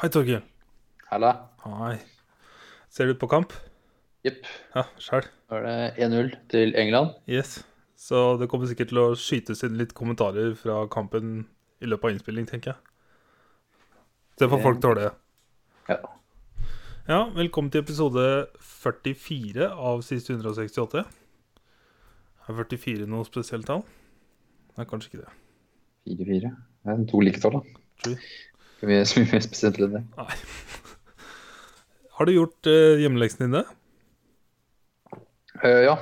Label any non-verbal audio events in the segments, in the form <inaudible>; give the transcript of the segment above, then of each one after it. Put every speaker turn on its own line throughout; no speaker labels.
Hei, Torkil.
Halla.
Hei. Ser du på kamp?
Jepp.
Ja, sjæl.
Nå er det 1-0 til England.
Yes. Så det kommer sikkert til å skytes inn litt kommentarer fra kampen i løpet av innspilling, tenker jeg. Det får folk tåle.
Ja.
Ja, velkommen til episode 44 av siste 168. Er 44 noe spesielt tall? Nei, kanskje ikke det.
4-4. Det er to liketall, da.
True.
Skal vi <laughs> gjøre så mye mer spesielt enn det?
Nei. <laughs> Har du gjort eh, hjemmeleksen din det?
Eh, ja.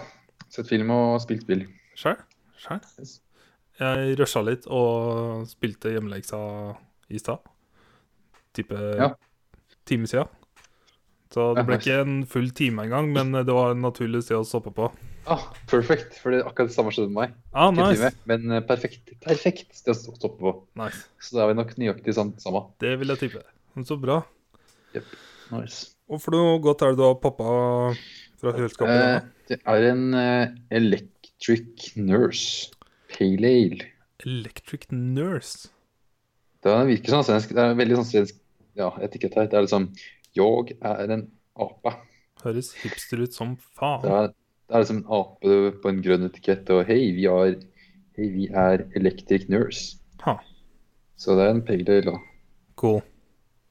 Sett film og spilt spill.
Sjæl? Sjæl?
Yes.
Jeg rusha litt og spilte hjemmeleksa i stad. Type
Ja.
time sia. Så det
Ja,
ble
nice.
ikke en full time engang, men eh, det var et naturlig sted å stoppe på.
Ah, perfect. For det er akkurat det samme skjedde med meg.
Ah,
Ikke
nice.
time, Men eh, perfekt. Perfekt sted å stoppe på.
nice.
Så da er vi nok nøyaktig sånn samme.
Det vil jeg tippe. Men Så bra.
Nice.
Og for noe godt er det du har pappa fra kjøleskapet?
Eh,
da?
det er en eh, electric nurse. Pale ale.
Electric Nurse.
Det er- virker sånn svensk. Det er veldig sånn svensk ja, etikett her. Det er liksom Jeg er en ape.
Høres hipster ut som
Det
faen.
er, det er liksom en ape på en grønn etikett, og hei, vi er, hei, vi er Electric Nurse.
Ha.
Så det er en pale ale, da.
Cool.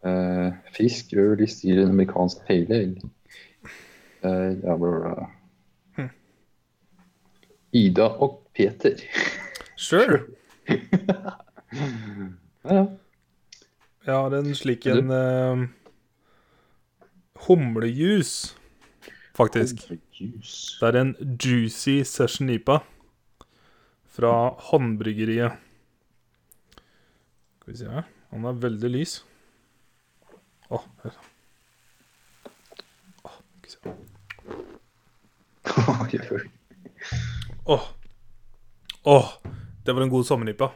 Eh, frisk øl i stil en amerikansk pale ale. Eh, ja, bla, bla, bla.
Hm.
Ida og Peter.
Sure.
Ja, ja.
Jeg har en slik
Du?
en eh, humlejus, faktisk.
Juice.
Det er en juicy session IPA fra håndbryggeriet. Skal vi se her. Han er veldig lys. Å, her. Å, skal vi se.
Oi, oi.
Å. Å, det var en god sommer-IPA.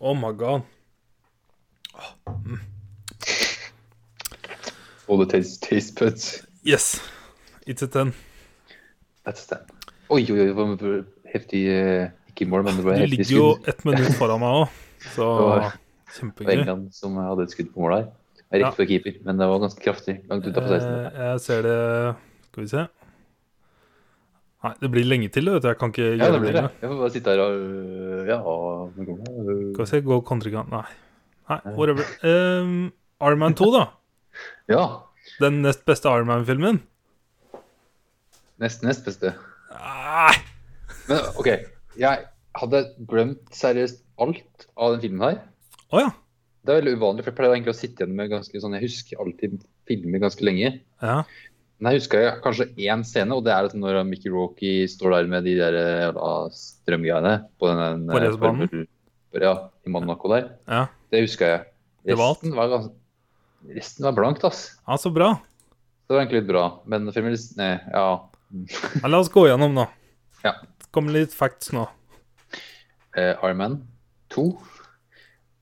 Oh my god.
All the taste, taste buds.
Yes. It's a ten.
That's them. Oi, oi, oi, det var en heftig eh, Ikke mål, men det
Du
var heftig
ligger jo
skudd.
ett minutt foran meg òg, så
<laughs> Det Det var
kjempegøy.
England som hadde et skudd på mål her. Det er
Ja.
Rett før keeper, men det var ganske kraftig. Langt utafor 16.
Eh, Jeg ser det Skal vi se. Nei, det blir lenge til, vet du. Jeg kan ikke
Ja,
gjøre
det blir det.
lenger.
Jeg får bare sitte her og øh, Ja, nå kommer det. øh.
Skal vi se, gå kontrikant Nei. Nei, whatever. Um, Ironman 2, da.
Ja.
Den nest beste Ironman-filmen.
Nest nest beste.
Nei!
Men OK, jeg hadde glemt seriøst alt av den filmen her.
Å ja.
Det er veldig uvanlig, for jeg pleier egentlig å sitte igjen med ganske sånn Jeg husker alltid filmer ganske lenge.
ja.
Men jeg husker jeg kanskje én scene, og det er liksom når Mickey Rocky står der med de der eh, jævla strømgreiene på den eh,
På racerbanen?
Ja, i Monaco der.
Ja.
Det husker jeg.
Det var alt?
Resten var, gans... Resten var blankt, ass.
ja, så bra.
Det var egentlig litt bra, men fremdeles Nei, ja.
Ja, la oss gå gjennom, da.
Ja.
Det kommer litt facts nå.
Eh, Iron Man 2,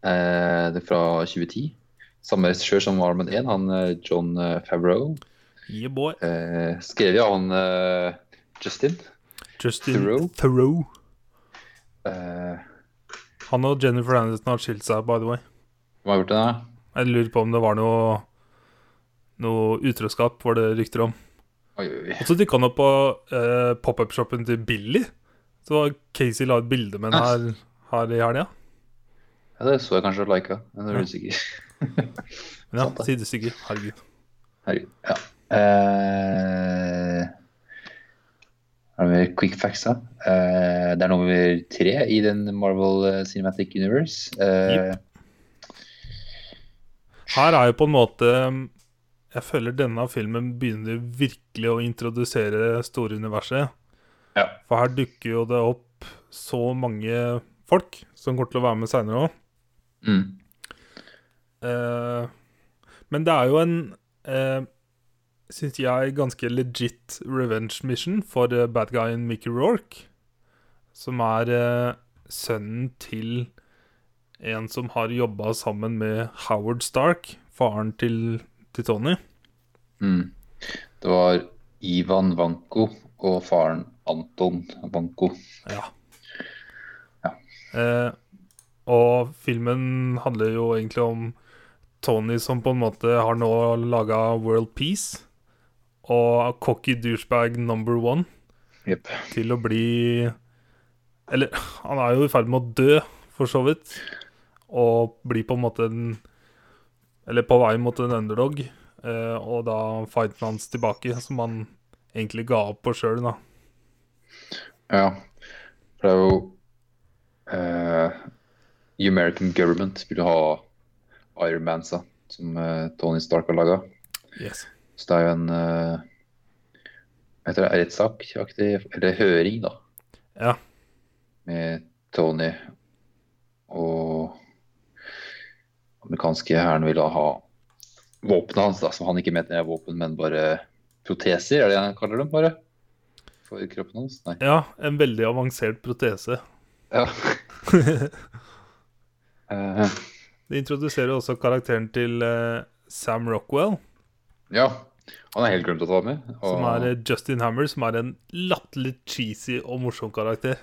eh, det er fra 2010. Samme regissør som Iron Man 1, han eh, John eh, Favreau.
Yeah, boy.
Eh, skrevet av han eh, Justin.
Justin
Theroux.
Theroux.
Eh,
Han og Jennifer Aniston har skilt seg, by the way.
hva har gjort den her?
Jeg lurer på om det var noe Noe utroskap, var det rykter om.
Oi, oi, oi.
Og så dukka han opp på eh, pop-up-shoppen til Billy. Så Casey la et bilde med den her, her i helga.
Ja, det så jeg kanskje og lika, men jeg er usikker.
Men ja,
Sant det.
sidestykke. Herregud.
<laughs> Herregud. Ja. Eh, er det mer quick facts, da? Eh, det er nummer tre i den Marvel eh, Cinematic Universe. Eh,
Her er jo på en måte mm, Jeg føler denne filmen begynner virkelig å introdusere det store universet.
Ja.
For her dukker jo det opp så mange folk som kommer til å være med seinere òg.
mm.
Eh, men det er jo en eh, Syns jeg ganske legit revenge mission for eh, bad guyen Mickey Rourke. Som er eh, sønnen til en som har jobba sammen med Howard Stark, faren til, til Tony.
Mm. Det var Ivan Vanko og faren Anton Vanko.
Ja.
Ja.
Eh, og filmen handler jo egentlig om Tony som på en måte har nå laga World Peace og cocky douchebag number one
Jepp.
til å bli Eller han er jo i ferd med å dø, for så vidt. Og blir på en måte en Eller på vei mot en underdog. eh, og da fighten hans tilbake, som han egentlig ga opp på sjøl, da.
Ja. For det er jo eh, The American Government vil jo ha Ironmansa, som eh, Tony Stark har laga.
Yes.
Så det er jo en eh, Hva heter det, rettssak-aktig Eller høring, da.
Ja.
Med Tony og amerikanske hæren vil da ha våpenet hans, da, som han ikke mener er våpen, men bare proteser, er det han kaller dem, bare? For kroppen hans? Nei.
ja, en veldig avansert protese.
Ja.
<laughs>
Eh,
Det introduserer også karakteren til eh, Sam Rockwell,
ja. Han er helt glemt å ta med. og-
som er eh, Justin Hammer, som er en latterlig cheesy og morsom karakter.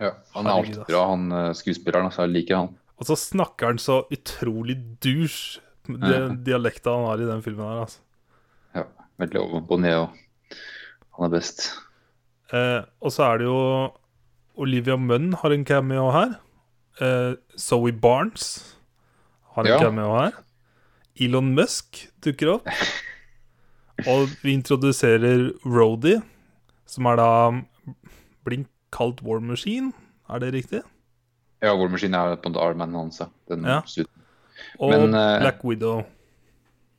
ja, han er
Herregud,
alltid
ass.
bra, han eh, skuespilleren. Altså, jeg liker han.
Og så snakker han så utrolig douche, den dialekta han har i den filmen her, altså.
Ja, veldig ovenpå ned, og han er best.
Eh, og så er det jo Olivia Munn har en cameo her. Eh, Zoe Barnes har en
Ja.
cameo her. Elon Musk dukker
<laughs>
opp. Og vi introduserer Rody, som er da blink kalt War Machine. Er det riktig?
Ja, War Machine er på en måte armen hans. ja. altså. Den
Ja.
slutten.
Og
Men, eh,
Black Widow.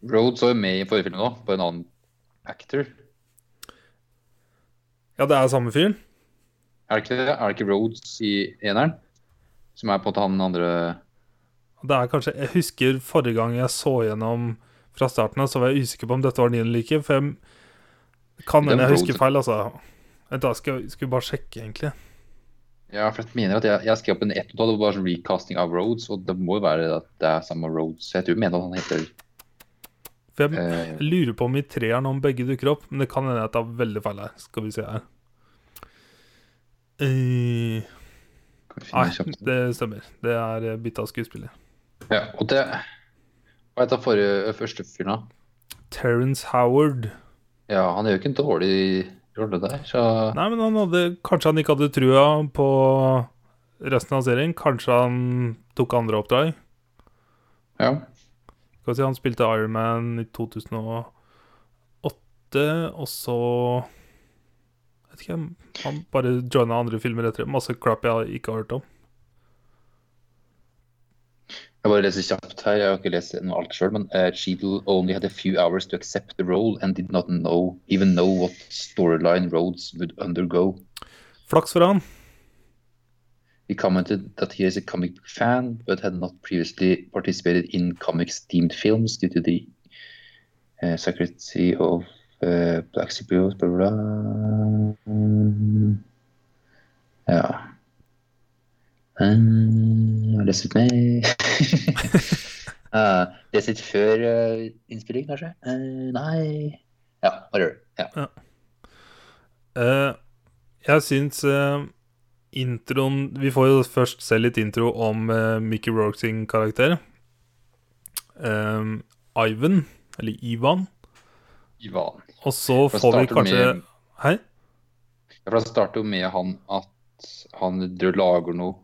Rhodes var jo med i forrige film òg, på en annen actor.
Ja, det er samme fyren.
Er det ikke det? Er det ikke Rhodes i eneren? Som er på en måte han andre
Det er kanskje, Jeg husker forrige gang jeg så gjennom fra starten av, så var jeg usikker på om dette var din like. For jeg kan
Den
hende jeg
Rhodes-
husker feil, altså. Vent, da skal skal vi bare sjekke, egentlig.
Ja, for jeg mener at jeg, jeg skrev opp en ett og det var sånn recasting av Rhodes, og det må jo være at det er samme Rhodes. Jeg tror jeg mener at han heter
For jeg
eh,
lurer på om i treeren om begge dukker opp, men det kan hende jeg tar veldig feil her. Skal vi se her. Eh,
kan vi finne
nei,
kjapt?
det stemmer. Det er eh, bytte av skuespiller.
Ja, og det Hva heter forrige første fyren, da?
Terence Howard.
Ja, han gjør jo ikke en dårlig rolle der, så
Nei, men han hadde, Kanskje han ikke hadde trua på resten av serien. Kanskje han tok andre oppdrag.
ja.
Skal vi si, han spilte Iron Man i 2008, og så Vet ikke, han bare joina andre filmer etter det. Masse crap jeg ikke har hørt om.
Jeg bare leser kjapt her, jeg har ikke lest noe alt selv, men eh, Cheadle only had a few hours to accept the role and did not know, even know what storyline Rhodes would undergo.
Flaks for han.
He commented that he is a comic book fan, but had not previously participated in comics-themed films due to the uh, secrecy of uh, black superheroes, blah, blah, blah. Um, Ja. Ah, Um, jeg leser litt mer. uh, leser litt før uh, innspilling, kanskje? Eh, nei. Ja, bare gjør det. Ja.
Eh, jeg syns eh, introen Vi får jo først se litt intro om eh, Mickey Rourke sin karakter. Eh, Ivan, eller Ivan.
Ivan.
Og så
For å
får vi
starte
kanskje
med-
Hei?
Ja, for det starter jo med han at han dr- lager noe.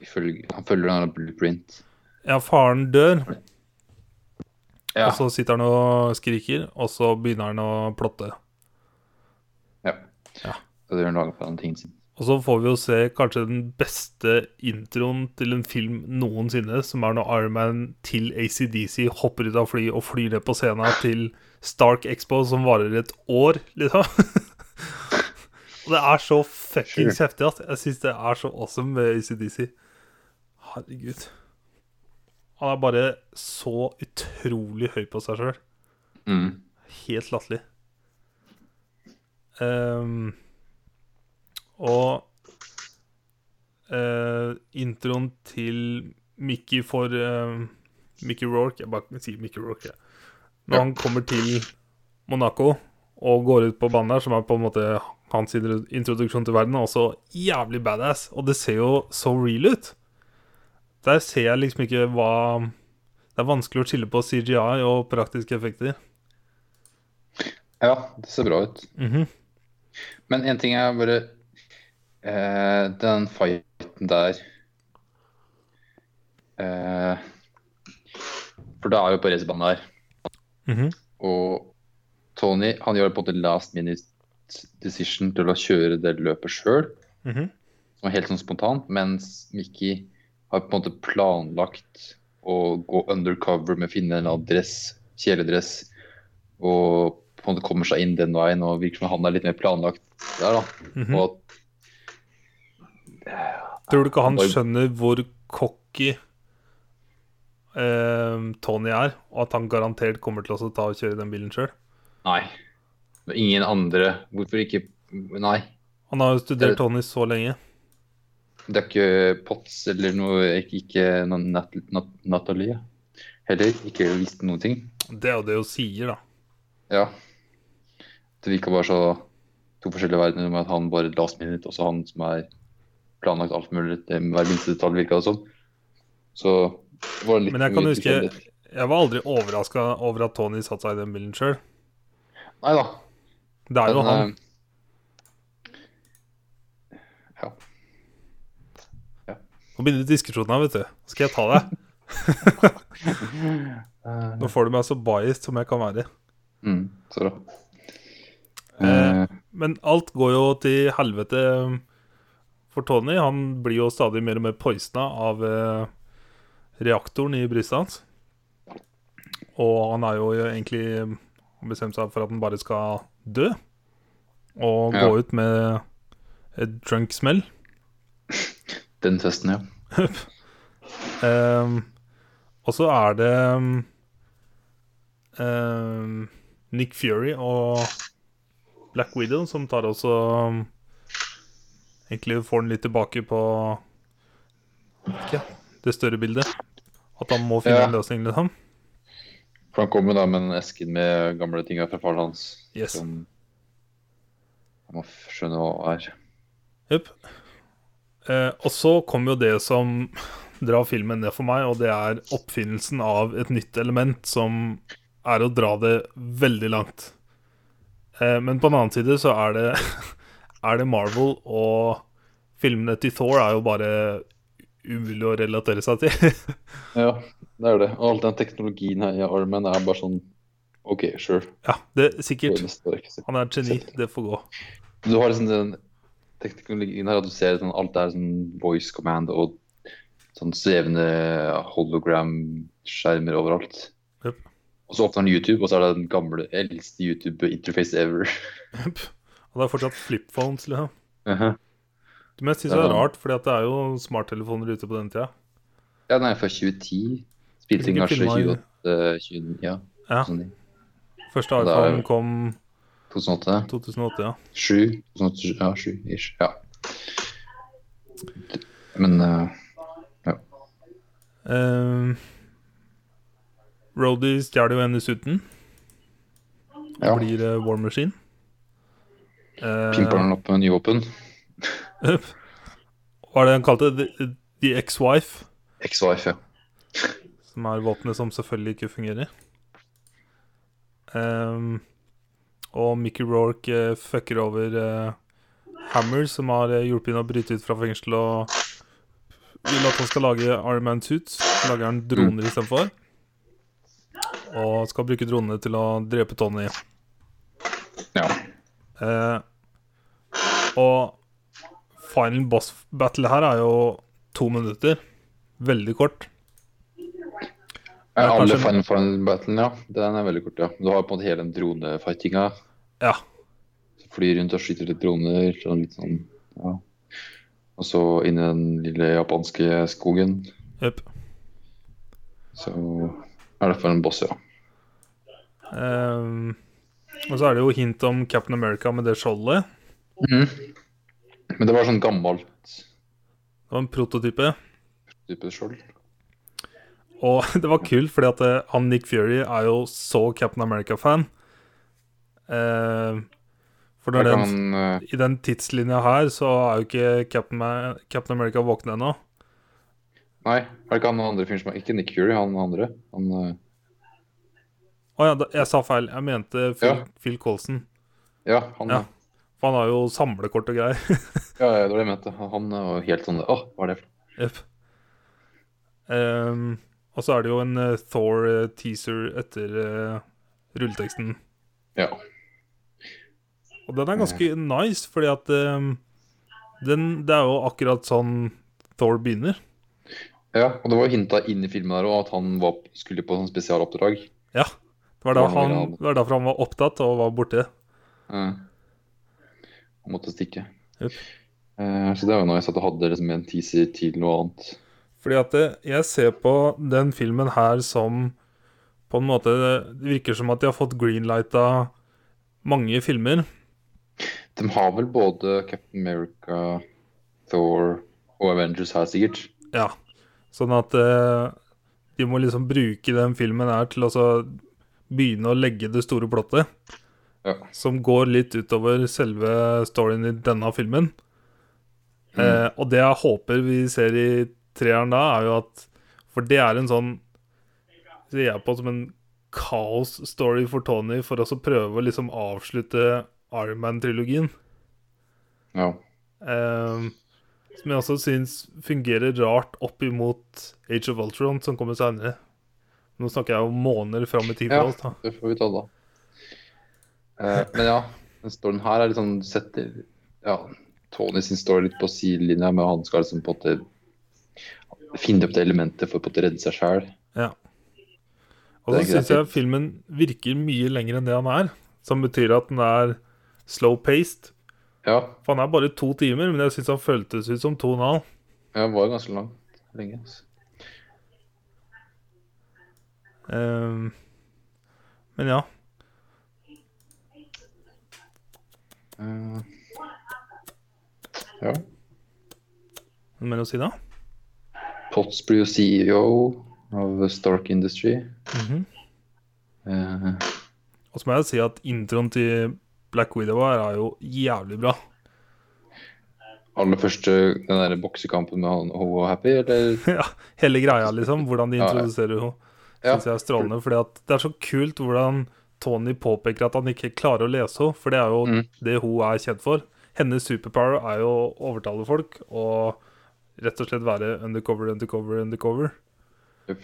Ifølge- Han følger en blueprint.
Ja, faren dør,
Ja.
og så sitter han og skriker, og så begynner han å plotte.
ja.
Ja.
Så det er laget på den tingen sin.
Og så får vi jo se kanskje den beste introen til en film noensinne, som er når Iron Man til ACDC hopper ut av fly og flyr ned på scenen til Stark Expo, som varer et år, liksom. <laughs> og det er så fuckings heftig, ass. Jeg syns det er så awesome med ACDC. Herregud. Han er bare så utrolig høy på seg sjøl.
Mm.
Helt latterlig. Ehm, og eh, introen til Mickey for eh, Mickey Rourke Jeg bare sier Mickey Rourke. jeg. Når han kommer til Monaco og går ut på banen der, som er på en måte hans intro- introduksjon til verden, er også jævlig badass. Og det ser jo så real ut. Der ser jeg liksom ikke hva Det er vanskelig å skille på CGI og praktiske effekter.
Ja, det ser bra ut.
Mhm.
Men en ting er bare eh, Den fighten der eh, For da er jo på racerbanen her.
Mhm.
Og Tony han gjør på en måte last minute decision til å kjøre det løpet sjøl,
Mhm.
som er helt sånn spontant, mens Mickey har på en måte planlagt å gå undercover med å finne en eller annen dress, kjeledress, og på en måte kommer seg inn den veien, og virker som han er litt mer planlagt der, da.
Mhm.
Og at
Tror du ikke han
Oi.
skjønner hvor cocky eh, Tony er, og at han garantert kommer til å ta og kjøre den bilen sjøl?
Nei. Det er Ingen andre Hvorfor ikke Nei.
Han har jo
Det-
studert Tony så lenge.
Det er ikke Potts eller noe Ikke, ikke noen Nat Nat Natalie heller. Ikke visste noen ting.
Det er jo det hun sier, da.
Ja. Det virka bare så to forskjellige verdener med at han bare last minute, også han som er planlagt alt mulig, det med hver minste detalj virka det som. Så det var litt
Men jeg kan
mye
huske
tilfeldigheter.
Jeg var aldri overraska over at Tony satte seg i den bilen sjøl.
Nei da.
Det er jo
Men,
han.
eh, Ja.
Nå begynner diskusjonen her, vet du. Nå Skal jeg ta deg?
Eh,
Nå får du meg så biased som jeg kan være.
mm, så bra.
Eh,
Eh,
Men alt går jo til helvete for Tony. Han blir jo stadig mer og mer poisna av eh, reaktoren i brystet hans. Og han er jo egentlig han bestemt seg for at han bare skal dø. Og
Ja.
gå ut med et drunk smell.
den festen, ja.
Ehm, og så er det um, ehm, Nick Fury og Black Widow som tar også um, Egentlig får han litt tilbake på vet ikke, det større bildet. At han må finne
Ja.
en løsning, liksom.
For han kommer da med en eske med gamle ting fra faren hans.
Yes.
Som jeg må skjønne hva er.
Jepp. Eh, og så kommer jo det som drar filmen ned for meg, og det er oppfinnelsen av et nytt element som er å dra det veldig langt. Eh, men på den annen side så er det, <laughs> er det Marvel, og filmene til Thor er jo bare umulig å relatere seg til. <laughs>
Ja, det er det. Og all den teknologien her i armen er bare sånn OK, sure.
ja, det
Det
sikkert.
er neste år, ikke sant?
Han er et geni, det får gå.
Du har liksom den teknologien her at du ser sånn, alt er sånn voice command og sånn svevende hologram-skjermer overalt.
Jep.
Og så åpner han YouTube, og så er det den gamle, eldste YouTube-interface ever.
Og det er fortsatt flipphones, liksom.
Mhm.
Det mest synes jeg er rart, for det er jo smarttelefoner ute på den tida.
Ja, den er fra 2010.
Hvilken
Spilte inn kanskje
film var det?
28, 29, ja.
Ja.
sånn i
Første
Det er jo-
iPhone kom
2008.
2008, ja.
7, 2007, ja, 7 ish. Ja. Men eh,
Uh, Roddy stjeler jo henne dessuten. Og
Ja.
blir eh, War Machine. Eh,
pimper den opp med nye våpen.
Ehm, <laughs> Hva er det han kalte det? The, the Ex-Wife?
Ex-wife, ja.
Som er våpenet som selvfølgelig ikke fungerer. Ehm, og Mickey Rourke eh, fucker over eh, Hammer, som har eh, hjulpet henne å bryte ut fra fengsel og vil at han skal lage Iron Man suits. Så Lager han droner istedenfor. Og skal bruke dronene til å drepe Tony.
ja.
Eh, og final boss battle her er jo to minutter. Veldig kort.
Ja,
Ja,
alle
kanskje-
Final Final Battle, ja. Den er veldig kort, ja. Du har på en måte hele den dronefightinga.
Ja.
Så Flyr rundt og skyter litt droner. Sånn, litt sånn, ja. Og så inn i den lille japanske skogen.
Jøp.
Så er det for en boss, ja.
Ehm, og så er det jo hint om Captain America med det skjoldet.
Men det var sånn gammelt
Det var en prototype.
type skjold.
Og <laughs> det var kult, fordi at eh, han Nick Fury er jo så Captain America-fan. Ehm, for når
Da
den,
kan han eh,
i den tidslinja her, så er jo ikke Captain, Ma- Captain America våken ennå.
Nei, er det ikke han andre fyren som er Ikke Nick Fury, han andre. Han, eh,
Å ja, da- jeg sa feil. Jeg mente Phil,
Ja.
Phil Colson.
ja, han, ja.
Ja. For han har jo samlekort og greier. <laughs>
ja, det var det jeg mente. Han eh, var helt sånn Å, hva er det for noe?
Jepp. Ehm, og så er det jo en eh, Thor-teaser etter eh, rulleteksten.
Ja.
Og den er ganske nice, fordi at ehm, den, det er jo akkurat sånn Thor begynner.
ja. Og det var jo hinta inn i filmen der òg at han var, skulle på sånn spesialoppdrag.
Ja. Det var, da
Hvordan vil
han,
han?
det var derfor han var opptatt og var borte.
Eh, Han måtte stikke.
Jep.
Eh, så det var jo nice at du hadde liksom en teaser til noe annet.
Fordi at det, jeg ser på den filmen her som På en måte Det virker som at de har fått greenlighta mange filmer.
De har vel både Captain America, Thor og Avengers her, sikkert.
Ja. Sånn at eh, de må liksom bruke den filmen her til å så begynne å legge det store plottet.
Ja.
Som går litt utover selve storyen i denne filmen.
Mm.
Eh, og det jeg håper vi ser i treeren da, er jo at For det er en sånn Ser jeg på som en kaos-story for Tony, for også å prøve å liksom avslutte Iron Man-trilogien.
Ja.
Ehm, som jeg også syns fungerer rart opp imot Age of Ultron, som kommer senere. Nå snakker jeg om måneder fram i tid. for
Ja.
oss, da.
Det får vi ta da. Eh, men ja, den storyen her er litt sånn setter ja, Tony sin story litt på sidelinja, men han skal liksom på en måte finne opp det elementet for å på en måte redde seg sjøl.
Og
Det
så
er
syns jeg
greit.
filmen virker mye lenger enn det han er. Som betyr at den er slow-paced.
Ja,
For han er bare to timer, men jeg syns han føltes ut som to og en halv.
jeg var ganske lang lenge. altså.
Ehm, men ja.
Eh, ja.
Noe mer å si da?
Potts blir jo CEO E av Stark Industry.
Mhm.
Eh,
Og så må jeg si at introen til Black Widow her er jo jævlig bra.
aller første den der boksekampen med han og Happy, eller?
<laughs> ja, hele greia, liksom. Hvordan de
Ja, ja.
introduserer henne,
Ja.
syns jeg er strålende. Fordi at det er så kult hvordan Tony påpeker at han ikke klarer å lese henne, for det er jo
Mm.
det hun er kjent for. Hennes superpower er jo å overtale folk og rett og slett være undercover, undercover, undercover.
Yep.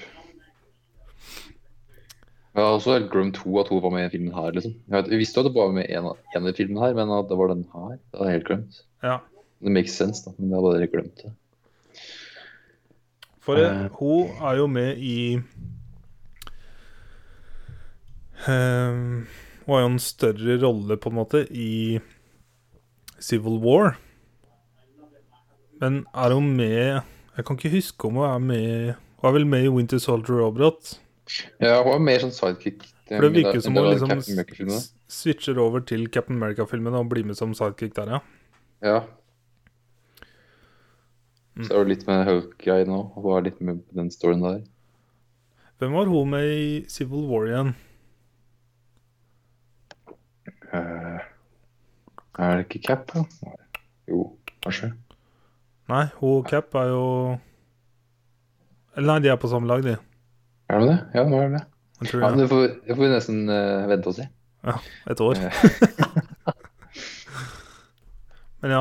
Jeg har også helt glemt to at hun var med i filmen her, liksom. Jeg, vet, jeg visste jo at det var med en, av- en i filmen her, men at det var den her, det hadde jeg helt glemt.
Ja.
Det makes sense, da, men jeg hadde helt glemt det.
For eh,
Eh.
hun er jo med i Ehm, Hun har jo en større rolle, på en måte, i Civil War. Men er hun med Jeg kan ikke huske om hun er med Hun er vel med i Winter Soldier Robot?
Ja, hun var mer sånn sidekick.
For det virker som hun liksom
liksom
s- switcher over til Captain America-filmene og blir med som sidekick der, ja.
Ja.
Mm.
Så er det litt med Hawkeye nå, og hun er litt med på den storyen der.
Hvem var hun med i Civil War igjen?
Eh, er det ikke Cap, da? Nei. Jo, kanskje.
Nei, hun og Cap er jo Eller nei, de er på samme lag, de.
Er det det? Ja, nå er det det.
Jeg tror
Ja, men
det
det får, det får vi nesten eh, vente og se.
er et år. <laughs> Men ja,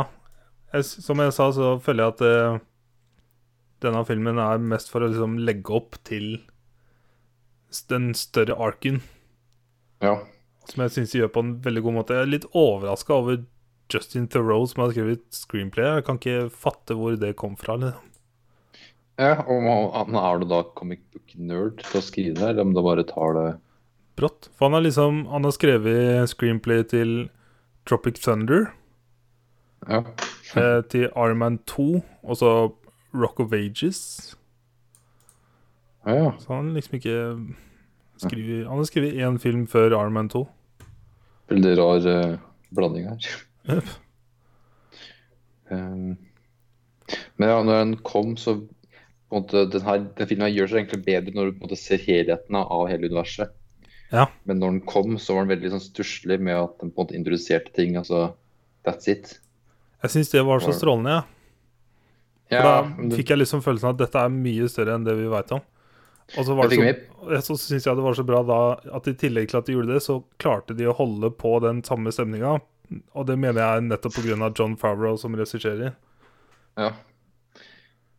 jeg, s- som jeg sa, så føler jeg at eh, denne filmen er mest for å liksom legge opp til s- den større arken,
Ja.
som jeg syns de gjør på en veldig god måte. Jeg er litt overraska over Justin Theroux, som har skrevet screenplay. Jeg kan ikke fatte hvor det kom fra. Liksom.
Ja, og må- han er du da comic book nerd til å skrive det, eller om du bare tar det
Brått. For han har liksom Han har skrevet screenplay til Tropic Thunder,
Ja.
eh, til Iron Man 2, og så Rock of Ages.
Ja, ja.
Så han liksom ikke skriver Han har skrevet én film før Iron Man 2.
Veldig rar eh, blanding her.
Jep.
Um, men ja, når den kom, så på en måte, den, her, den filmen her gjør seg egentlig bedre når du på en måte ser helheten av- av hele universet.
Ja.
Men når den kom, så var den veldig sånn stusslig med at den på en måte introduserte ting. Altså, that's it.
Jeg syns det var så
Var-
strålende, jeg. For
Ja,
da
det,
fikk jeg liksom følelsen av at dette er mye større enn det vi veit om. Og så var det
Jeg
så,
fikk
jeg så syns jeg det var så bra da at i tillegg til at de gjorde det, så klarte de å holde på den samme stemninga. Og det mener jeg er nettopp pga. John Favreau som regisserer.
ja.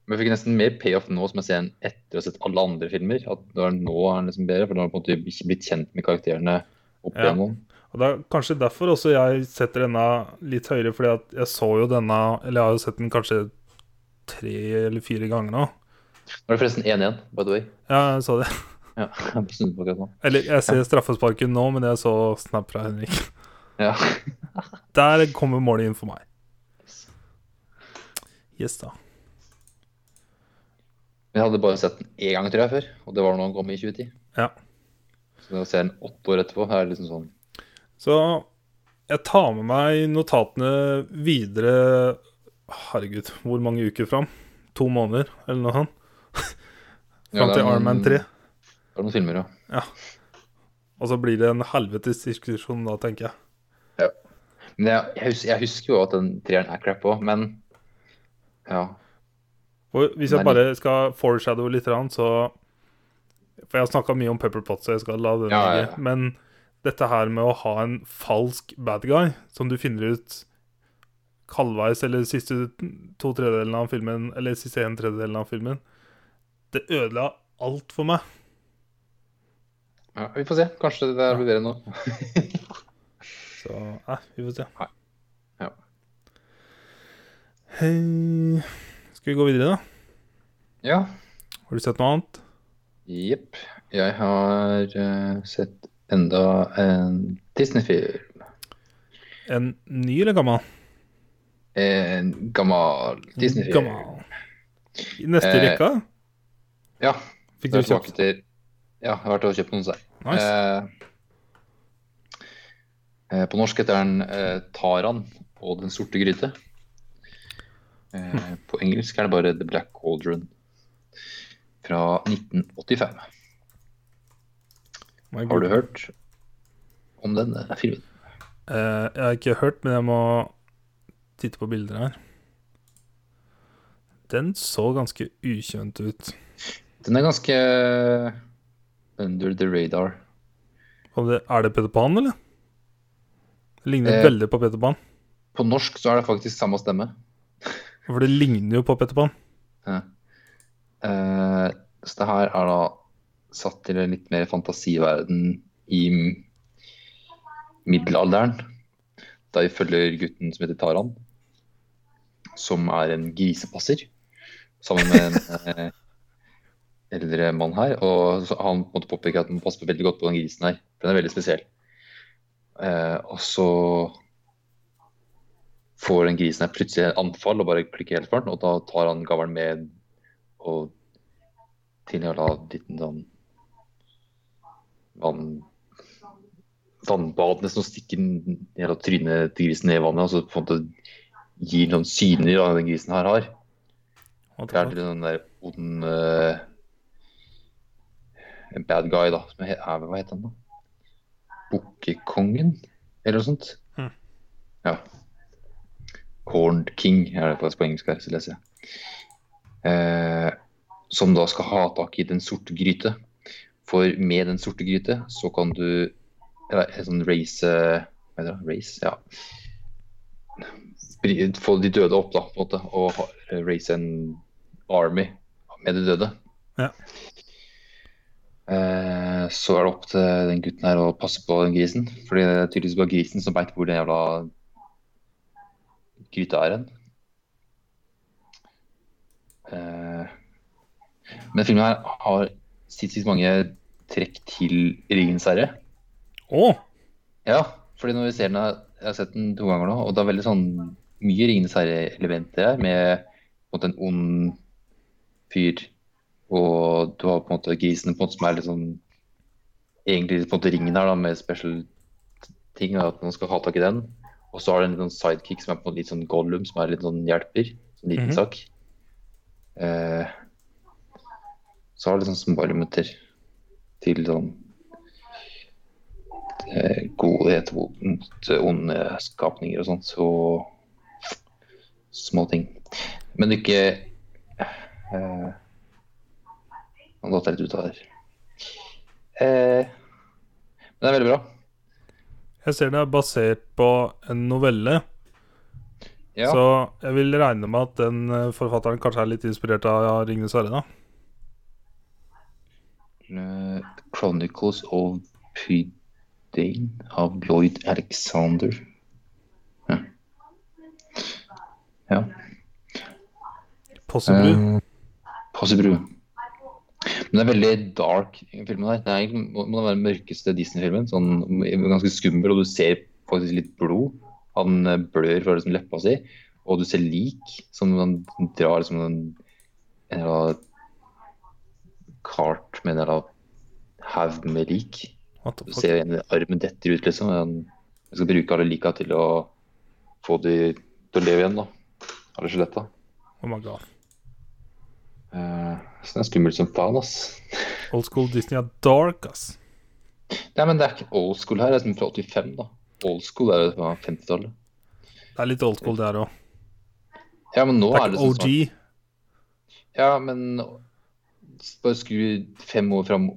Men jeg fikk nesten mer payoff nå som jeg ser den etter å ha sett alle andre filmer. At det er nå er den liksom bedre, for da har du på en måte blitt kjent med karakterene opp
Ja.
igjennom.
Og det er kanskje derfor også jeg setter denne litt høyere, fordi at jeg så jo denne Eller jeg har jo sett den kanskje tre eller fire ganger nå.
Nå er det forresten 1-1, by the way.
Ja, jeg så det.
Ja, <laughs> jeg har bestemt meg for akkurat nå.
Eller jeg ser straffesparken nå, men jeg så snap fra Henrik.
Ja.
Der kommer målet inn for meg. Yes, da.
Men jeg hadde bare sett den én gang, tror jeg, før. Og det var når den kom i 2010.
Ja.
Så det å se den åtte år etterpå er liksom sånn
Så jeg tar med meg notatene videre Herregud, hvor mange uker fram? To måneder, eller noe sånt? Fram
Ja, det er
til Iron Man
noen-
3.
Det er noen filmer, ja.
Og så blir det en helvetes diskusjon da, tenker jeg.
Men jeg, jeg, husker, jeg husker jo at den treeren er crap òg, men ja.
Og hvis jeg
Men-
bare skal foreshadow litt, grann, så For jeg har snakka mye om Pepper Pot, så jeg skal la den ligge.
Ja, ja, ja.
Men dette her med å ha en falsk bad guy, som du finner ut halvveis eller siste to tredjedelen av filmen, eller siste en tredjedelen av filmen, det ødela alt for meg.
ja. Vi får se. Kanskje det der blir bedre nå.
Så nei, vi får se.
Nei. Ja.
Hei Skal vi gå videre, da?
Ja.
Har du sett noe annet?
Jepp. Jeg har eh, sett enda en Disney-film.
En ny eller gammel?
En gammel Disney-film.
Gammel. I neste
Eh,
rekka?
Ja.
Fikk
det
du
er tilbake
kjøpt?
til- Ja, jeg har vært og kjøpt noen seg.
Nice.
Eh, eh, på norsk heter den eh, Taran og Den sorte gryte. Eh, på engelsk er det bare The Black Cauldron fra 1985.
My
Har
God.
du hørt om den eh, filmen?
Eh, jeg har ikke hørt, men jeg må titte på bilder her. Den så ganske ukjent ut.
Den er ganske under the radar.
Og det, er det Peter Pan, eller? Det ligner
Eh.
veldig på Peter Pan.
På norsk så er det faktisk samme stemme.
For det ligner jo på Peter Pan.
Ja. Eh, så det her er da satt til en litt mer fantasiverden i m- middelalderen. Da vi følger gutten som heter Taran, som er en grisepasser. Sammen med en eh, eldre mann her. Og så han på en måte påpeker at man må passe på veldig godt på den grisen her, for den er veldig spesiell. Eh, og så får den grisen her plutselig et anfall og bare klikker helt for den, og da tar han gavlen med og til en jævla liten sånn vann, vannbad nesten og stikker den jævla trynet til grisen ned i vannet, og så på en måte gir noen syner av den grisen her har.
What
Det
the
er til den der ond eh, en bad guy, da. Som he- er, hva heter han, da? Bukkekongen? Eller noe sånt.
Mhm.
Ja. Horned King er det faktisk på engelsk her, så leser jeg. Eh, som da skal ha tak i Den sorte gryte. For med Den sorte gryte så kan du Eller en sånn race eh, Hva heter det? Race? Ja. Bri- Få de døde opp, da, på en måte, og ha- race en Army med de døde.
Ja.
Eh, så er det opp til den gutten her å passe på den grisen. Fordi det er tydeligvis bare grisen som veit hvor den jævla gryta er hen. Eh, men filmen her har sinnssykt mange trekk til Ringens herre.
Å!
Ja, fordi når vi ser den, her- jeg har sett den to ganger nå, og det er veldig sånn mye Ringenes herre-elementer her, med på en måte en ond fyr, og du har på en måte grisen på en måte som er litt sånn egentlig på en måte ringen her da, med special ting, da, at man skal ha tak i den. Og så har du en litt sånn sidekick som er på en måte litt sånn Gollum, som er litt sånn hjelper, en liten
Mhm.
sak. Eh, så har du sånn små elementer til sånn eh, godhet mot eh, onde skapninger og sånt, så små ting. Men det er ikke Eh, Han datt jeg litt ut av her. Eh, men det er veldig bra.
Jeg ser det er basert på en novelle,
Ja,
så jeg vil regne med at den eh, forfatteren kanskje er litt inspirert av Ringnes herre, da.
eh, 'Chronicles of Pudding' av Lloyd Alexander. Ja. ja.
Possibly.
Eh, Passebru. Men det er veldig dark filmen her. Det er egentlig- må må den være den mørkeste Disney-filmen. Sånn, ganske skummel, og du ser faktisk litt blod. Han eh, blør fra liksom leppa si, og du ser lik som han drar liksom en en eller annen kart med en eller annen haug med lik.
What the
Du
fuck?
ser en armen detter ut, liksom. Han skal bruke alle lika til å få de til å leve igjen, da. Alle skjeletta.
Oh my god.
Eh, Så den er skummel som faen, ass.
Old school Disney er dark, ass.
Nei, men det er ikke old school her, det er som fra 85, da. Old school er jo fra 50-tallet.
Det er litt old school, det her òg.
Ja, men nå
Det er
er det
ikke
sånn
OG.
snart. Ja, men bare skru fem år fram,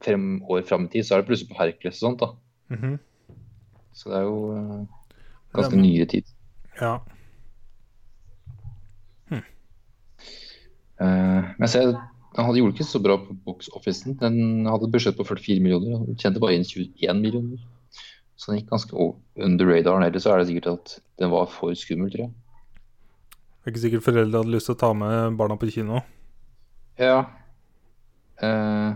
fem år fram i tid, så er det plutselig på Hercules og sånt, da.
Mhm.
Så det er jo eh, ganske
Ja, men-
nyere tid.
Ja.
Eh, men jeg ser, den hadde gjorde ikke så bra på box officen. Den hadde et budsjett på 44 millioner, og den tjente bare inn 21 millioner. Så den gikk ganske o- under radaren. Ellers så er det sikkert at den var for skummel, tror jeg.
Det er ikke sikkert foreldre hadde lyst til å ta med barna på kino.
Ja. Eh,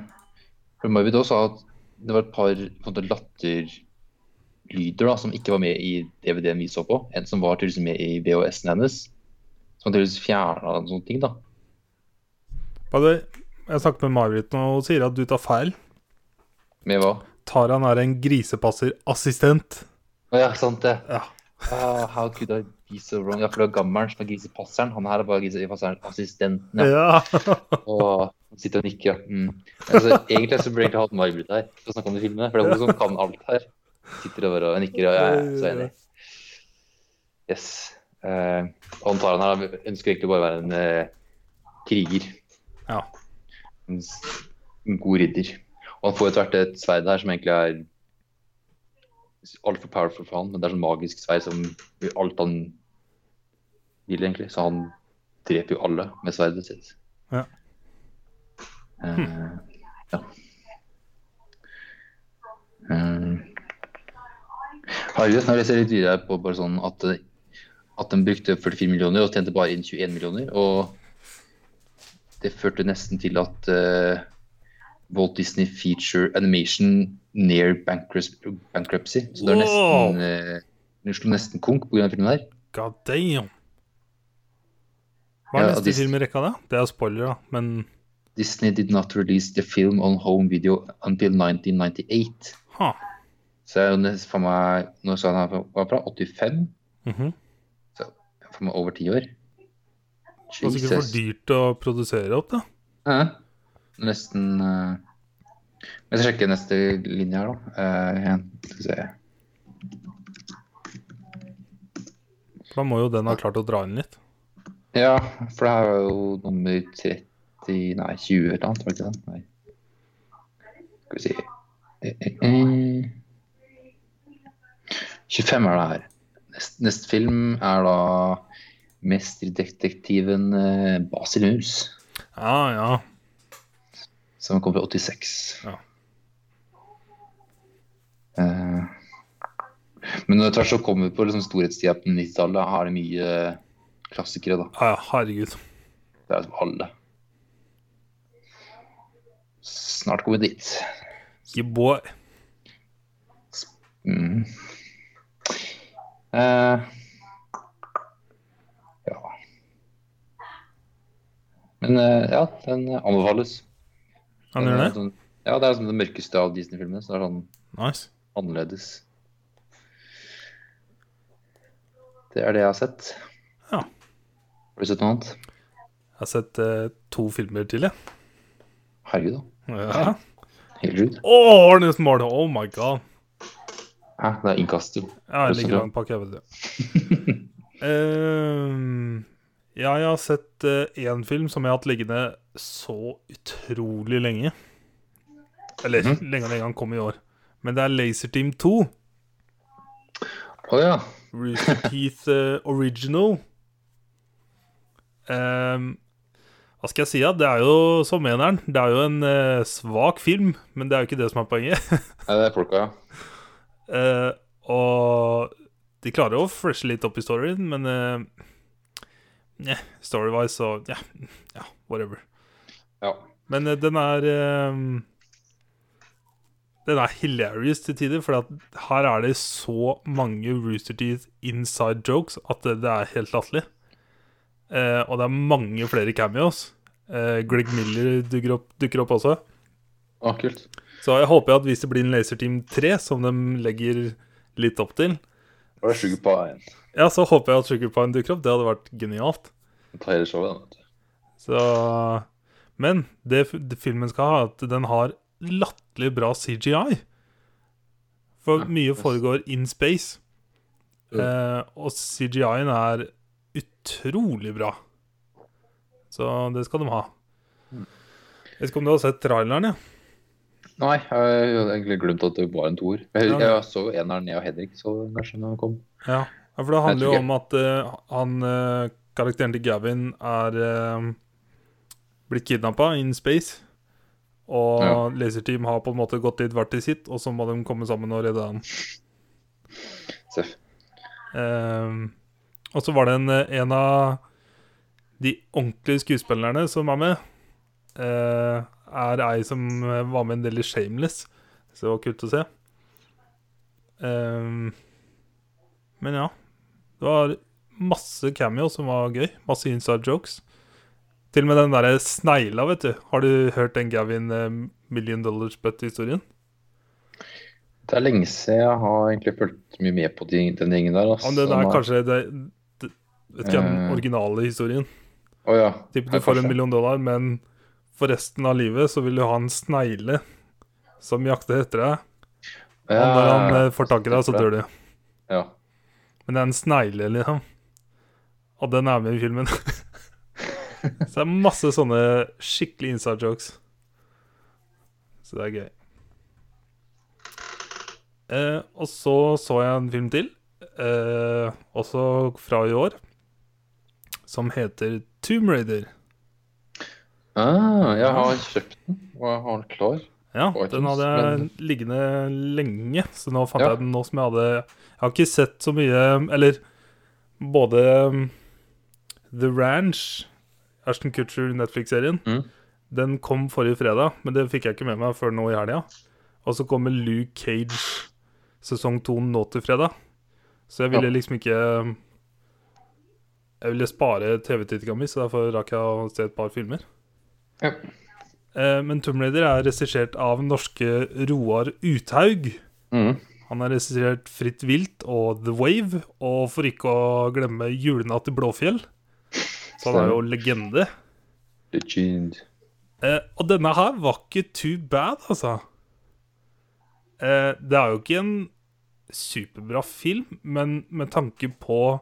for Marvid også sa at det var et par på en måte, latterlyder da, som ikke var med i DVD-en vi så på. En som var tydeligvis med i VHS-en hennes. Som han tydeligvis fjerna en sånn ting, da.
By the way, jeg snakket med Marit nå og hun sier at du tar feil.
Med hva?
Taran er en grisepasserassistent.
Å ja, sant det.
Ja.
Ah, how could I be so wrong? Ja, for det var gammelen som var grisepasseren. Han her var grisepasseren-assistenten. Ja.
Ja.
Og sitter og nikker, ja. Mm. Altså, egentlig så burde jeg egentlig hatt Margaret her for å snakke om de filmene. For det er hun som kan alt her. Sitter og bare og nikker, og
<laughs>
jeg er så enig. Yes. Eh, han tar han her, han ønsker egentlig bare å være en eh, kriger.
Ja.
En, s- en god ridder. Og han får etter hvert et sverd her som egentlig er altfor powerful for han, men det er sånn magisk sverd som gjør alt han vil, egentlig. Så han dreper jo alle med sverdet sitt.
Ja.
Eh, ja. Eh, Harry, når jeg ser litt videre på bare sånn at, at den brukte 44 millioner og tjente bare inn 21 millioner, og det førte nesten til at eh, Walt Disney Feature Animation near bankrupt- bankruptcy. Så det er
Wow!
nesten eh, Den slo nesten konk pga. filmen her.
God damn. Hva er
Ja,
neste
de-
film i rekka, da? Det er spoiler, da, men
Disney did not release the film on home video until 1998.
ha.
Så det er jo nesten for meg Nå sa han her var fra 85,
Mhm.
for meg over ti år.
Det var sikkert for dyrt å produsere opp, da.
Ja. Nesten eh, Jeg skal sjekke neste linje her, da. Eh, igjen. skal vi se.
For da må jo den ha klart å dra inn litt.
Ja, for det her var jo nummer 30 Nei, 20 eller noe annet, var det ikke det? Nei. Skal vi si eh, eh, eh. 25 er det her. Nest, neste film er da mesterdetektiven eh, Basil Mus,
Ja, ja.
som kom fra 86.
Ja.
Eh, men etter hvert så kommer vi på liksom storhetstida på 90-tallet. Her er det mye klassikere, da.
ja, ja herregud.
Det er liksom alle. Snart kommer vi dit.
Yeah, boy.
Mm. Eh, ja. Men eh, ja, den anbefales.
Han gjør
Den er
det?
Sånn, ja, det er liksom det mørkeste av Disney-filmene. Så det er sånn
Nice.
annerledes. Det er det jeg har sett.
Ja.
Har du sett noe annet?
Jeg har sett eh, to filmer til, jeg.
Herregud, da.
Ja.
Helt sjukt.
Å, Arnes mål! Oh my god.
Hæ, Ah, det er innkastet.
Ja, jeg
Plutselig.
ligger langt bak, jeg vet det. Ehm, Ja, jeg har sett én film som jeg har hatt liggende så utrolig lenge. Eller
Mhm.
lenge og lenge han kom i år. Men det er Laserteam 2.
Å ja.
Rooster Teeth eh, Original. Ehm, hva skal jeg si? Ja? Det er jo som eneren. Det er jo en eh, svak film, men det er jo ikke det som er poenget.
Nei, det er folka, ja.
Eh, og de klarer å freshe litt opp i storyen, men uh, Storywise så ja, ja, whatever.
ja.
Men eh, den er ehm, Den er hilarious til tider, for at her er det så mange Rooster Teeth inside jokes at det, det er helt latterlig. Eh, og det er mange flere cameos. Eh, Greg Miller dukker opp, dukker opp også.
Å, kult.
Så jeg håper at hvis det blir en Laserteam 3, som de legger litt opp til,
Da er det sjukt på en.
ja, så håper jeg at Sugar Pine dukker opp. Det hadde vært genialt.
Ta hele showet, da. vet du.
Så Men det, f- det filmen skal ha, er at den har latterlig bra CGI. For
Ja,
mye
yes.
foregår in space.
Mm.
Eh, og CGI-en er utrolig bra. Så det skal de ha.
Mm.
Jeg vet ikke om du har sett traileren, ja?
Nei, jeg hadde egentlig glemt at det var en toer. Jeg,
Ja, men-
jeg så eneren jeg og Henrik så den kanskje når han kom.
Ja, ja, for det handler jo
Jeg tror ikke-
om at eh, han eh, karakteren til Gavin er eh, blitt kidnappa in space. Og
Ja.
Laserteam har på en måte gått dit hvert til sitt, og så må de komme sammen og redde han.
Seff.
Eh, og så var det en, eh, en av de ordentlige skuespillerne som er med, eh, er ei som eh, var med en del i Shameless. Så det var kult å se. Eh, men ja. Det var masse cameo som var gøy. Masse inside jokes. Til og med den derre snegla, vet du. Har du hørt den Gavin eh, Million Dollars Butt-historien?
Det er lenge siden jeg har egentlig fulgt mye med på de, den gjengen der. Altså.
Om den er
Nå-
kanskje det, det, Vet ikke, den
Eh.
originale historien.
Å ja.
Typ du
Ja,
får en
kanskje.
million dollar, men for resten av livet så vil du ha en snegle som jakter etter deg. Og
Ja,
når han
ja,
eh, får tak i deg, så dør du.
Ja.
Men det er en snegle, liksom. Og den er med i filmen. <laughs> så det er masse sånne skikkelig inside jokes. Så det er gøy. Eh, og så så jeg en film til, eh, også fra i år, som heter Tomb Raider.
Ah, jeg har kjøpt den, og jeg har den klar.
Ja,
på iTunes,
den hadde jeg
men-
liggende lenge, så nå fant
Ja.
jeg den nå som jeg hadde Jeg har ikke sett så mye Eller både um, The Ranch, Ashton Kutcher, Netflix-serien,
Mhm.
den kom forrige fredag, men det fikk jeg ikke med meg før nå i helga. Og så kommer Luke Cage sesong to nå til fredag, så jeg
Ja.
ville liksom ikke Jeg ville spare TV-tittinga mi, så derfor rakk jeg å se et par filmer.
Ja.
Eh, Men Tomb Raider er regissert av norske Roar Uthaug.
Mhm.
Han har regissert Fritt vilt og The Wave, og for ikke å glemme Julenatt i Blåfjell. Så han er jo legende.
Legend.
Eh, og denne her var ikke too bad, altså. Eh, det er jo ikke en superbra film, men med tanke på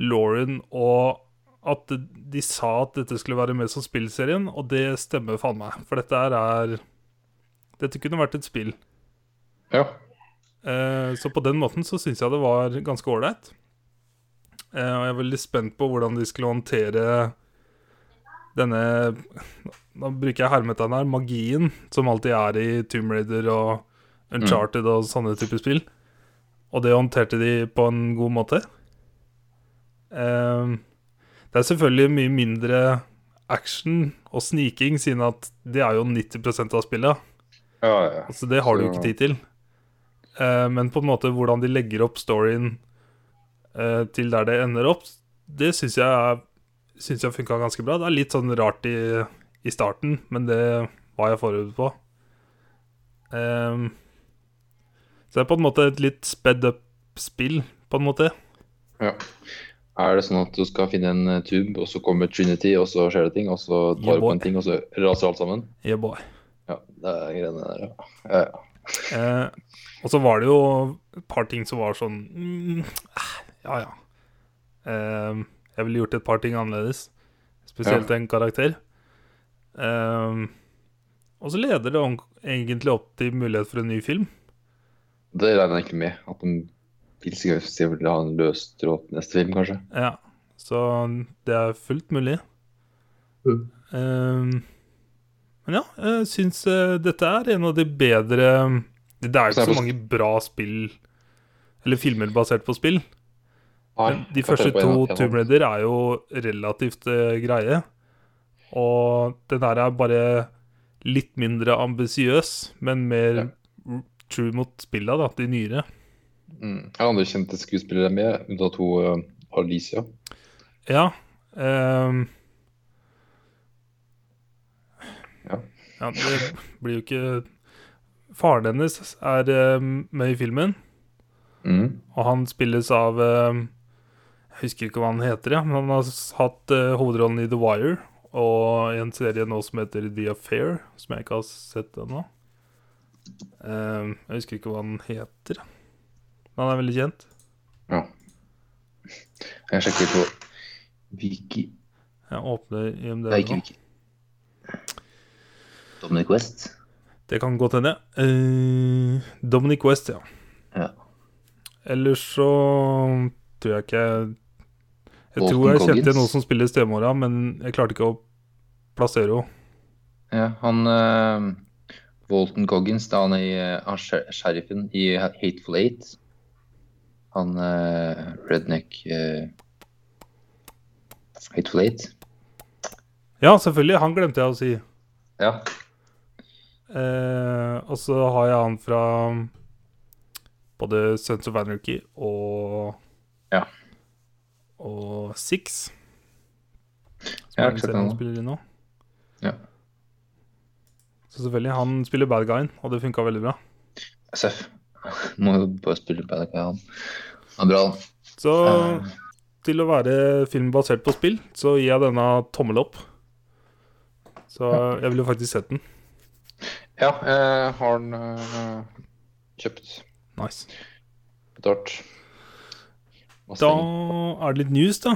Lauren og at de sa at dette skulle være med som spillserien, og det stemmer faen meg. For dette her er Dette kunne vært et spill.
Ja.
Eh, så på den måten så syns jeg det var ganske ålreit. Eh, og jeg er veldig spent på hvordan de skulle håndtere denne Nå bruker jeg hermetegn her magien som alltid er i Tomb Raider og Uncharted og sånne typer spill. Og det håndterte de på en god måte. Eh, det er selvfølgelig mye mindre action og sniking, siden at det er jo 90 av spillet.
Ja, ja.
Altså, det har du jo
Så-
ikke tid til. Eh, men på en måte hvordan de legger opp storyen eh, til der det ender opp, det syns jeg, er- synes jeg funka ganske bra. Det er litt sånn rart i, i starten, men det var jeg forberedt på. Ehm, så det er på en måte et litt sped up spill, på en måte.
ja. Er det sånn at du skal finne en eh, tube, og så kommer Trinity, og så skjer det ting, og så
Yeah,
tar du på
boy.
en ting, og så raser alt sammen?
Yeah, boy.
Ja, det er greiene der, ja. ja. ja.
Eh, og så var det jo et par ting som var sånn mm, ah, eh, Ja, ja. Eh, Jeg ville gjort et par ting annerledes. Spesielt
Ja.
en karakter. Ehm, og så leder det om, egentlig opp til mulighet for en ny film.
Det regner jeg ikke med. At de vil sikkert se om de vil ha en løs tråd til neste film, kanskje.
Ja, Så det er fullt mulig.
Mm.
Ehm, men ja, jeg syns eh, dette er en av de bedre Det er jo
Så er
ikke så
det på-
mange bra spill eller filmer basert på spill. Men de
jeg kan
første
tenke på en-
to
en-
Tomb Raider er jo relativt eh, greie. Og den her er bare litt mindre ambisiøs, men mer
Ja.
r- true mot spilla, da, de nyere.
Mm. Er det andre kjente skuespillere med, unntatt hun uh, Alicia?
Ja. ehm.
Ja.
ja. Det blir jo ikke Faren hennes er ehm, med i filmen,
Mm.
og han spilles av ehm, Jeg husker ikke hva han heter, ja, men han har s- hatt eh, hovedrollen i The Wire og i en serie nå som heter The Affair, som jeg ikke har sett ennå. Ehm, jeg husker ikke hva han heter. Men han er veldig kjent.
Ja. Jeg sjekker på Viki
Jeg åpner IMDb
Det er ikke
nå.
Viki. Dominic West?
Det kan godt hende. Eh, Dominic West, ja.
Ja.
Ellers så tror jeg ikke Jeg, jeg
Walton
tror jeg kjente
Goggins.
noen som spiller stemora, men jeg klarte ikke å plassere henne.
ja han eh, Walton Goggins, da han er i, eh, han sher- sheriffen i Hateful Eight. Han eh, redneck eh, Hateful Eight.
Ja, selvfølgelig. Han glemte jeg å si.
Ja.
Eh, og så har jeg han fra både Sons of Anarchy og
Ja.
Og Six. Som
Ja,
er den
klart
serien han
han.
spiller i nå.
Ja.
Så selvfølgelig. Han spiller bad guyen, og det funka veldig bra.
SF. <laughs> Må jo bare spille på det. Han Han er bra, han.
Så
Eh,
til å være film basert på spill, så gir jeg denne tommel opp. Så jeg ville jo faktisk sett den.
ja, eh, har han eh, kjøpt
Nice.
betalt? Masse
Da
penger.
er det litt news, da.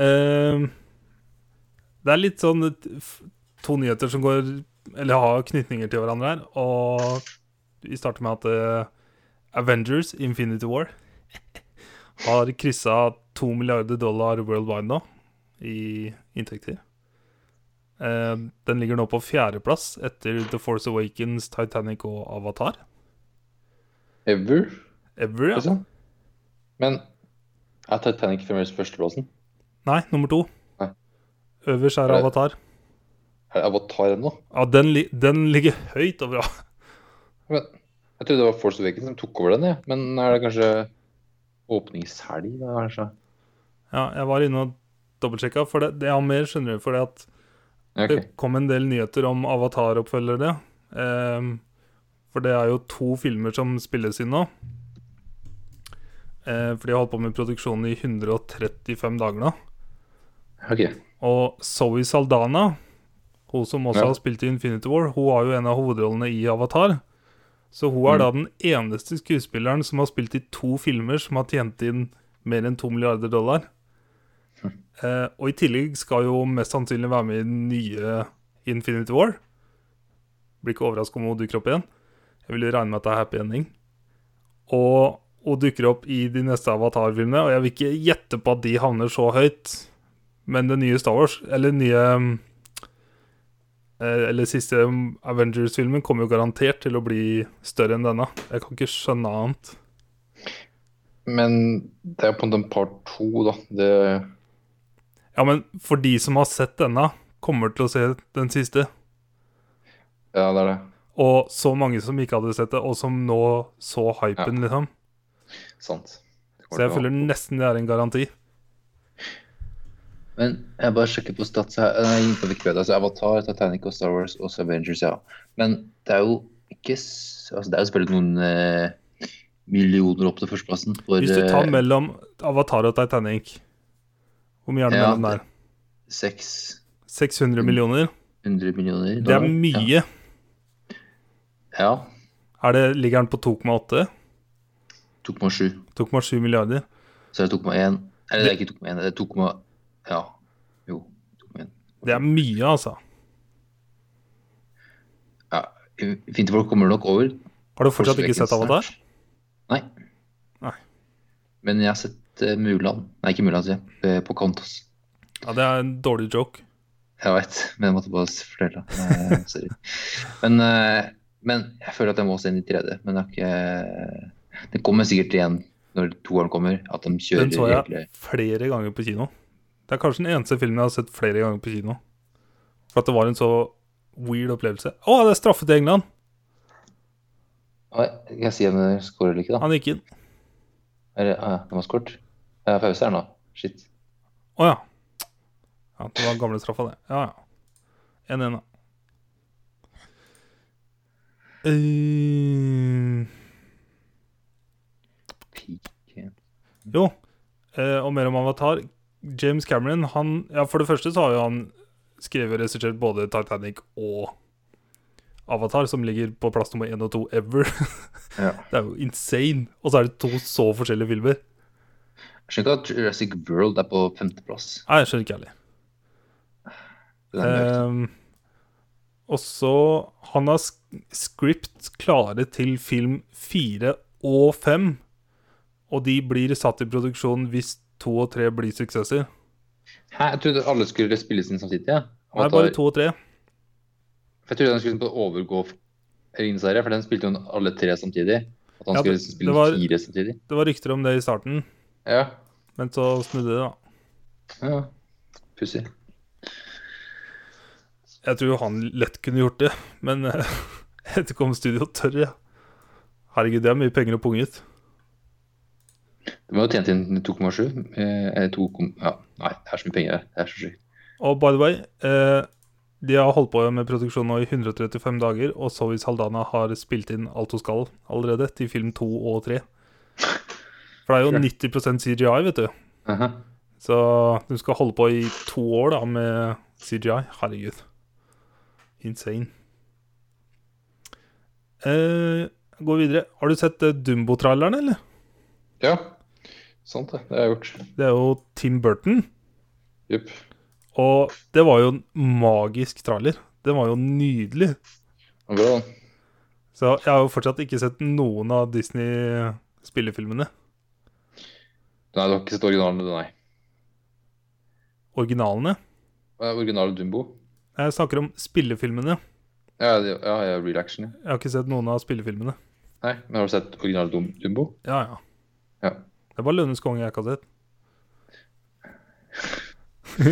Eh, det er litt sånn et- f- to nyheter som går Eller har knytninger til hverandre her. Og vi starter med at eh, Avengers Infinity War har kryssa to milliarder dollar worldwide nå i inntekter. Eh, den ligger nå på fjerdeplass etter The Force Awakens, Titanic og Avatar.
Ever?
Ever, ja.
liksom. Men er Titanic fremdeles førsteplassen?
Nei, nummer to.
Nei.
Øverst er
Er det-
Avatar.
Er det Avatar ennå?
Ja, den, li den ligger høyt over
Men jeg trodde det var Force Awakens som tok over den, jeg. Men er det kanskje åpningshelg, da, kanskje?
Ja, jeg var inne og dobbeltsjekka, for det, det er mer, skjønner du, for det at
Ja, ok.
det kom en del nyheter om Avatar-oppfølgere. Ehm, for det er jo to filmer som spilles inn nå. Eh, for de har holdt på med produksjonen i 135 dager nå.
Ok.
Og Zoe Saldana, hun som også
Ja.
har spilt i Infinity War, hun har jo en av hovedrollene i Avatar. Så hun er
Mm.
da den eneste skuespilleren som har spilt i to filmer som har tjent inn mer enn to milliarder dollar.
Hm.
Eh, og i tillegg skal jo mest sannsynlig være med i den nye Infinity War. Blir ikke overraska om hun dukker opp igjen. Jeg vil jo regne med at det er happy ending. Og hun dukker opp i de neste Avatar-filmene, og jeg vil ikke gjette på at de havner så høyt. Men den nye Star Wars, eller den nye um, eh, Eller siste um, Avengers-filmen kommer jo garantert til å bli større enn denne. Jeg kan ikke skjønne annet.
Men det er på en måte en part to, da. Det
Ja, men for de som har sett denne, kommer til å se den siste.
Ja, det er det.
Og så mange som ikke hadde sett det, og som nå så hypen, liksom.
Sant. Det
Så
kommer
jeg
til å-
føler nesten det er en garanti.
Men jeg bare sjekker på stats her. Nei, jeg er inne på Wikipedia. Altså Avatar, Titanic og Star Wars og Avengers, ja. Men det er jo ikke s- altså Det er jo selvfølgelig noen eh, millioner opp til førsteplassen. For
Hvis du tar
eh,
mellom Avatar og Titanic Hvor mye er det
Ja,
mellom der?
600
600 millioner?
millioner
Det er
dollar. Ja.
mye.
ja.
Er det, ligger den på 2,8?
2,7.
2,7 milliarder?
Så er det 2,1. Eller det er ikke 2,1, det er 2,1. Ja. Jo. 2,1.
Det er mye, altså.
Ja. Fint folk kommer nok over.
Har du fortsatt ikke sett Avatar?
Nei.
Nei.
Men jeg har sett eh, Mulan. Nei, ikke Mulan, sier jeg. Eh, på Kontos.
Ja, det er en dårlig joke.
Jeg veit, men jeg måtte bare fortelle. Eh, sorry. men, eh, men jeg føler at jeg må se den i 3D. Men jeg har ikke Den kommer sikkert igjen når toeren kommer. At de kjører
Den så jeg
hele
flere ganger på kino. Det er kanskje den eneste filmen jeg har sett flere ganger på kino. For at det var en så weird opplevelse. Å, det er straffet i England!
Oi, Skal jeg si om den scorer eller ikke, da?
Han gikk inn.
Eller, ah, ja, den var skåret. Det er pause her nå. Shit.
Å ja. ja. Det var gamle straffa, det. Ja, ja. 1-1, da. Eh,
Pike.
jo, eh, og mer om Avatar. James Cameron, han Ja, for det første så har jo han skrevet og regissert både Titanic og Avatar, som ligger på plass nummer én og to ever. <laughs>
Ja.
Det er jo insane. Og så er det to så forskjellige filmer.
Jeg skjønner ikke at Jurassic World er på femteplass.
Nei, jeg skjønner ikke heller.
Den er høyt.
Ehm, og så Han har sk- script klare til film fire og fem. Og de blir satt i produksjon hvis to og tre blir suksesser.
Hæ, jeg trodde alle skulle spilles inn samtidig. Ja.
Nei,
Avatar-
bare to og tre.
For Jeg trodde han skulle på overgå Ringenes herre, for den spilte jo alle tre samtidig. At han
Ja,
skulle
det-
liksom spille
det var-
fire samtidig.
Det var rykter om det i starten,
Ja,
men så snudde det, da.
ja. Pussig.
Jeg tror han lett kunne gjort det, men eh, <laughs> jeg vet ikke om studio tør, jeg. Herregud, det er mye penger å punge ut.
De har jo tjent inn 2,7. eh, Eller 2, ja, nei, det er så mye penger her. Det er så sjukt.
Og by the way, eh, de har holdt på med produksjon nå i 135 dager, og Zoe Saldana har spilt inn alt hun skal allerede, til film 2 og 3. For det er jo 90 CGI, vet du.
Aha.
Så du skal holde på i to år da med CGI. Herregud. Insane. Eh, gå videre. Har du sett eh, Dumbo-traileren, eller?
Ja, sant det. Det har jeg gjort.
Det er jo Tim Burton.
Jupp.
Og det var jo en magisk trailer. Den var jo nydelig.
Det var Bra, da.
Så jeg har jo fortsatt ikke sett noen av Disney-spillefilmene.
Nei, du har ikke sett originalen, du, nei.
Originalene.
Eh, Original Dumbo.
Jeg snakker om spillefilmene.
Ja, det- ja, ja real action. ja.
Jeg har ikke sett noen av spillefilmene.
Nei, men har du sett original Dum Dumbo?
Ja, ja.
Ja.
Det er bare Lønnes konge jeg ikke har sett.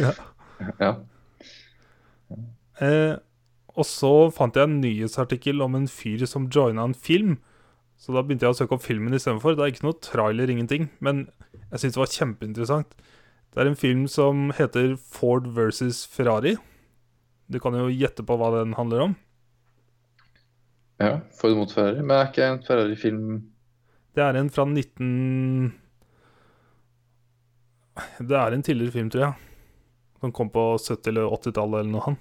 ja.
ja.
eh, og så fant jeg en nyhetsartikkel om en fyr som joina en film. Så da begynte jeg å søke opp filmen istedenfor. Det er ikke noe trailer, ingenting. Men jeg syns det var kjempeinteressant. Det er en film som heter Ford versus Ferrari. Du kan jo gjette på hva den handler om.
ja. Ford mot Ferrari. Men er ikke en Ferrari-film
Det er en fra 19... Det er en tidligere film, tror jeg. Som kom på 70- eller 80-tallet eller noe. han.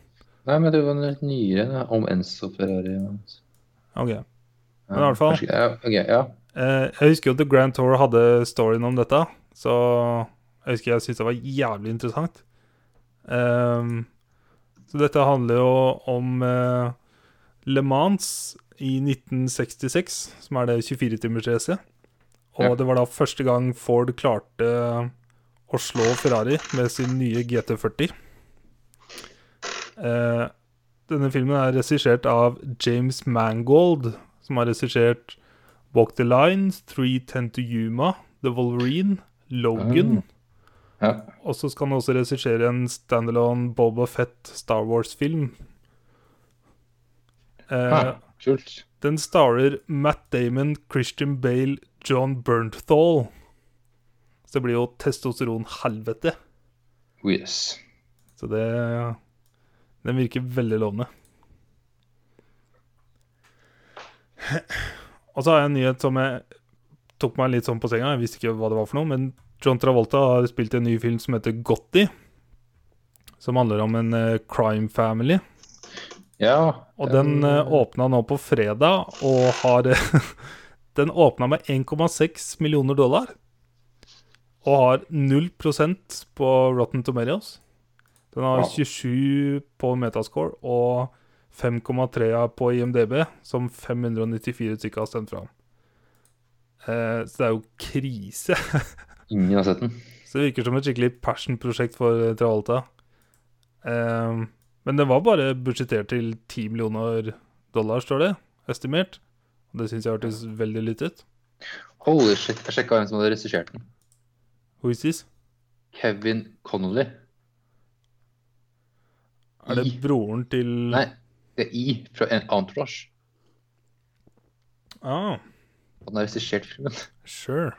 Nei, men det var en litt nyere, om Enzo Ferrari. og-
Ok.
Ja,
Men i hvert fall-
kanskje- Ja, ok, ja.
Eh, jeg husker jo at The Grand Tour hadde storyen om dette, så jeg husker jeg syntes det var jævlig interessant. Ehm, så dette handler jo om eh, Le Mans i 1966, som er det 24-timersracet. Og
Ja.
det var da første gang Ford klarte eh, å slå Ferrari med sin nye GT40. Eh, denne filmen er regissert av James Mangold, som har regissert Walk the Line, 310 to Yuma, The Wolverine, Logan.
ja.
Og så skal han også regissere en standalone Boba Fett Star Wars-film. Eh,
Ah, kult.
den starrer Matt Damon, Christian Bale, John Bernthal. Så det blir jo testosteron-helvete.
Oh, yes.
Så det Den virker veldig lovende. Og så har jeg en nyhet som jeg tok meg litt sånn på senga. Jeg visste ikke hva det var for noe, men John Travolta har spilt i en ny film som heter Gotti. Som handler om en eh, crime family.
Ja.
Og den eh, åpna nå på fredag, og <laughs> har eh, Den åpna med 1,6 millioner dollar. og har 0 på Rotten Tomatoes. Den har
Wow.
27 på Metascore og 5,3 på IMDb, som 594 stykker har stemt fra. Eh, så det er jo krise.
Ingen har sett den.
Så det virker som et skikkelig passion-prosjekt for Travolta. Eh, men den var bare budsjettert til 10 millioner dollar, står det. Estimert. Og det syns jeg hørtes veldig lite ut.
Holy shit, jeg sjekka hvem som hadde regissert den.
Who is this?
Kevin Connolly.
Er det
I-
broren til
Nei, det er I fra en- Entourage.
Ah,
Han har regissert filmen.
sure.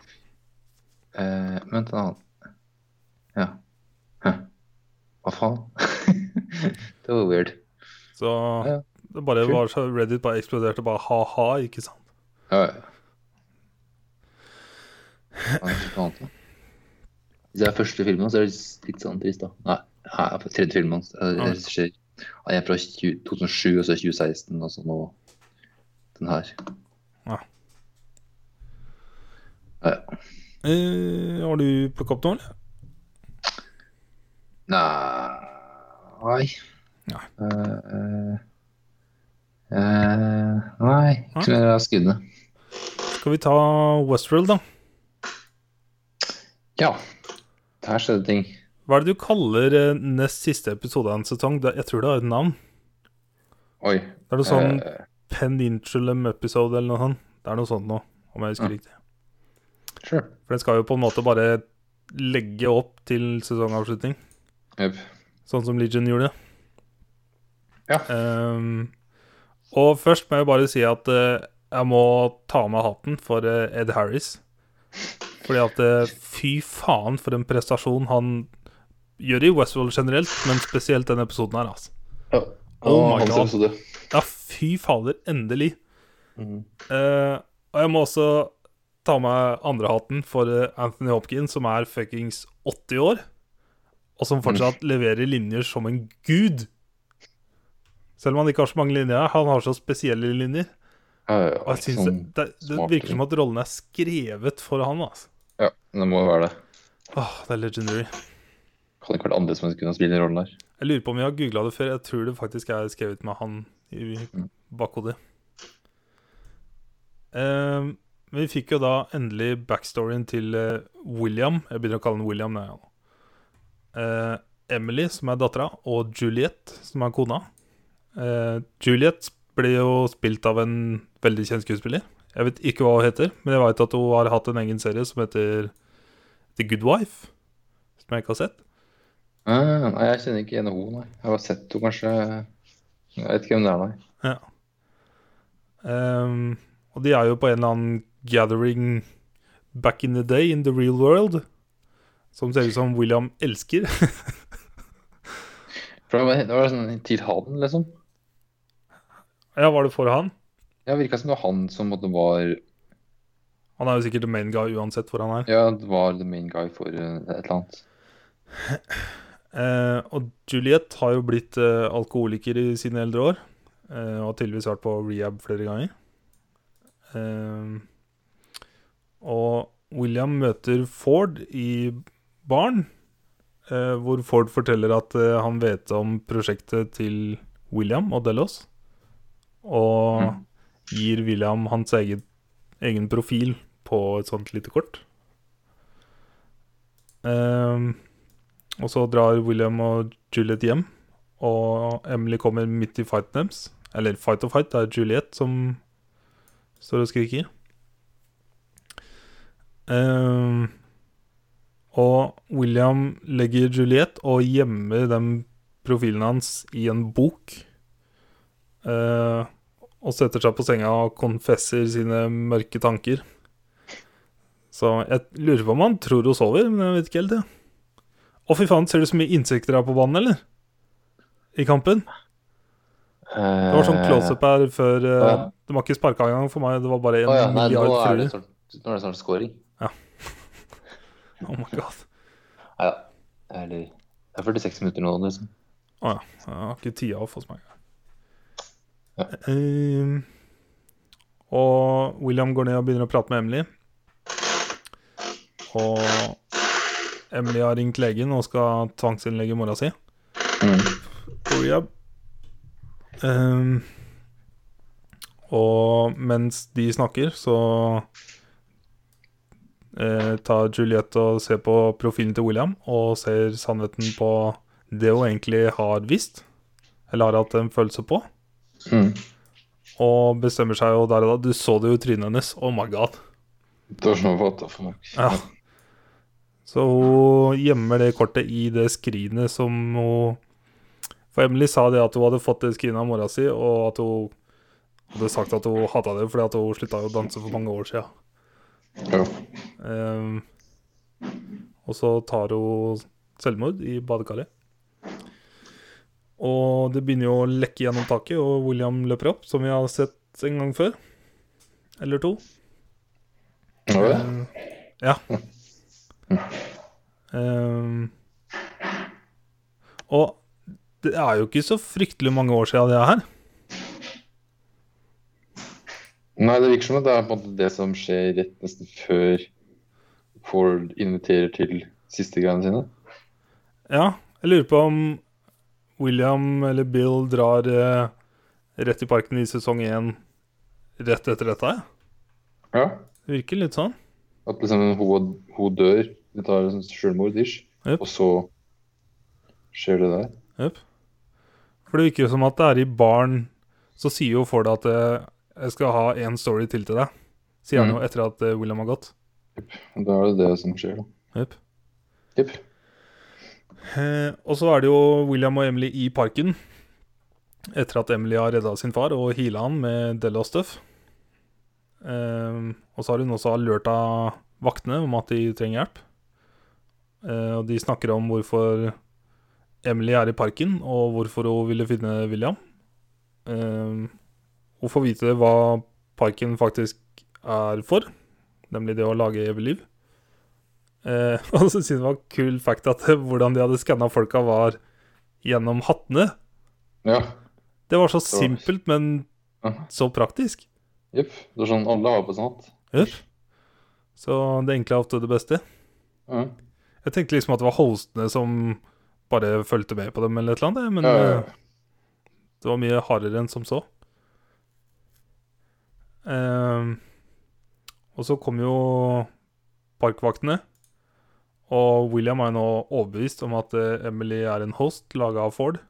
Eh, vent en annen. Ja. Hæ. Hva faen? <laughs> det var weird.
Så
Ja.
det bare var så Reddit bare eksploderte bare ha-ha, ikke sant?
Ja, ja. Hva er det for noe annet, da? Hvis det er første filmen hans, så er det litt sånn trist, da. Nei, her er tredje filmen hans. Eh,
Ja.
regisserer- Han er fra 20, 2007, og så er 2016, og så nå den her.
Ja.
Ja, ja.
Eh, har du plukket opp noe, eller?
Nei
Nei.
Eh, eh, eh, nei,
Nei.
tror jeg har skrevet det.
Skal vi ta Westworld, da?
Ja. Der skjedde ting.
Hva er det du kaller eh, nest siste episode av en sesong? Det, jeg tror det har et navn.
Oi.
Det er noe sånn
eh,
Peninsulum episode eller noe sånt. Det er noe sånt nå, om jeg husker
Ja.
riktig.
sure.
For den skal jo på en måte bare legge opp til sesongavslutning,
Jep.
sånn som Legion gjorde.
Ja.
Ehm, og først må jeg bare si at eh, jeg må ta av meg hatten for eh, Ed Harris. Fordi at eh, fy faen for en prestasjon han gjør i Westworld generelt, men spesielt den episoden her, altså.
Ja.
Oh my
Hans
God.
episode.
Ja, fy fader, endelig.
Mhm.
Eh, og jeg må også ta med andre hatten for eh, Anthony Hopkins, som er fuckings 80 år, og som fortsatt leverer linjer som en gud. Selv om han ikke har så mange linjer, han har så spesielle linjer.
Ja, ja,
Og jeg synes det,
sånn,
det, det
smak-
virker som at rollen er skrevet for han. Altså.
ja, det må jo være det.
Åh, det er legendary.
Kan ikke være det andre som kunne spille den rollen der.
Jeg lurer på om jeg har googla det før. Jeg tror det faktisk er skrevet med han i
Mm.
bakhodet. Eh, men vi fikk jo da endelig backstoryen til eh, William. Jeg begynner å kalle han William nå. ja. Eh, Emily, som er dattera, og Juliet, som er kona. Eh, Juliet ble jo spilt av en veldig kjent skuespiller. Jeg vet ikke hva hun heter, men jeg veit at hun har hatt en egen serie som heter The Good Wife, som jeg ikke har sett.
Ah, nei, jeg kjenner ikke igjen henne, nei. Jeg har bare sett henne, kanskje. Jeg vet ikke hvem det er, nei.
Ehm, og de er jo på en eller annen gathering back in the day in the real world. Som ser ut som William elsker. <laughs>
For det var, det var sånn til han, liksom.
ja, var det for han?
Ja, det virka som det var han som måtte var
Han er jo sikkert the main guy uansett hvor han er.
Ja, det var the main guy for eh, et eller annet.
Eh, og Juliet har jo blitt eh, alkoholiker i sine eldre år. eh, og har tydeligvis vært på rehab flere ganger. Eh, og William møter Ford i baren, eh, hvor Ford forteller at eh, han vet om prosjektet til William og Delos. Og
Mm.
gir William hans eget, egen profil på et sånt lite kort. Eh, og så drar William og Juliet hjem, og Emily kommer midt i fighten deres. Eller fight og fight, det er Juliet som står og skriker. Ehm, og William legger Juliet og gjemmer den profilen hans i en bok. Eh, og setter seg på senga og konfesser sine mørke tanker. Så jeg lurer på om han tror hun sover, men jeg vet ikke helt. det å, fy faen, ser du så mye insekter her på banen, eller? I kampen? Det var sånn close-up her før eh,
Eh, ja.
De har ikke sparka engang for meg, det var bare en
Eh, Å ja, nei, nå
milliard
er det
fruer.
snart, nå er det snart scoring.
Oh my god.
Nei da. Eller Det er 46 minutter nå, liksom.
Å ja. Jeg har ikke tida off hos meg.
Ja.
Ehm, og William går ned og begynner å prate med Emily. Og Emily har ringt legen og skal tvangsinnlegge mora si.
Mm.
Rehab. Ehm, og mens de snakker, så eh, tar Juliette og ser på profilen til William og ser sannheten på det hun egentlig har visst, eller har hatt en følelse på,
Mm.
og bestemmer seg jo der og da. Du så det jo i trynet hennes. Oh my god.
Det var sånn, what the fuck.
Ja. Så hun gjemmer det kortet i det skrinet som hun For Emily sa det at hun hadde fått det skrinet av mora si, og at hun hadde sagt at hun hata det fordi at hun slutta å danse for mange år sia.
Ja.
Ehm, og så tar hun selvmord i badekaret. Og det begynner jo å lekke gjennom taket, og William løper opp, som vi har sett en gang før. Eller to.
Var det?
Eh, Ja. Ehm, og det er jo ikke så fryktelig mange år siden det her.
Nei, det virker som at det er på en måte det som skjer rett nesten før Ford inviterer til siste greiene sine.
Ja, jeg lurer på om William eller Bill drar eh, rett i parken i sesong én rett etter dette. ja.
Ja.
Det virker litt sånn.
At liksom hun, hun dør, de tar liksom selvmord-ish,
Jep.
og så skjer det der.
Jep. For det virker jo som at det er i baren Så sier jo Ford at eh, jeg skal ha én story til til deg. Sier han
Mm.
jo etter at eh, William har gått.
Og Da er det det som skjer, da.
Jep.
Jep.
Eh, og så er det jo William og Emily i parken. Etter at Emily har redda sin far og heala han med Della og Stuff. Ehm, og så har hun også alerta vaktene om at de trenger hjelp. Eh, og de snakker om hvorfor Emily er i parken, og hvorfor hun ville finne William. Ehm, hun får vite hva parken faktisk er for, nemlig det å lage evig liv. Eh, <laughs> og så synes jeg det var kul fact at eh, hvordan de hadde skanna folka, var gjennom hattene.
Ja.
Det var så
var-
simpelt, men
Ja.
så praktisk.
Jepp. Det er sånn alle har på sånn hatt.
Jep. Så det enkle er ofte det beste.
Ja.
Jeg tenkte liksom at det var hostene som bare fulgte med på dem, eller et eller annet, men
Ja, ja, ja.
eh, det var mye hardere enn som så. Eh, og så kom jo parkvaktene, og William er jo nå overbevist om at eh, Emily er en host laga av Ford.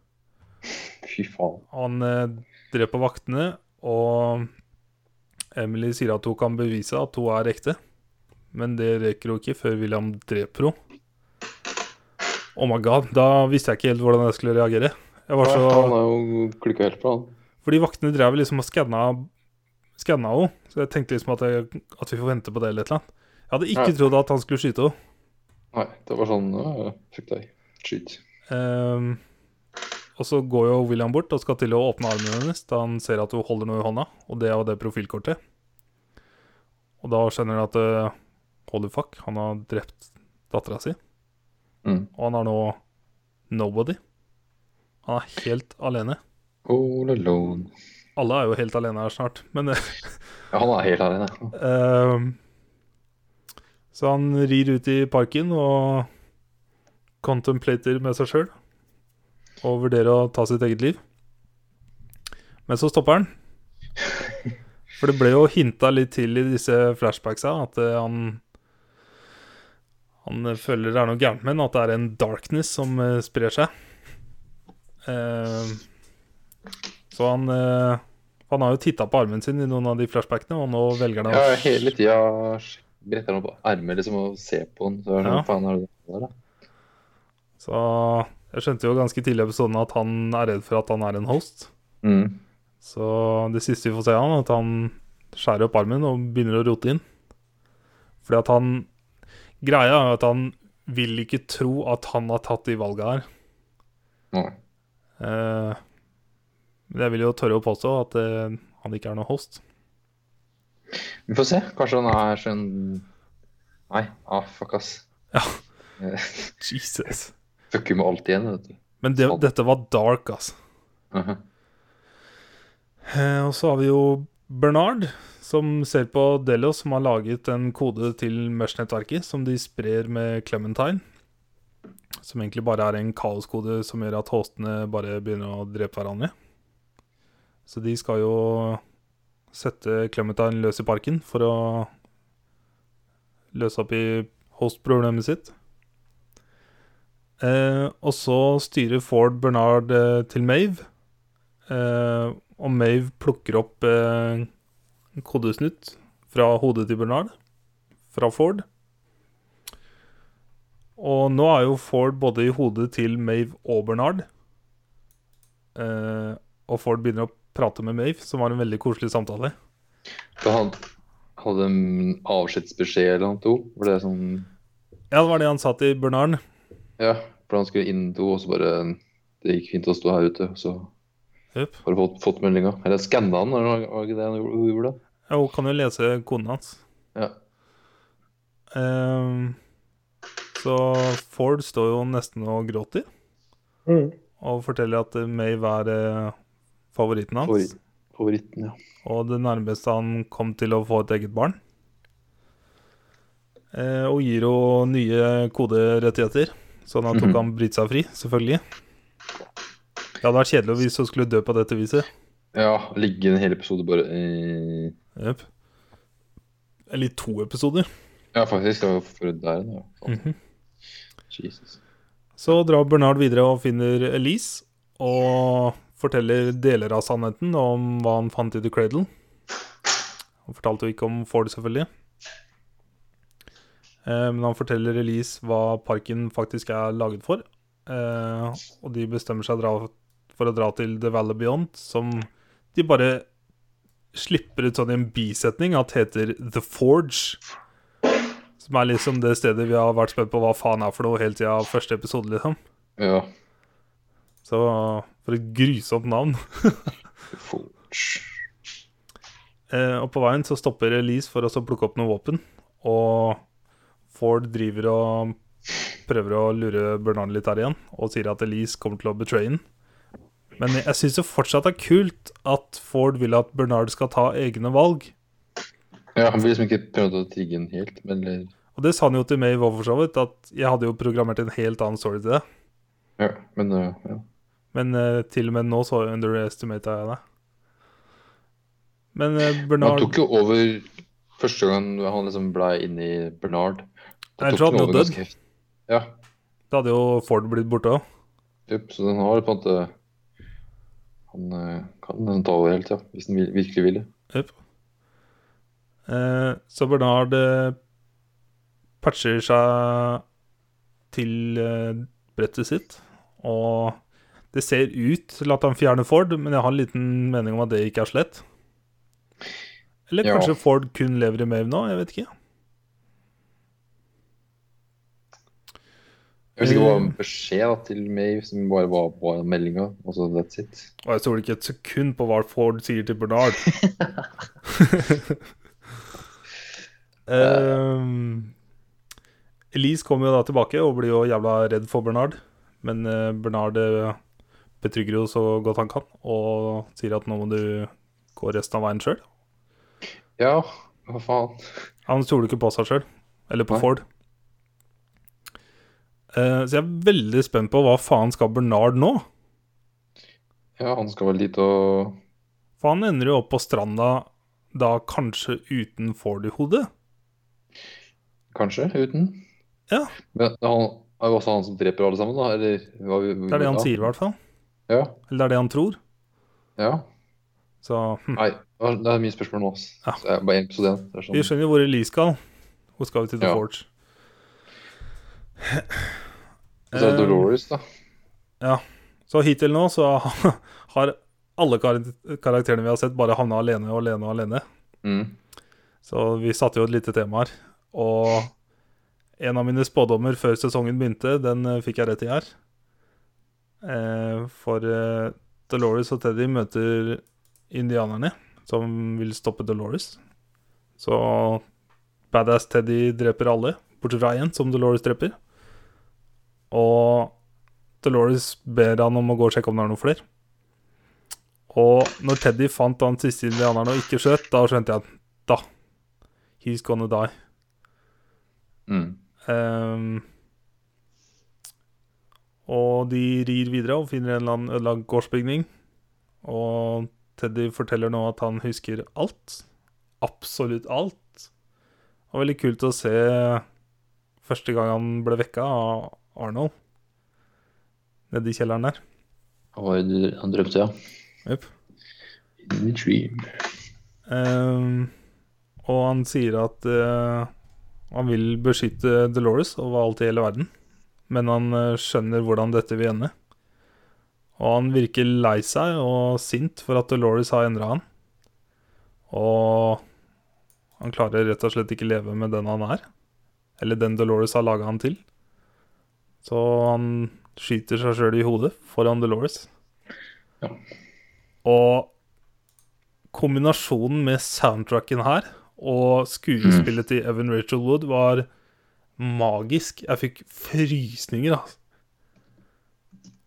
Fy faen.
Han eh, dreper vaktene, og Emily sier at hun kan bevise at hun er ekte. Men det rekker hun ikke før William dreper henne. Oh my god, da visste jeg ikke helt hvordan jeg skulle reagere. Jeg var
Ja, Han
så,
har jo klikka helt på, han.
fordi vaktene drev liksom og skanna skanna henne, så jeg tenkte liksom at, jeg, at vi får vente på det eller et eller annet. Jeg hadde ikke
Ja.
trodd at han skulle skyte henne.
Nei, det var sånn ja, ja, Fuck deg. Skyt.
Ehm, og så går jo William bort og skal til å åpne armen hennes da han ser at hun holder noe i hånda, og det er jo det profilkortet. Og da skjønner han at eh, holy fuck, han har drept dattera si,
Mm.
og han er nå nobody. Han er helt alene.
All alone.
Alle er jo helt alene her snart, men <laughs> eh,
Ja, han er helt alene.
ehm, Så han rir ut i parken og contemplater med seg sjøl og vurderer å ta sitt eget liv. Men så stopper han. For det ble jo hinta litt til i disse flashbacksa at eh, han Han eh, føler det er noe gærent med ham, at det er en darkness som eh, sprer seg. Eh, så han eh, Han har jo titta på armen sin i noen av de flashbackene, og nå velger han å
Ja, hele tida bretter han opp ermet liksom, og ser på han. Så er det sånn,
Ja.
faen er det der, da?
Så jeg skjønte jo ganske tidlig i episoden at han er redd for at han er en host.
Mm.
Så det siste vi får se av han, er at han skjærer opp armen og begynner å rote inn. Fordi at han Greia er jo at han vil ikke tro at han har tatt de valga her.
Nei.
Eh, Men jeg vil jo tørre å påstå at eh, han ikke er noen host.
Vi får se. Kanskje han er sånn Nei, ah, fuck, ass.
Ja.
Eh, <laughs>
Jesus.
Fucker med alt igjen, vet du.
Men det, dette var dark, altså.
Mhm.
Eh, Og så har vi jo Bernard, som ser på Delos, som har laget en kode til Mesh-nettverket, som de sprer med Clementine. Som egentlig bare er en kaoskode som gjør at hostene bare begynner å drepe hverandre. Så de skal jo sette Clementine løs i parken for å løse opp i host-problemet sitt. Eh, og så styrer Ford Bernard eh, til Mave. Eh, og Mave plukker opp eh, en kodesnutt fra hodet til Bernard, fra Ford. Og nå er jo Ford både i hodet til Mave og Bernard. Eh, og Ford begynner å prate med Mave, som var en veldig koselig samtale.
For han hadde en avskjedsbeskjed eller noe, to. For det er sånn
Ja, det var det han sa til Bernard.
Ja, for han skulle inn do, og så bare Det gikk fint å stå her ute, og så
Yep.
har du fått, fått meldinga. Eller skanna han, eller noe, var det ikke det han gjorde- hun gjorde?
Ja, Hun kan jo lese koden hans.
Ja.
Ehm, så Ford står jo nesten og gråter, og forteller at eh, Maeve er eh, favoritten hans.
Favoritt- Favoritten, ja.
Og det nærmeste han kom til å få et eget barn. Eh, og gir henne nye koderettigheter, så nå tok
Mhm.
han bryte seg fri, selvfølgelig. Det hadde vært kjedelig hvis hun skulle dø på dette viset.
Ja, ligge en hel episode bare eh,
Jep. Eller i to episoder.
Ja, faktisk. Det var for der, ja.
Mhm.
Jesus.
Så drar Bernard videre og finner Elise, og forteller deler av sannheten om hva han fant i The Cradle. Han fortalte jo ikke om Ford, selvfølgelig. Eh, Men han forteller Elise hva parken faktisk er laget for. eh, Og de bestemmer seg dra- for å dra til The Valley Beyond, som de bare slipper ut sånn i en bisetning at heter The Forge. Som er liksom det stedet vi har vært spent på hva faen er for noe helt siden første episode, liksom.
Ja.
Så for et grusomt navn. <laughs>
Forge.
Eh, og på veien så stopper Elise for å så plukke opp noen våpen. Og Ford driver og prøver å lure Bernard litt her igjen, og sier at Elise kommer til å betraye ham. Men jeg syns det fortsatt er kult at Ford vil at Bernard skal ta egne valg.
Ja, han vil liksom ikke prøve å trigge den helt, men eller
Og det sa han jo til Maeve òg, for så vidt, at jeg hadde jo programmert en helt annen story til det.
Ja, men eh, ja.
Men eh, til og med nå så underestimata jeg det. Men eh,
Men Han
Bernard
tok jo over første gang han liksom ble inni Bernard.
Jeg
Da tok
tror han
han
jo
over
død.
ganske heft- Ja,
Da hadde jo Ford blitt borte òg.
Jep, så den har på en måte Han eh, kan nesten ta over helt, ja. Hvis han vil, virkelig vil det.
Yep. Eh, så Bernard eh, patcher seg til eh, brettet sitt, og det ser ut til at han fjerner Ford, men jeg har en liten mening om at det ikke er slett. Eller
Ja.
kanskje Ford kun lever i Mave nå, jeg vet ikke.
Jeg vet ikke hva
Eh.
beskjed da, til Maeve som bare var på meldinga. Og så that's it.
Og jeg stoler ikke et sekund på hva Ford sier til Bernard. Ehm, Elise kommer jo da tilbake og blir jo jævla redd for Bernard. Men eh, Bernard eh, betrygger jo så godt han kan og sier at nå må du gå resten av veien sjøl.
Ja, hva faen.
Han stoler ikke på seg sjøl, eller på
Nei.
Ford. Eh, så jeg er veldig spent på hva faen skal Bernard nå?
Ja, han skal vel dit og
For han ender jo opp på stranda da kanskje uten Ford i hodet.
Kanskje, uten.
Ja.
Men han er jo også han som dreper alle sammen, da? Eller hva vi,
Det er det han sier, i hvert fall.
Ja.
Eller det er det han tror.
ja.
Så hm.
Nei, det er mye spørsmål nå. ass.
Ja.
Så jeg er Bare én episode igjen. Det er sånn.
vi skjønner jo hvor Elise skal. Hun skal jo til The
Ja.
Forge.
Og så er det Dolores, da.
Eh. Så hittil nå så <laughs> har alle kar karakterene vi har sett, bare havna alene og alene og alene.
Mm.
Så vi satte jo et lite tema her. Og en av mine spådommer før sesongen begynte, den eh, fikk jeg rett i her. Eh, for eh, Dolores og Teddy møter indianerne, som vil stoppe Dolores. Så badass Teddy dreper alle, bortsett fra én, som Dolores dreper. Og Dolores ber han om å gå og sjekke om det er noen flere. Og når Teddy fant han siste indianeren og ikke skjøt, da skjønte jeg at da He's gonna die.
Mm.
Ehm, Og de rir videre og finner en eller annen ødelagt gårdsbygning. Og Teddy forteller nå at han husker alt. Absolutt alt. Og veldig kult å se første gang han ble vekka av Arnold. Nede i kjelleren der.
Og hva er det han drømte, ja.
Jepp.
In the dream.
Ehm, og han sier at eh, han vil beskytte Dolores over alt i hele verden, men han eh, skjønner hvordan dette vil ende. Og han virker lei seg og sint for at Dolores har endra han. Og han klarer rett og slett ikke leve med den han er, eller den Dolores har laga han til. Så han skyter seg sjøl i hodet foran Dolores.
Ja.
Og kombinasjonen med soundtracken her og skuespillet til Evan Rachel Wood var magisk. Jeg fikk frysninger, altså.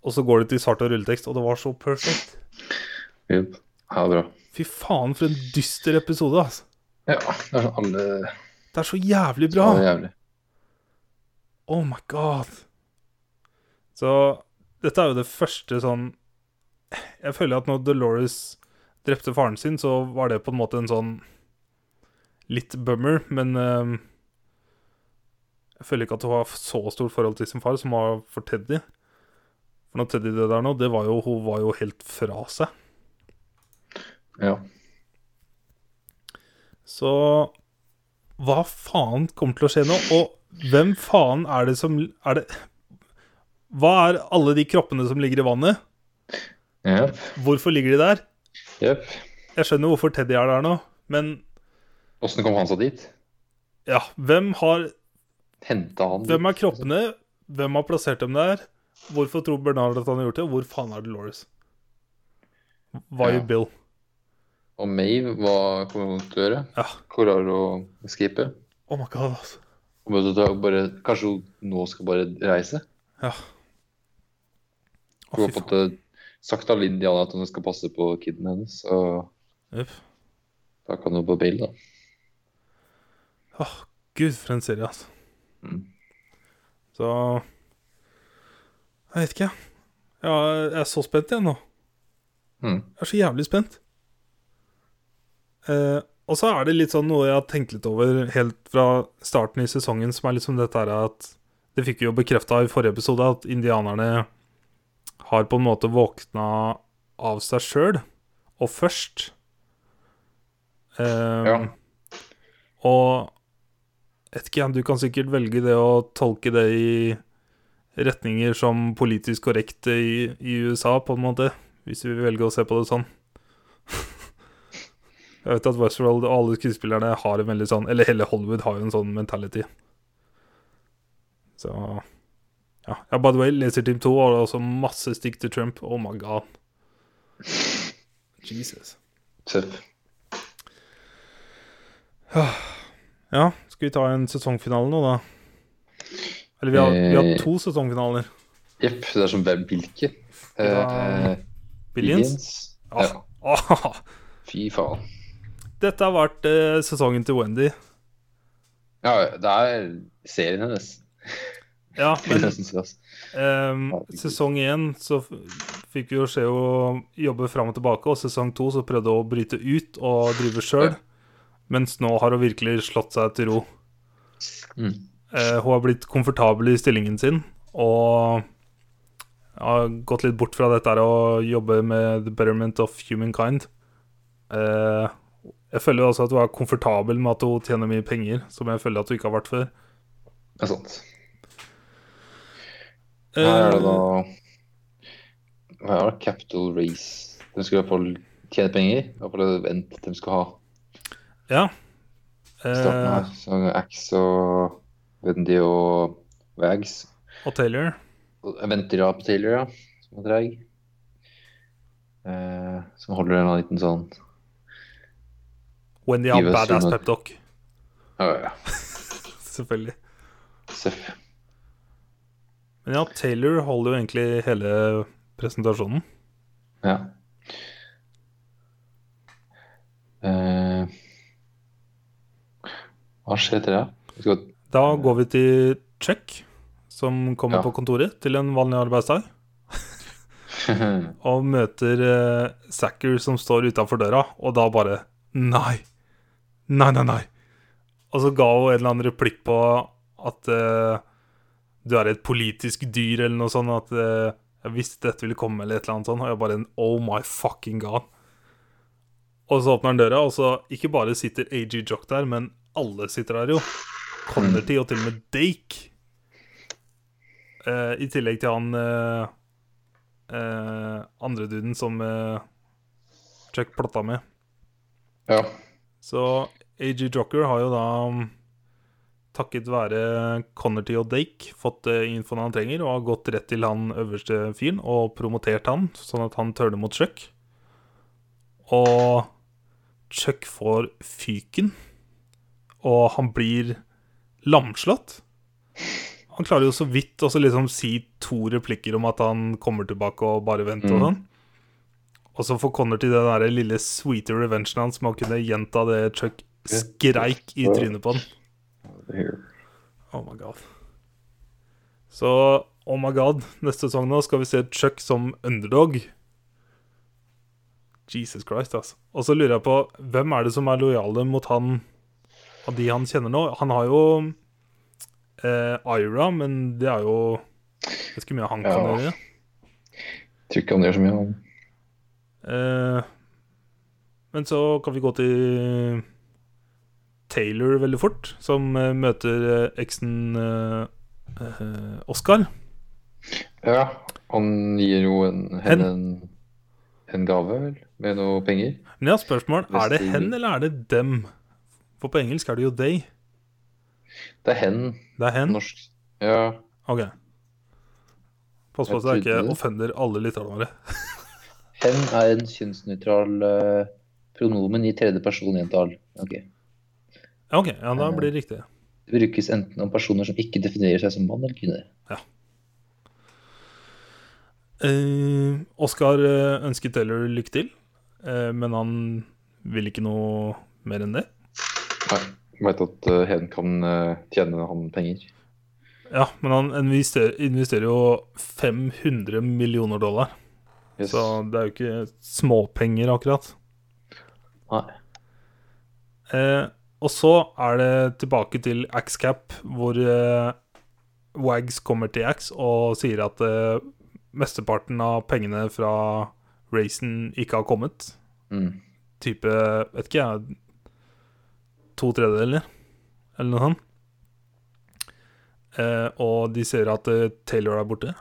Og så går det til svart og rulletekst, og det var så perfekt.
Jep. Ja, bra.
Fy faen, for en dyster episode, altså.
Ja, det er sånn alle
Det er så jævlig bra.
alle jævlig.
Oh my god. Så dette er jo det første sånn Jeg føler at når Dolores drepte faren sin, så var det på en måte en sånn litt bummer, men eh, jeg føler ikke at hun har så stort forhold til sin far som hun har for Teddy. For når Teddy døde her nå, det var jo, hun var jo helt fra seg.
Ja.
Så hva faen kommer til å skje nå? Og hvem faen er det som er det, Hva er alle de kroppene som ligger i vannet?
Jep.
Hvorfor ligger de der?
Jep.
Jeg skjønner hvorfor Teddy er der nå, men
Åssen kom han seg dit?
ja, hvem, har,
Henta han
hvem er kroppene? Hvem har plassert dem der? Hvorfor tror Bernard at han har gjort det? Hvor faen er det Lawrence? Hva
Ja.
gjør Bill?
Og Mave, hva kommer hun til å gjøre?
Ja.
Klarer hun å escape?
Oh my god, altså.
Hun må ta- bare, kanskje hun nå skal bare reise?
Ja. Å,
Hun har
fy
fått
faen.
eh, sagt av Linn Diana at hun skal passe på kiden hennes, og
Jepp.
da kan hun på bail, da.
Åh, Gud, for en serie, altså.
Mm.
Så Jeg vet ikke, jeg. Ja, jeg er så spent igjen nå.
Mm.
Jeg er så jævlig spent. Eh, og så er det litt sånn noe jeg har tenkt litt over helt fra starten i sesongen, som er liksom dette her at Det fikk vi jo bekrefta i forrige episode, at indianerne har på en måte våkna av seg sjøl, og først. Eh,
Ja.
Og vet ikke, jeg, du kan sikkert velge det å tolke det i retninger som politisk korrekte i, i USA, på en måte. Hvis vi velger å se på det sånn. Jeg vet at Westworld og alle skuespillerne har en veldig sånn Eller hele Hollywood har jo en sånn mentality. Så Ja. ja by the way, leser Team 2 har også masse stikk til Trump. Oh my god. Jesus.
Tøff.
Ja, skal vi ta en sesongfinale nå, da? Eller vi har, vi har to sesongfinaler.
Jepp, det er som hvem hvilke. Eh,
Ja. Billions?
Ja.
Ja. Ah,
Fy faen.
<laughs> dette har vært eh, sesongen til Wendy.
Ja, det er serien hennes.
Ja,
Vil
men
jeg nesten si, ass.
Ehm,
Herregud.
sesong én så f- fikk vi jo se å jobbe fram og tilbake, og sesong to så prøvde hun å bryte ut og drive sjøl,
Ja.
mens nå har hun virkelig slått seg til ro.
Mm.
Eh, hun har blitt komfortabel i stillingen sin og har gått litt bort fra dette her å jobbe med the betterment of humankind. Eh, jeg føler jo også at hun er komfortabel med at hun tjener mye penger, som jeg føler at hun ikke har vært før.
Det er sant. Her er det da Hva er det? Capital Race. De skulle i hvert fall tjene penger. I hvert fall er det vent de skal ha
Ja.
i starten
Eh,
her. Så Axe og Wendy og Wags.
eh, og Taylor.
Og Venter ja på Taylor, ja. Som er treig. Eh, som holder en liten sånn
Wendy har
Give us
badass
human-
peptalk.
Ja, ja, ja.
<laughs> Selvfølgelig.
Seff.
Men ja, Taylor holder jo egentlig hele presentasjonen.
Ja. Eh, <laughs> hva skjer etter det? Vi skal
Da går vi til Chuck, som kommer
Ja.
på kontoret til en vanlig arbeidsdag, og møter eh, Sacker som står utafor døra, og da bare Nei! Nei, nei, nei! Og så ga hun en eller annen replikk på at eh, du er et politisk dyr, eller noe sånt, at eh, jeg visste dette ville komme, eller et eller annet sånt, og jeg bare Oh my fucking god! Og så åpner han døra, og så ikke bare sitter AG Jock der, men alle sitter der jo. Connerty og til og med Dake. Eh, I tillegg til han eh, eh, andre duden som eh, Chuck platta med.
ja.
Så AG Jocker har jo da mm, takket være Connerty og Dake fått eh, infoen han trenger, og har gått rett til han øverste fyren og promotert han, sånn at han tørner mot Chuck. Og Chuck får fyken, og han blir lamslått. Han klarer jo så vidt å så liksom si to replikker om at han kommer tilbake og bare venter og
Mm.
sånn. Og så får Connor til den der lille sweete revengen hans med å kunne gjenta det Chuck skreik i trynet på han. Oh my god. Så oh my god, neste sesong nå skal vi se Chuck som underdog. Jesus Christ, altså. Og så lurer jeg på hvem er det som er lojale mot han av de han kjenner nå? Han har jo eh, Ira, men det er jo Jeg vet ikke hvor mye han kan
Ja.
gjøre.
Tror ikke han gjør så mye. Han.
Eh, men så kan vi gå til Taylor veldig fort, som eh, møter eh, eksen eh, eh, Oscar.
Ja, han gir jo en, henne en, en gave, vel, med noe penger.
Men jeg har spørsmål.
Hvis
Er det
de-
hen, eller er det dem? For på engelsk er det jo they.
Det er hen.
Det er hen.
Norsk. Ja.
Ok. Pass på
Jeg
at
trodde
jeg ikke
det.
offender alle lytterne våre.
Hen er en kjønnsnøytral eh, pronomen i tredje person entall. Ok.
Ja, Ok, ja,
Eh.
da blir det riktig.
Det brukes enten om personer som ikke definerer seg som mann eller kvinne.
Eh, Oscar eh, ønsket Taylor lykke til, eh, men han vil ikke noe mer enn det.
Nei, veit at eh, hen kan eh, tjene han penger.
Ja, men han investerer, investerer jo 500 millioner dollar,
Yes.
så det er jo ikke småpenger akkurat.
Nei.
Eh, og så er det tilbake til Axcap, hvor eh, Wags kommer til Ax og sier at eh, mesteparten av pengene fra racen ikke har kommet.
Mm.
Type, vet ikke jeg, to tredjedeler, eller noe sånt. Eh, og de ser at eh, Taylor er borte,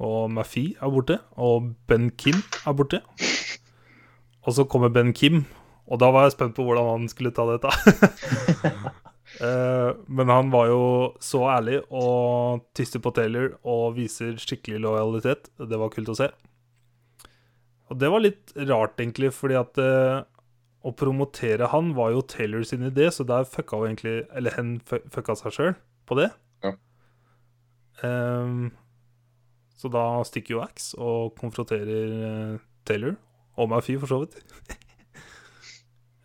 og Maffey er borte, og Ben Kim er borte. Og så kommer Ben Kim, og da var jeg spent på hvordan han skulle ta dette. <laughs> Eh, Men han var jo så ærlig og tyster på Taylor og viser skikkelig lojalitet. Det var kult å se. Og det var litt rart, egentlig, fordi at eh, å promotere han var jo Taylor sin idé, så der fucka jo egentlig Eller hen fu- fucka seg sjøl på det.
Ja.
Ehm, så da stikker jo Axe og konfronterer eh, Taylor, og meg fy, for så vidt. <laughs>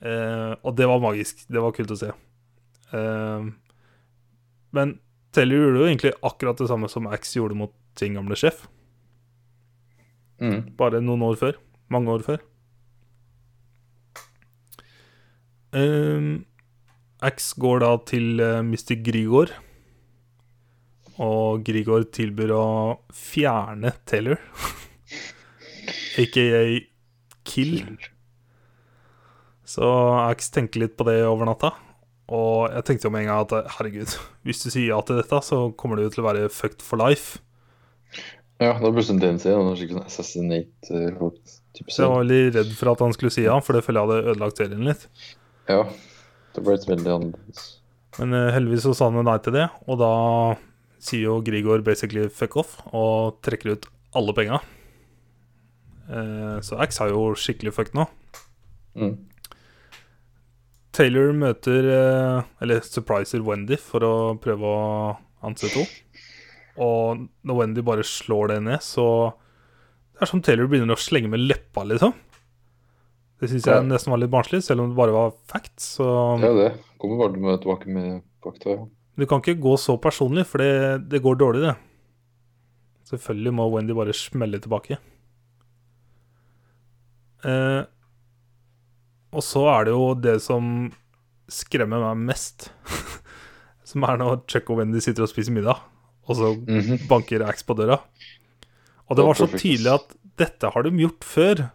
Eh, og det var magisk. Det var kult å se. Eh, men Taylor gjorde jo egentlig akkurat det samme som Axe gjorde mot sin gamle sjef
Mm.
bare noen år før. Mange år før. Ehm, Ax går da til eh, Mr. Grigor, og Grigor tilbyr å fjerne Taylor, <laughs> aka Kill. Så Ax tenker litt på det over natta. Og jeg tenkte jo med en gang at eh, herregud, <laughs> hvis du sier ja til dette, så kommer du jo til å være fucked for life.
Ja, det er plutselig en DNC. Det er skikkelig sånn assassinate eh, folk. type
Så jeg
scene.
var veldig redd for at han skulle si ja, for det føler jeg hadde ødelagt serien litt.
Ja. Det ble et veldig annerledes.
Men eh, heldigvis så sa han jo nei til det, og da sier jo Grigor basically fuck off og trekker ut alle penga. Eh, så Axe har jo skikkelig fucked nå.
Mm.
Taylor møter eh, Eller surpriser Wendy for å prøve å ansette henne. Og når Wendy bare slår det ned, så Det er som Taylor begynner å slenge med leppa, liksom. Det syns jeg
Ja.
nesten var litt barnslig, selv om det bare var facts. Så
Ja, det. Kommer bare med tilbake med fakta. ja.
Men du kan ikke gå så personlig, for det, det går dårlig, det. Selvfølgelig må Wendy bare smelle tilbake. Eh, og så er det jo det som skremmer meg mest, <laughs> som er når Chuck og Wendy sitter og spiser middag, og så
Mhm.
banker Axe på døra. Og det var så
Perfect.
tydelig at dette har de gjort før.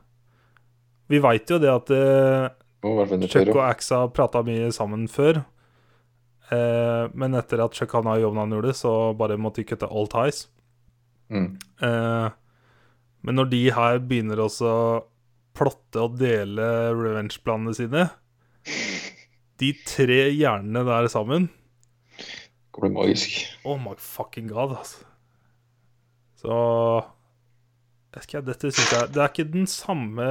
Vi veit jo det at eh,
Må være venner
Chuck
før,
og
og-
Axe har prata mye sammen før. Eh, men etter at Chuck havna i jobben han gjorde, så bare måtte de kutte all ties.
Mm.
Eh, men når de her begynner også å plotte og dele revenge-planene sine De tre hjernene der sammen
Det blir magisk.
Oh my fucking god, altså. Så jeg vet ikke, Dette synes jeg Det er ikke den samme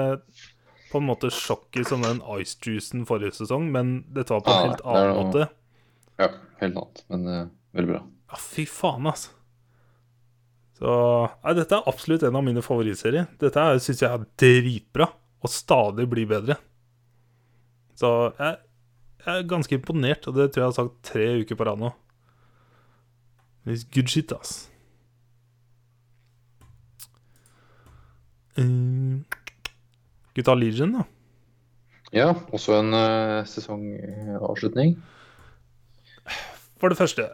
på en måte sjokket som den Ice Juicen forrige sesong, men dette var på en
Ah,
helt
det er
annen
noe-
måte.
Ja, helt annet, men eh, veldig bra.
Ja, fy faen, altså. Så Nei, dette er absolutt en av mine favorittserier. Dette er- synes jeg er dritbra, og stadig blir bedre. Så jeg, jeg er ganske imponert, og det tror jeg jeg har sagt tre uker på rad nå. It's good shit, ass. Mm. Gutta Legion, da.
Ja, også en eh, sesongavslutning.
For det første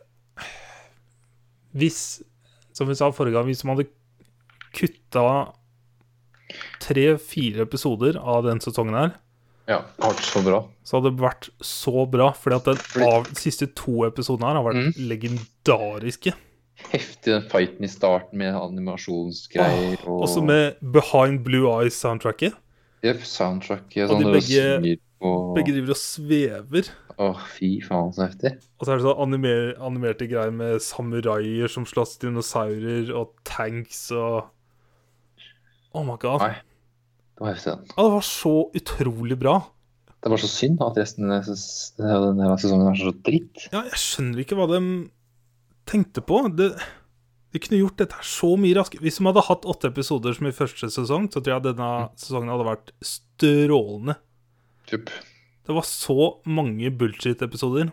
Hvis, som vi sa forrige gang, hvis man hadde kutta tre-fire episoder av den sesongen her,
Ja, hardt så bra.
så hadde det vært så bra. Fordi at den av, siste to episodene her har vært legendariske.
Heftig den fighten i starten med animasjonsgreier og
Også med Behind Blue Eyes-soundtracket.
Jep, soundtrack
Og
og sånn.
de
Og
begge-
synger på-
Begge driver og svever.
Å, fy faen, så heftig.
Og så er det sånn animer, animerte greier med samuraier som slåss dinosaurer, og tanks og Oh my god.
Nei. Det var heftig, den.
Ja, det var så utrolig bra.
Det var så synd at resten av ses- av denne sesongen er så dritt.
Ja, jeg skjønner ikke hva de tenkte på. Det, de kunne gjort dette her så mye raskere. Hvis de hadde hatt åtte episoder som i første sesong, så tror jeg denne sesongen hadde vært strålende.
Typ.
Det var så mange bullshit-episoder.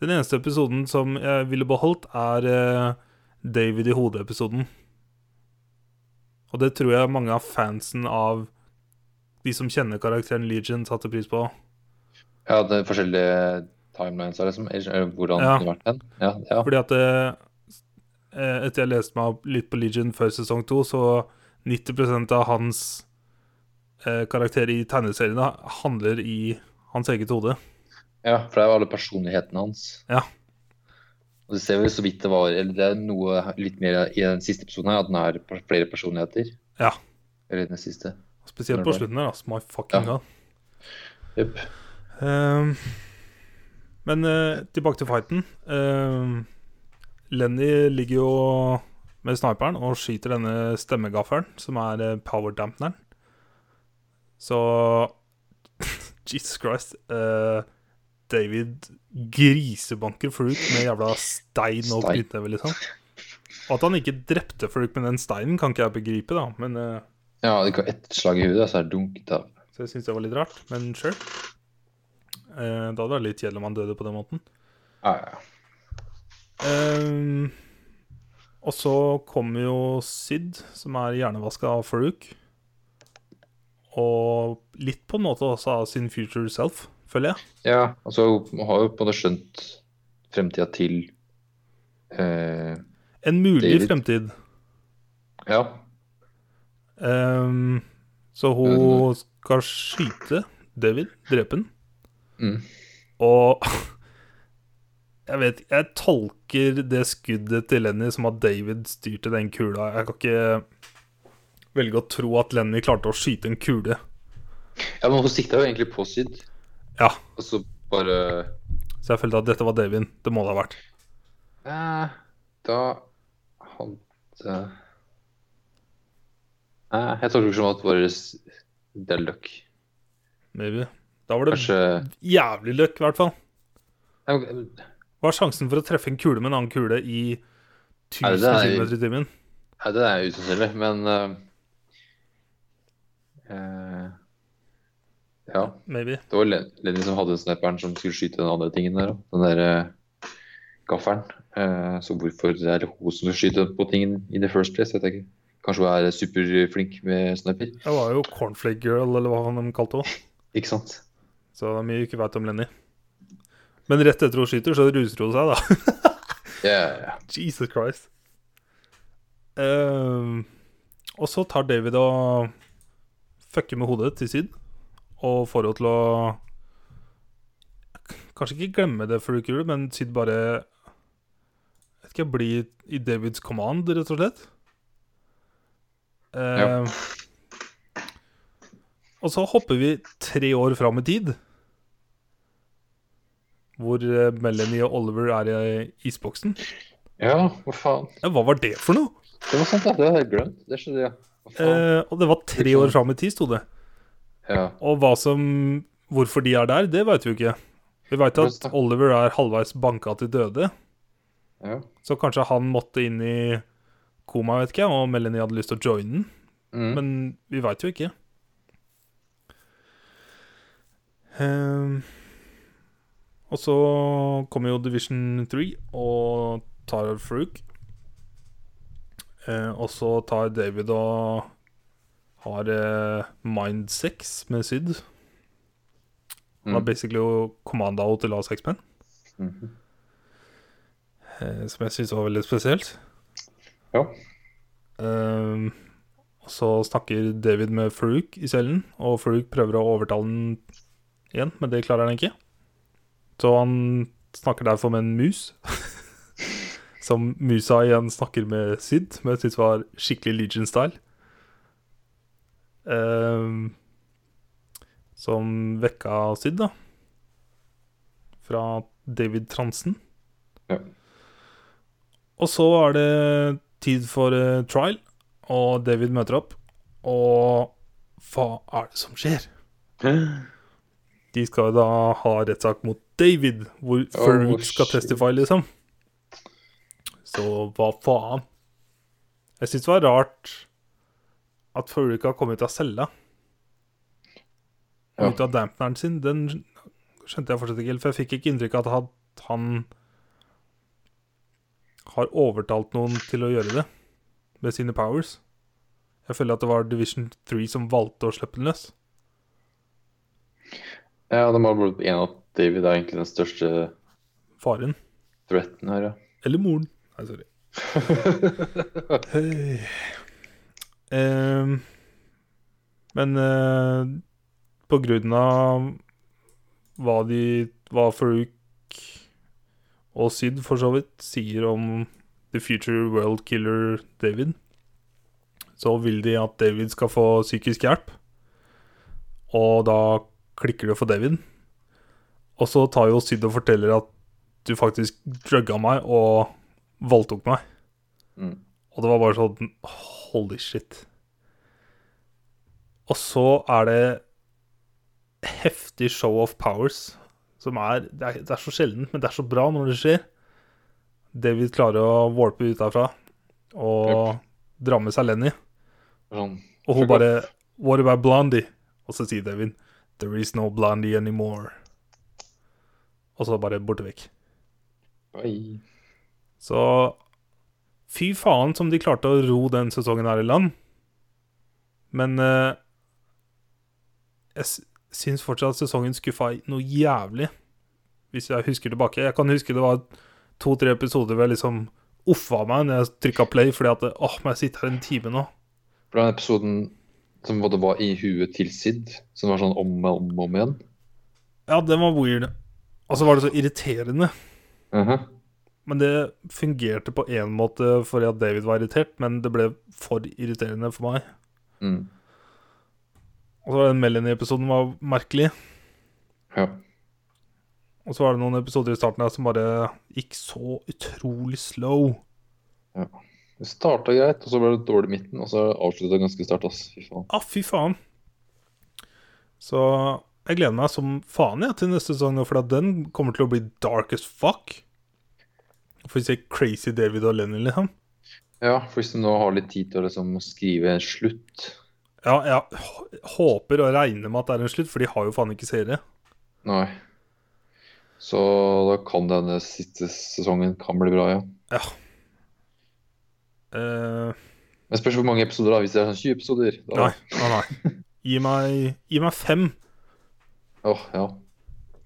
Den eneste episoden som jeg ville beholdt, er eh, David i hodet-episoden. Og det tror jeg mange av fansen av de som kjenner karakteren Legion, satte pris på.
Ja, det er forskjellige timelines her, liksom. Eller hvordan
Ja.
det kunne vært den. Ja, ja.
Fordi at eh, etter jeg leste meg opp litt på Legion før sesong to, så 90 av hans eh, karakter i tegneseriene handler i hans eget hode.
ja, for det er jo alle personlighetene hans.
Ja.
Og du ser vel så vidt det var Eller det er noe litt mer i den siste episoden her, at den har per- flere personligheter.
Ja.
Eller i den siste.
Spesielt på slutten her, altså. My fucking
Ja.
god.
Jep.
Ehm, men eh, tilbake til fighten. Ehm, Lenny ligger jo med sniperen og skyter denne stemmegaffelen, som er eh, power-dampeneren. Så <laughs> Jesus Christ. eh, David grisebanker Fruit med jævla stein og
Stein.
knyttneve, liksom. Og at han ikke drepte Fruit med den steinen, kan ikke jeg begripe, da. Men, eh,
Ja, det går ett slag i hodet, så er det dunket av.
så jeg syns det var litt rart. Men sure. Eh, det hadde vært litt kjedelig om han døde på den måten.
Ja, ja.
Ehm, og så kommer jo Sid, som er hjernevaska av Farouk. Og litt på en måte også av sin future self, føler jeg.
Ja, altså man har jo på en måte skjønt fremtida til eh,
En mulig
David.
fremtid.
Ja.
Ehm, så hun skal skyte David, drepe han.
Mm.
Og <laughs> jeg vet Jeg tolker det skuddet til Lenny som at David styrte den kula. Jeg kan ikke velge å tro at Lenny klarte å skyte en kule.
ja, men hun sikta jo egentlig på Syd,
Ja,
og så bare
så jeg følte at dette var David. Det må det ha vært.
eh, Da hadde eh, Jeg tolker det som at vår Det er løkk.
Maybe. Da var det
Kanskje
jævlig løkk, i hvert fall.
Ja, men-
Hva er sjansen for å treffe en kule med en annen kule i 1000
Nei, det er-
km i timen?
Nei, det er jeg uten selv, men eh, eh, Ja.
Maybe.
Det var Len- Lenny som hadde sniperen som skulle skyte den andre tingen der òg. Den der eh,
gaffelen. Eh, så hvorfor er det hun som skyter på tingen in the first place? Vet jeg ikke. Kanskje hun er superflink med sniper?
Det var jo Cornflake Girl, eller hva han kalte henne.
Ikke sant?
Så det er mye vi ikke veit om Lenny. Men rett etter hun skyter, så ruser hun seg, da.
Ja, ja, ja.
<laughs> Jesus Christ. Ehm, og så tar David og fucker med hodet til Syd, og får henne til å Kanskje ikke glemme det før du ikke gjør det, men Syd bare Vet ikke, blir i Davids command, rett og slett. Ehm, Og så hopper vi tre år fram i tid. Hvor eh, Melanie og Oliver er i isboksen.
ja hva faen.
Ja, hva var det for noe?
Det var sant, da. Det hadde jeg glemt. Det skjedde, ja. Hva faen?
Eh, og det var tre år fram i tid, sto det.
ja.
Og hva som Hvorfor de er der, det veit vi jo ikke. Vi veit at Oliver er halvveis banka til døde,
ja.
så kanskje han måtte inn i koma, vet ikke jeg, og Melanie hadde lyst til å joine den.
Mm.
Men vi veit jo ikke. Ehm, og så kommer jo Division 3 og tar Farouk. Eh, og så tar David og har eh, mind sex med Syd. Han har
Mm.
basically jo commanda henne til å ha sex med
Mhm.
henne, eh, som jeg syns var veldig spesielt.
Ja.
Ehm, og så snakker David med Farouk i cellen, og Farouk prøver å overtale han igjen, men det klarer han ikke. Så han snakker derfor med en mus, <laughs> som musa igjen snakker med Sid, som jeg syns var skikkelig Legion-style. Ehm, som vekka Sid, da. Fra David Transen.
Ja.
Og så er det tid for eh, trial, og David møter opp. Og hva er det som skjer? De skal jo da ha rettssak mot David, hvor Farouk skal
Oh, shit.
testify, liksom. Så hva faen? Jeg syns det var rart at Farouk har kommet ut av cella.
Ja.
Ut av dampneren sin. Den skjønte jeg fortsatt ikke helt, for jeg fikk ikke inntrykk av at han har overtalt noen til å gjøre det med sine powers. Jeg føler at det var Division 3 som valgte å slippe den løs.
ja, de har blitt enige om at David er egentlig den største
Faren.
threaten her, ja.
Eller moren. Nei, sorry. Hei. Ehm, men eh, på grunn av hva de Hva Farouk og Syd for så vidt sier om The Future World Killer David, så vil de at David skal få psykisk hjelp. Og da klikker det for David. Og så tar jo Syd og forteller at du faktisk drugga meg og voldtok meg.
Mm.
Og det var bare sånn Holy shit. Og så er det heftig show of powers, som er Det er, det er så sjeldent, men det er så bra når det skjer. David klarer å warpe ut derfra og dra med seg Lenny.
Sånn.
Og hun
Fuck off.
bare What about Blondie? Og så sier David There is no Blondie anymore. Og så bare borte vekk.
Oi.
Så fy faen som de klarte å ro den sesongen her i land. Men eh, jeg s- syns fortsatt at sesongen skuffa i noe jævlig, hvis jeg husker tilbake. Jeg kan huske det var to-tre episoder hvor jeg liksom uffa meg når jeg trykka play fordi at åh, må jeg sitte her en time nå?
For den episoden som både var i huet til Sid, som var sånn om og om, og om igjen.
Ja, den var weird. Og så var det så irriterende.
Mhm.
Men det fungerte på én måte fordi at David var irritert, men det ble for irriterende for meg.
mm.
Og så var den Melanie-episoden var merkelig.
Ja.
Og så var det noen episoder i starten her som bare gikk så utrolig slow.
Det starta greit, og så ble det dårlig i midten, og så avslutta det ganske sterkt, ass. Fy faen.
Ah, fy faen. Så jeg gleder meg som faen jeg, til neste sesong, nå, for at den kommer til å bli dark as fuck. Får vi se crazy David og Lenny, liksom.
Ja, for hvis du nå har litt tid til å liksom skrive en slutt
Ja, jeg h- håper og regner med at det er en slutt, for de har jo faen ikke seere.
Nei.
Så da kan denne siste sesongen kan bli bra, ja.
Eh,
Men spørs hvor mange episoder, da. Hvis det er sånn 20 episoder. Da.
nei, nei, nei. Gi meg, gi meg fem.
Åh, ja.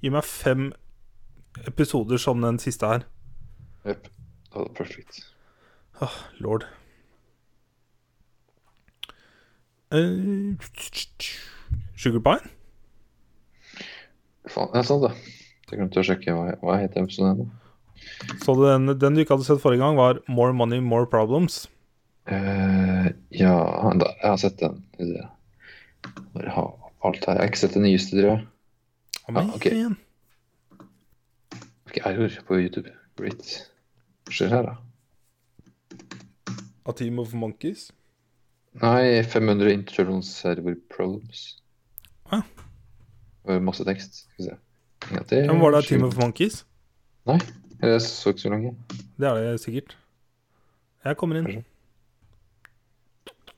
Gi meg fem episoder som den siste her.
Jepp. Da er det perfekt.
Åh, Ah, lord. Eh, Sugar Pine?
Faen, ja, sant det. Jeg glemte å sjekke hva, hva heter episoden ennå.
Så den, den du ikke hadde sett forrige gang, var More Money, More Problems.
Eh, ja, da, jeg har sett den. Skal vi se. Hvor har alt her? Jeg har ikke sett den nyeste, tror jeg.
Kom igjen.
Ja, Ah, ok. Ikke error på YouTube. Great. Hva skjer her, da?
A Team of Monkeys?
Nei, 500 internal server problems.
Ah.
Og Masse tekst. Skal vi se. En gang til.
Ja, men var det A
Sju-
Team of Monkeys?
Nei, jeg så ikke så langt.
Det er det sikkert. Jeg kommer inn.
Kanskje.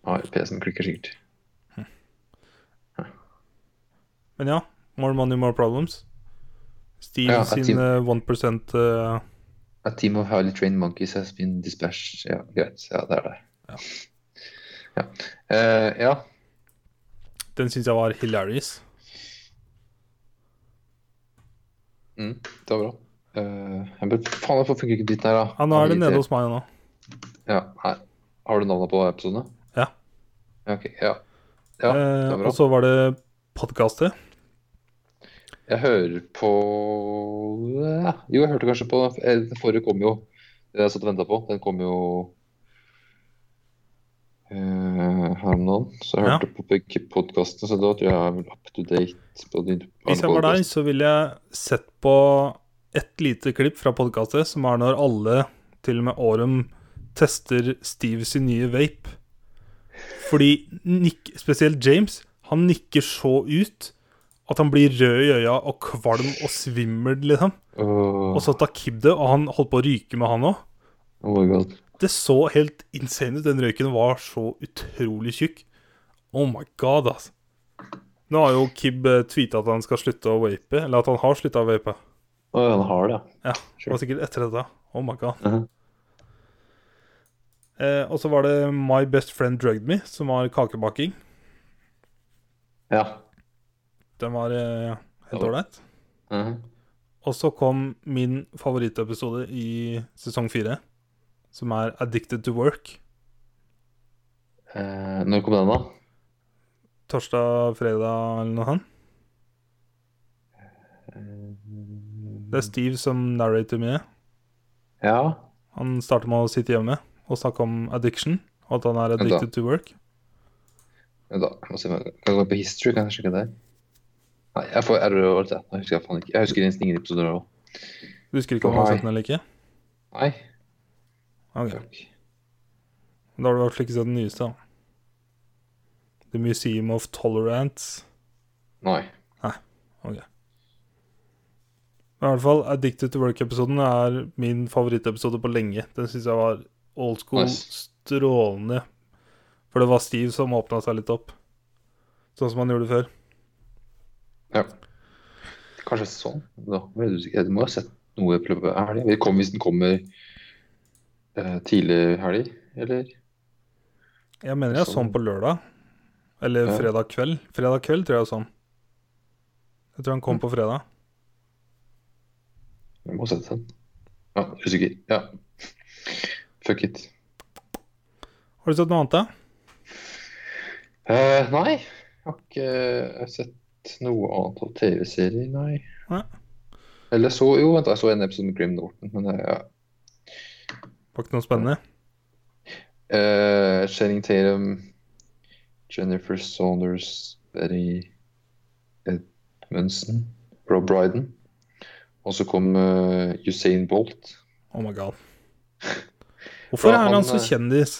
Nei, PC-en klikker sikkert.
Men ja, More Money, More Problems. Steve
Ja, A
sin
Team-
eh, 1 eh,
A team of highly trained monkeys has been dispatched. Ja, greit. Ja, det er det. Ja. Eh, ja.
Den syns jeg var hilarious.
Mm, det var bra. Eh, jeg bare, faen, hvorfor funker ikke dritten her, da?
Ja, nå er det nede hos meg nå.
Ja, nei. Har du navnet på episodene?
Ja.
Ja, Ok, ja. Ja, det
Eh,
var
og
bra.
så var det podkastet.
Jeg hører på ja. Jo, jeg hørte kanskje på eh, Den forrige kom jo Den jeg satt og venta på, den kom jo eh, her om dagen. Så jeg
Ja.
hørte på begge podkastene, så da tror jeg jeg er vel up to date på din
Hvis jeg var deg, så ville jeg sett på et lite klipp fra podkastet, som er når alle, til og med Aurum, tester Steve sin nye vape. Fordi nikk- spesielt James, han nikker så ut at han blir rød i øya og kvalm og svimmel, liksom. Og
Åh,
så tar Kib det, og han holdt på å ryke med han òg.
oh my god.
Det så helt insane ut. Den røyken var så utrolig tjukk. Oh my god, altså. Nå har jo Kib eh, tweetet at han skal slutte å vape, eller at han har slutta å vape.
Å, ja, han har det,
Ja, det var sikkert etter dette. Oh my god.
Mhm.
Eh, og så var det My Best Friend Drugged Me, som var kakebaking.
ja.
Den var eh, helt
Ja.
ålreit.
Ja.
Og så kom min favorittepisode i sesong fire, som er Addicted to Work.
Eh, når kom den, da?
Torsdag, fredag eller noe sånt. Det er Steve som narrater mye.
Ja.
Han starter med å sitte hjemme og snakke om addiction, og at han er addicted to work.
Vent da, jeg må se om jeg kan jeg gå på history, kan jeg sjekke der? Nei, jeg får error og alt det. Nå husker jeg faen ikke. Jeg husker nesten ingen episoder nå.
Du husker ikke om han har
Nei.
sett den eller ikke?
Nei,
Ok,
fuck.
Da har du i hvert fall ikke sett den nyeste, da. The Museum of Tolerance.
Nei.
Men i hvert fall Addicted to Work-episoden er min favorittepisode på lenge. Den syns jeg var old school,
Nice.
strålende. For det var Steve som åpna seg litt opp. Sånn som han gjorde før.
Ja. Kanskje sånn? Da er du sikker. Du må ha sett noe i løpet av helga. Det kommer Hvis den kommer eh, tidlig i helg, eller?
Jeg mener jeg så den på lørdag. Eller
Sånn. Ja.
fredag kveld. Fredag kveld tror jeg jeg så den. Jeg tror han
Mm.
kom på fredag.
Du må ha sett den. Ja, usikker. Ja. Fuck it.
Har du sett noe annet, da?
Eh, nei, jeg har ikke eh, sett noe annet av TV-serier, nei.
Nei.
Eller så Jo, vent, da, jeg så en episode med Grim Norton, men det ja.
Var ikke noe spennende?
Eh, Channing Tatum, Jennifer Saunders, Betty Edmundsen, Rob Brydon. Og så kom eh, Usain Bolt.
Oh my
<laughs>
god. Hvorfor
Ja,
er han
han,
så
eh,
kjendis?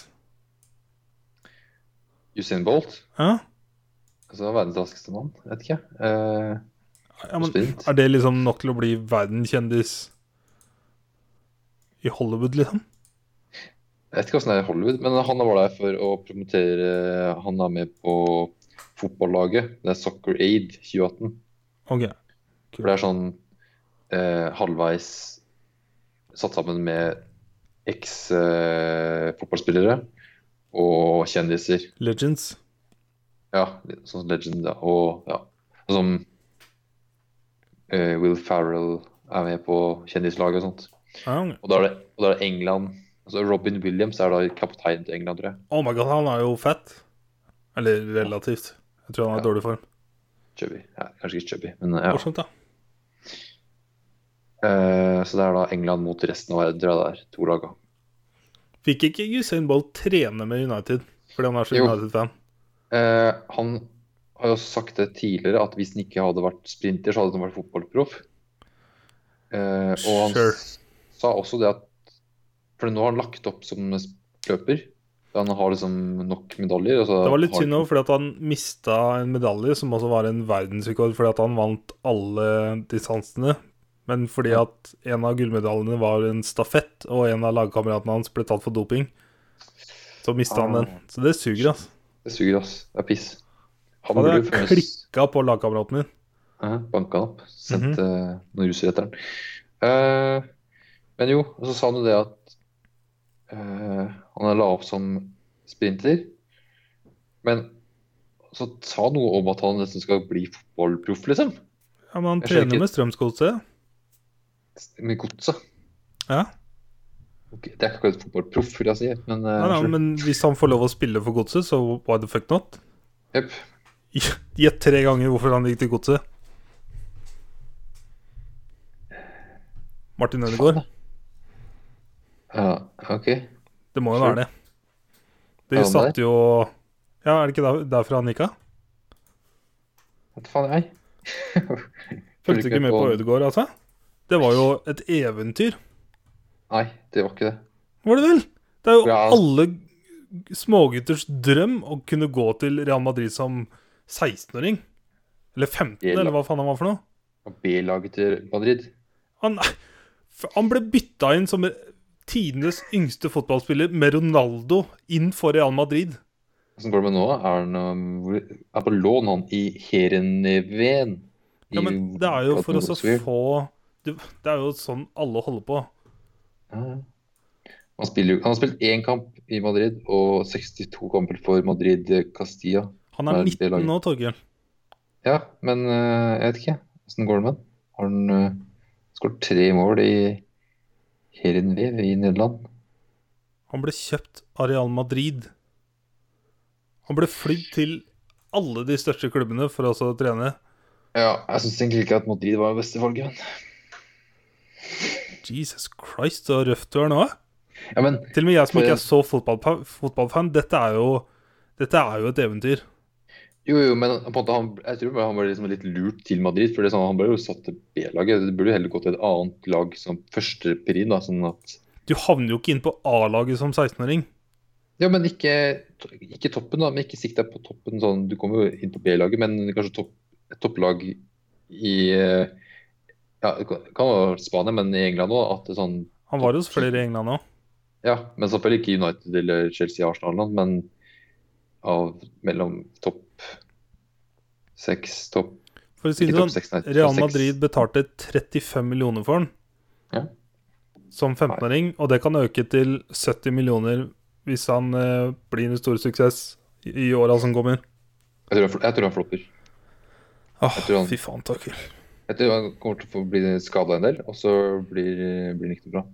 Usain Bolt?
Hæ?
Altså, det er verdens raskeste mann, vet ikke. Eh,
Ja, men,
sprint.
er det liksom nok til å bli verdenskjendis i Hollywood, liksom?
Jeg vet ikke hvordan det er i Hollywood, men han var der for å promotere eh, Han er med på fotballaget. Det er Soccer Aid 2018.
Ok.
For det er sånn eh, halvveis satt sammen med eks-fotballspillere og kjendiser.
Legends.
Ja, sånn som Legend da, og ja. Og som eh, Will Farrell er med på kjendislaget og sånt.
Ja,
Og da er det, og da er det England. Altså Robin Williams er da kaptein til England, tror jeg.
Oh my god, han er jo fett. Eller relativt. Jeg tror han er i
Ja.
dårlig form.
Chubby. Ja, kanskje ikke chubby, men ja.
Morsomt, da.
Eh, så det er da England mot resten av verden, tror jeg det er. To lag. da.
Fikk ikke Usain Bolt trene med United fordi han er så
Jo.
United-fan?
Eh, han har jo sagt det tidligere at hvis han ikke hadde vært sprinter, så hadde han vært fotballproff. Eh, og han
Sure.
s- sa også det at For nå har han lagt opp som løper. Han har liksom nok medaljer. Altså,
Det var litt
har-
synd òg, fordi at han mista en medalje, som også var en verdensrekord, fordi at han vant alle distansene. Men fordi at en av gullmedaljene var en stafett, og en av lagkameratene hans ble tatt for doping, så mista han
Ah.
den. Så det suger, altså.
Det suger, ass. Det er piss. Han
Hadde
burde
jeg
først-
klikka på lagkameraten min.
Ja, banka han opp.
Mhm.
Sendte noen ruser etter han. Eh, men jo, og så sa han jo det at eh, han la opp som sprinter. Men så sa han noe om at han nesten skal bli fotballproff, liksom.
Ja, men han
Jeg skjønner ikke.
trener med Strømsgodset.
Med godset.
Ja.
Ok, det er ikke akkurat fotballproff, vil jeg si. Men, eh,
Ja, ja,
sure.
men hvis han får lov å spille for godset, så why the fuck not? <laughs>
Jep.
Gjett tre ganger hvorfor han gikk til godset. Martin Ødegaard.
ja, ok.
Det må jo være
Sure.
det.
Er
De
han
satt jo Ja, er det ikke der, derfra han gikk av?
Vet faen jeg. Følger
Fulgte ikke med på Ødegaard, altså? Det var jo et eventyr.
Nei, det var ikke det.
Var det vel? Det er jo
Ja.
alle smågutters drøm å kunne gå til Real Madrid som 16-åring. Eller 15,
Eller-
eller hva faen han var for noe.
Og B-laget til Madrid.
Han, f- han ble bytta inn som tidenes yngste fotballspiller med Ronaldo inn for Real Madrid.
Hvordan går det med nå? Er han um, hvor- er på lån han i Heerenveen?
Ja, men det er jo for oss å få Det det er jo sånn alle holder på.
Han, spiller, jo- han har spilt én kamp i Madrid og 62 kamper for Madrid eh, Castilla.
Han er
Nei, det
19
laget.
nå, Torgeir.
Ja, men eh, jeg vet ikke. Åssen går det med han? Har han uh, skåret tre mål i Heerenveen i Nederland?
Han ble kjøpt av Real Madrid. Han ble flydd til alle de største klubbene for å også trene.
Ja, jeg syns egentlig ikke at Madrid var det beste valget, men
Jesus Christ, så røft du er nå.
Ja, men
Til og med jeg som
For
ikke
en-
er så fotballpa- fotballfan, dette er jo, dette er jo et eventyr.
Jo, jo, men på en måte han, jeg tror bare han ble liksom litt lurt til Madrid. For det er sånn, han ble jo satt til B-laget. Det burde jo heller gått til et annet lag som førsteprien. da, Sånn at
Du havner jo ikke inn på A-laget som 16-åring.
Ja, men ikke, ikke toppen, da. Men ikke sikt deg på toppen. sånn, Du kommer jo inn på B-laget, men kanskje topp, et topplag i eh, Ja, det kan kan være Spania, men i England òg. At det er sånn
Han var hos flere i England òg.
Ja, men selvfølgelig ikke United eller Chelsea Arsenal, da, men av mellom topp seks, topp
For å si
ikke
det
topp
sånn,
seks, nei, topp
Real
seks.
Madrid betalte 35 millioner for den
Ja.
som 15-åring, og det kan øke til 70 millioner hvis han eh, blir en stor suksess i, i åra som kommer.
Jeg tror han, fl- jeg tror han flopper.
Åh,
Jeg tror han-
fy faen, takk.
Jeg tror han kommer til å få bli skada en del, og så blir, blir han ikke noe bra.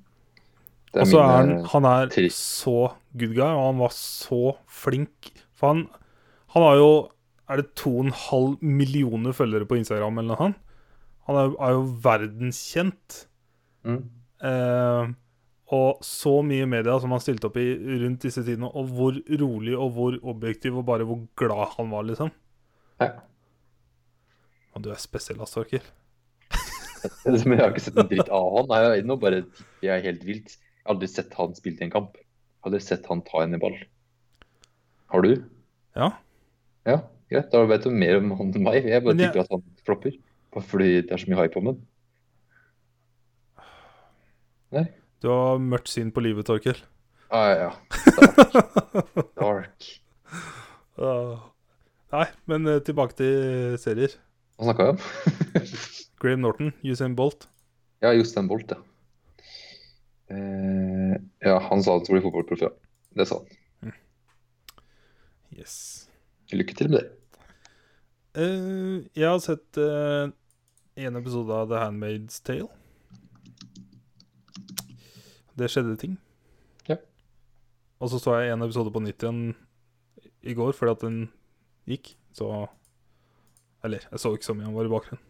Det
Og så er han,
mine-
han er
tri-
så good guy, og han var så flink. For han, han har jo Er det 2,5 millioner følgere på Instagram eller noe sånt? Han er, er jo verdenskjent.
mm. <laughs>
Eh, og så mye media som han stilte opp i rundt disse tidene, og hvor rolig og hvor objektiv og bare hvor glad han var, liksom.
Ja.
Og du er spesiell, ass, Torkil.
Men jeg har ikke sett en dritt av han. Nei, jeg er nå bare jeg er helt vilt. Jeg har aldri sett han spille i en kamp. Jeg har aldri sett han ta en i ball. Har du?
Ja.
Ja, greit. Da vet du mer om han enn meg. Jeg bare
Men jeg-
tipper at han flopper. Bare fordi det er så mye hype om ham.
Du har mørkt syn på livet, Torkil.
Ah, ja,
<laughs>
ja. Dark. Dark.
Åh. Nei, men eh, tilbake til serier.
Hva snakka vi om? <laughs>
Graham Norton, Usain Bolt.
Ja, Jostein Bolt, ja. Eh, ja, han sa han skulle bli fotballproff, ja. Det sa han.
Yes.
Lykke til med det.
Eh, jeg har sett eh, en episode av The Handmaid's Tale. Det skjedde ting.
Ja.
Og så så jeg en episode på nytt igjen i går, fordi at den gikk. Så Eller, jeg så ikke så mye, han var i bakgrunnen.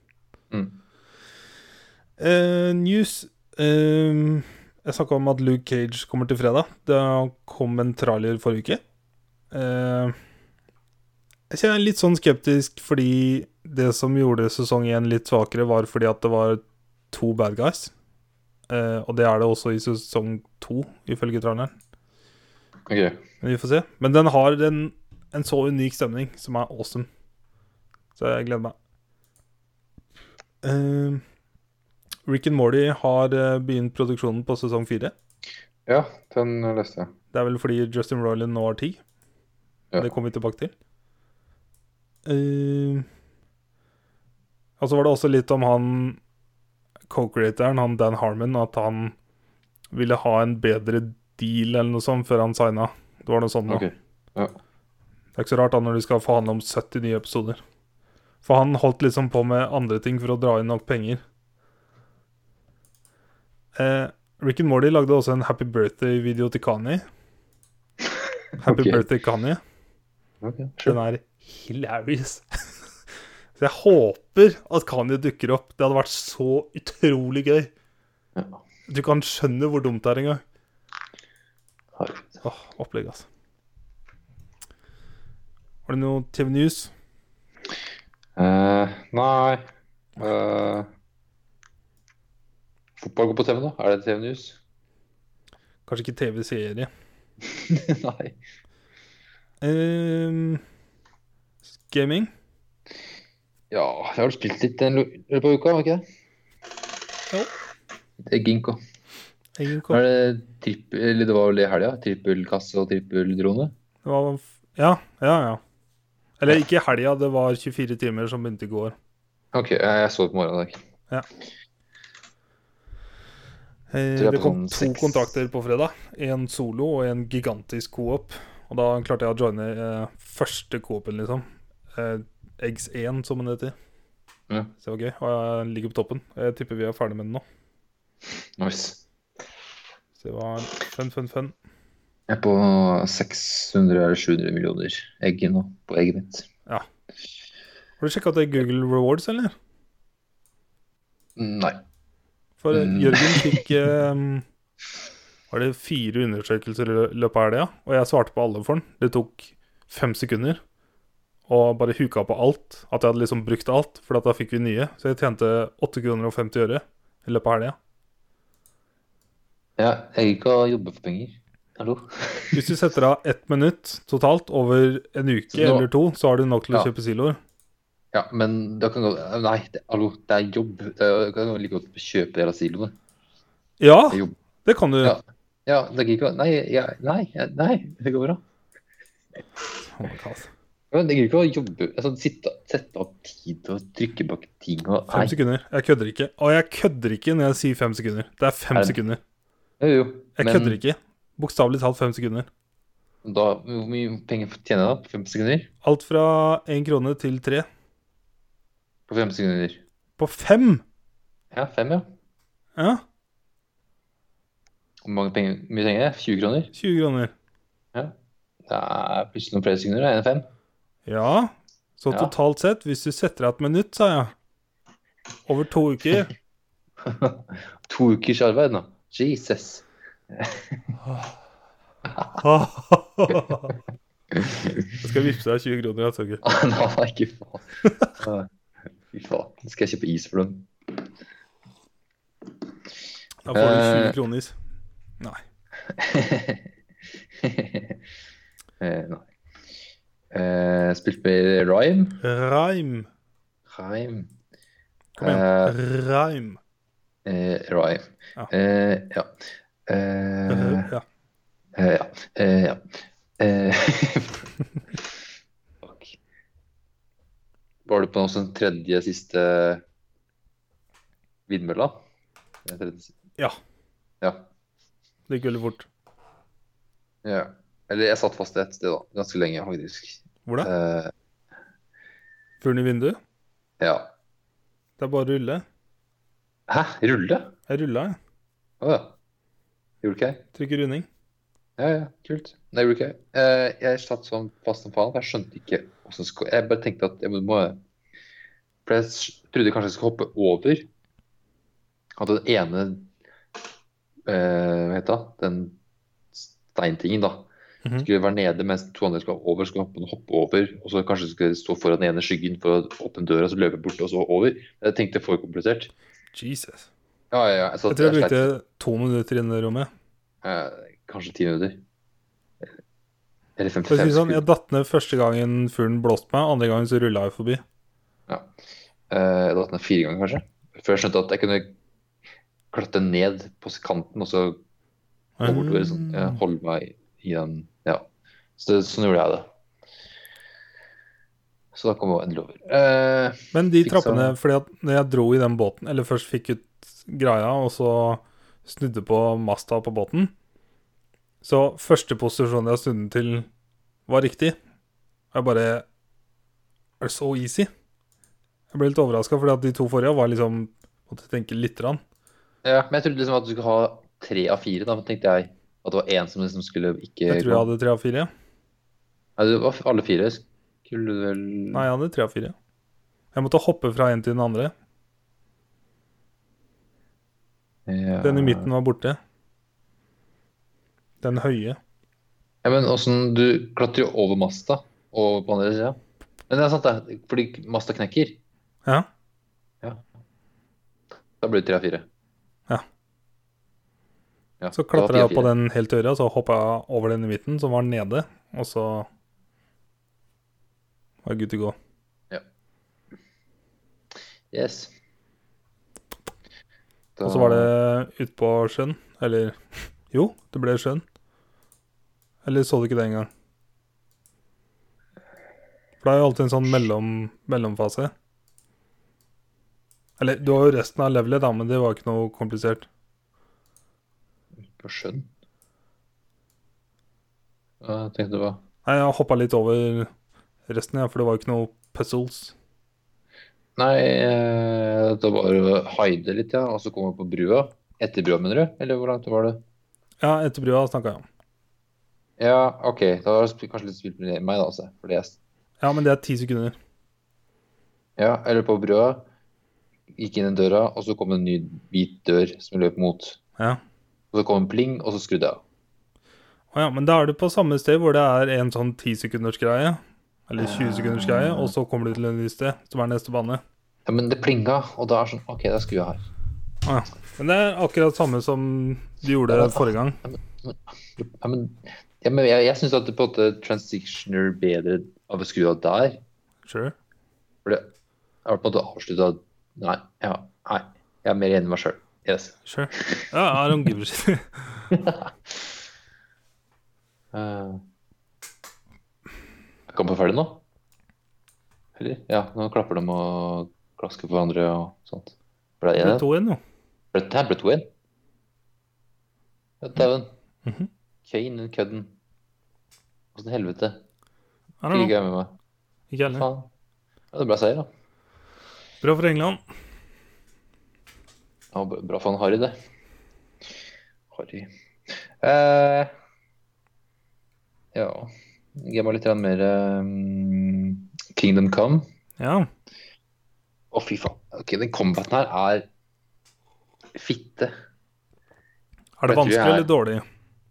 Mm.
Eh, news Ehm, Jeg snakka om at Luke Cage kommer til fredag. Det kom en trailer forrige uke. Eh, jeg kjenner jeg er litt sånn skeptisk fordi det som gjorde sesong én litt svakere, var fordi at det var to bad guys. Eh, og det er det også i sesong to, ifølge traileren.
Ok.
Men vi får se. Men den har en, en så unik stemning som er awesome. Så jeg gleder meg. Eh, Rick and Morty har eh, begynt produksjonen på sesong fire.
Ja, den leste jeg.
Det er vel fordi Justin Roiland nå har ti.
Ja.
Det kommer vi tilbake til. Eh, og så var det også litt om han co-creatoren, han Dan Harmon, at han ville ha en bedre deal eller noe sånt før han signa. Det var noe sånt nå.
Ok. Ja.
Det er ikke så rart da når du skal forhandle om 70 nye episoder. For han holdt liksom på med andre ting for å dra inn nok penger. Eh, Rick and Morty lagde også en Happy Birthday-video til Kanye. Happy
Ok.
Birthday Kanye.
Ok,
Den
sure.
er hilarious. <laughs> så jeg håper at Kanye dukker opp. Det hadde vært så utrolig gøy.
Ja.
Du kan skjønne hvor dumt det er engang.
Herregud.
Åh, opplegg, altså. Har du noe TV News?
Eh, nei Eh, Fotball går på TV nå. Er det TV News? <laughs>
Kanskje ikke TV-serie.
nei.
Ehm, gaming?
Ja, jeg har spilt litt i løpet av uka, har jeg ikke det?
Det er Ginko.
Ingen
Nå
kom.
er det trippel, eller det var vel det i helga? Trippelkasse og trippeldrone?
Det var f- Ja, ja, ja. Eller ikke i helga, det var 24 timer som begynte i går.
Ok, jeg, jeg så det på morgenen i dag.
Eh,
Tror jeg
Det
på
kom
sånn
to
seks.
kontrakter på fredag. En solo og en gigantisk co-op. Og da klarte jeg å joine eh, første co-open, liksom. Eh, Eggs 1, som den heter.
Ja.
Så det var gøy. Og jeg ligger på toppen. Jeg tipper vi er ferdig med den nå.
Nice.
Så det var fun, fun, fun.
Jeg er på
600 eller 700 millioner egg nå, på egget mitt.
Har du sjekka at det er Google Rewards, eller?
Nei.
For eh,
Mm.
Jørgen fikk eh, Var det fire undersøkelser i løpet av helga? Og jeg svarte på alle for den. Det tok fem sekunder. Og bare huka på alt. At jeg hadde liksom brukt alt, for at da fikk vi nye. Så jeg tjente 8 kroner og 50 øre i løpet av helga.
Ja, jeg gikk og jobbe for penger. Hallo?
Hvis du setter av ett minutt totalt over en uke
Så nå-
eller to, så har du nok til å
Ja.
kjøpe siloer.
Ja, men da kan gå Nei, det, hallo, det er jobb. Det er, kan jo like godt kjøpe hele siloene.
Ja,
Det er jobb.
det kan du.
Ja. Ja, det gikk jo Nei, ja, nei, ja, nei, det går bra.
Oh my God.
Men det gikk ikke å jobbe altså, sitte, Sette av tid og trykke bak ting og
Fem
Nei.
sekunder. Jeg kødder ikke. Og jeg kødder ikke når jeg sier fem sekunder. Det er fem
Er det-
sekunder.
Jo, jo.
Jeg kødder ikke. Bokstavelig talt fem sekunder.
Da, hvor mye penger tjener jeg da på fem sekunder?
Alt fra én krone til tre.
På fem sekunder.
På fem!
Ja, fem, ja.
Ja,
Hvor mange penger, mye trenger jeg? 20 kroner?
20 kroner.
Det er plutselig noen flere sekunder. da, En fem.
Ja, så
Ja.
totalt sett, hvis du setter av et minutt, sa jeg, over to uker
To ukers arbeid nå. Jesus. <laughs>
Jeg skal vippse deg 20 kroner. Altså. ikke.
Nei, Ah, ikke faen. Ah, Fy faen. Nå skal jeg kjøpe is for dem. <laughs>
Da får du
Eh.
20 kroner. Nei.
eh, nei. Eh, spilt med Rhyme.
Rhyme.
Rhyme.
Kom igjen. Rhyme.
Eh, Rhyme.
Ja.
Eh, ja. Eh,
R- Ja.
eh, ja. Eh, ja. Eh, <laughs> Fuck. Var du på noe sånn tredje siste vindmølla? er tredje side.
Ja.
Ja.
Det gikk veldig fort.
ja. Eller jeg satt fast et sted, da. Ganske lenge, faktisk.
Hvor da?
Eh,
Fuglen i vinduet?
ja.
Det er bare å rulle.
Hæ? Rulle?
Jeg rulla, jeg.
Å ja. Gjorde ikke jeg?
Trykker runding.
Ja, ja, kult. Nei, gjorde ikke jeg. Eh, jeg satt sånn fast som faen, for jeg skjønte ikke hvordan sko... Jeg bare tenkte at jeg må- må For jeg s- trodde kanskje jeg skulle hoppe over at den ene eh, Hva heter det? Den steintingen, da.
Mhm.
Skulle være nede mens de to andre skulle over, skulle hoppe, hoppe over. Og så kanskje skulle jeg stå foran den ene skyggen for å åpne døra, så løpe bort og så over. Jeg tenkte for komplisert.
Jesus.
Ja, ja, ja. Jeg, satt,
Jeg tror jeg
jeg sleit-
brukte to minutter inne i det rommet.
eh, kanskje ti minutter. Eller
For å
55
si det sånn,
sekunder.
Jeg datt ned første gangen fuglen blåste meg, andre gangen så rulla jeg forbi.
Eh, Jeg datt ned fire ganger, kanskje. Før jeg skjønte at jeg kunne klatte ned på kanten og så gå bortover. Sånn, eh, holde meg i den Ja. Så det, sånn gjorde jeg det. Så da kom jeg endelig over. Eh,
Men de
Fiksa-
trappene, fordi at når jeg dro i den båten, eller først fikk ut greia, og så snudde på masta på båten, så første posisjon jeg snudde den til, var riktig. Og jeg bare Er det så easy? Jeg ble litt overraska, fordi at de to forrige var liksom Måtte tenke lite grann.
ja, men jeg trodde liksom at du skulle ha tre av fire. Da men tenkte jeg at det var én som liksom skulle ikke
Jeg tror jeg
gå.
hadde tre av fire.
Nei, det var alle fire. Skulle du vel
Nei, jeg hadde tre av fire. Jeg måtte hoppe fra en til den andre.
ja.
Den i midten var borte. Den høye.
Ja, men åssen Du klatrer jo over masta og på andre sida. Men det er sant, det. Fordi masta knekker.
Ja.
Da blir det tre av fire.
Ja.
Ja,
Så
det var
klatra jeg opp
fire
på
av fire.
den helt høyre, og så hoppa jeg over den i midten, som var nede, og så var jeg good to go.
Yes. Da-
Og så var det utpå sjøen, eller <laughs> Jo, det ble sjøen. Eller så du ikke det engang? For det er jo alltid en sånn mellom, mellomfase. Eller du har jo resten av levelet, da, men det var ikke noe komplisert.
På sjøen? Ja, jeg tenkte det var
Nei, jeg hoppa litt over resten, ja, for det var ikke noe puzzles.
Nei, eh, det var bare å hide litt, ja. Og så kom jeg på brua. Etter brua, mener du? Eller hvor langt var det?
Ja, etter brua snakka jeg om.
Ja, OK. Da har jeg kanskje litt spilt med meg, da. Altså. Fordi jeg
Ja, men det er ti sekunder.
Ja, eller på brødet. Gikk inn i døra, og så kom en ny hvit dør som jeg løp mot.
Ja.
Og så kom en pling, og så skrudde jeg av.
Å ja, men da er du på samme sted hvor det er en sånn 10 sekunders greie, eller 20 sekunders greie, og så kommer du til en ny sted, som er neste bane.
Ja, men det plinga, og da er sånn OK, da skrur jeg her.
Å ja. Men det er akkurat samme som du gjorde forrige gang.
Ja, men, ja, men jeg, jeg syns at det på en måte transitioner bedre av å skru av der.
Sure.
For det er på en måte avslutta Nei. Ja, nei. Jeg er mer enig med meg sjøl. Yes.
Sure. Ja, I don't give a
<laughs>
shit.
Uh, jeg kan på ferdig nå? Eller? Ja, nå klapper de og klasker på hverandre og sånt. Ble
<laughs>
det
Det
enighet?
er to igjen, jo.
Ble det her ble to igjen? Ja, dæven.
Mhm.
Kane, den kødden. Åssen helvete.
I don't
Ikke
know.
gøy med meg.
Ikke heller.
Faen. Ja, det ble seier, da.
Bra for England.
Ja, b- bra for han Harry, det. Harry. Eh, ja Gi meg litt grann mer eh, Kingdom Come.
Ja.
Å, fy faen. Ok, Den combaten her er fitte.
Er det
Jeg tror jeg
vanskelig
er-
eller dårlig?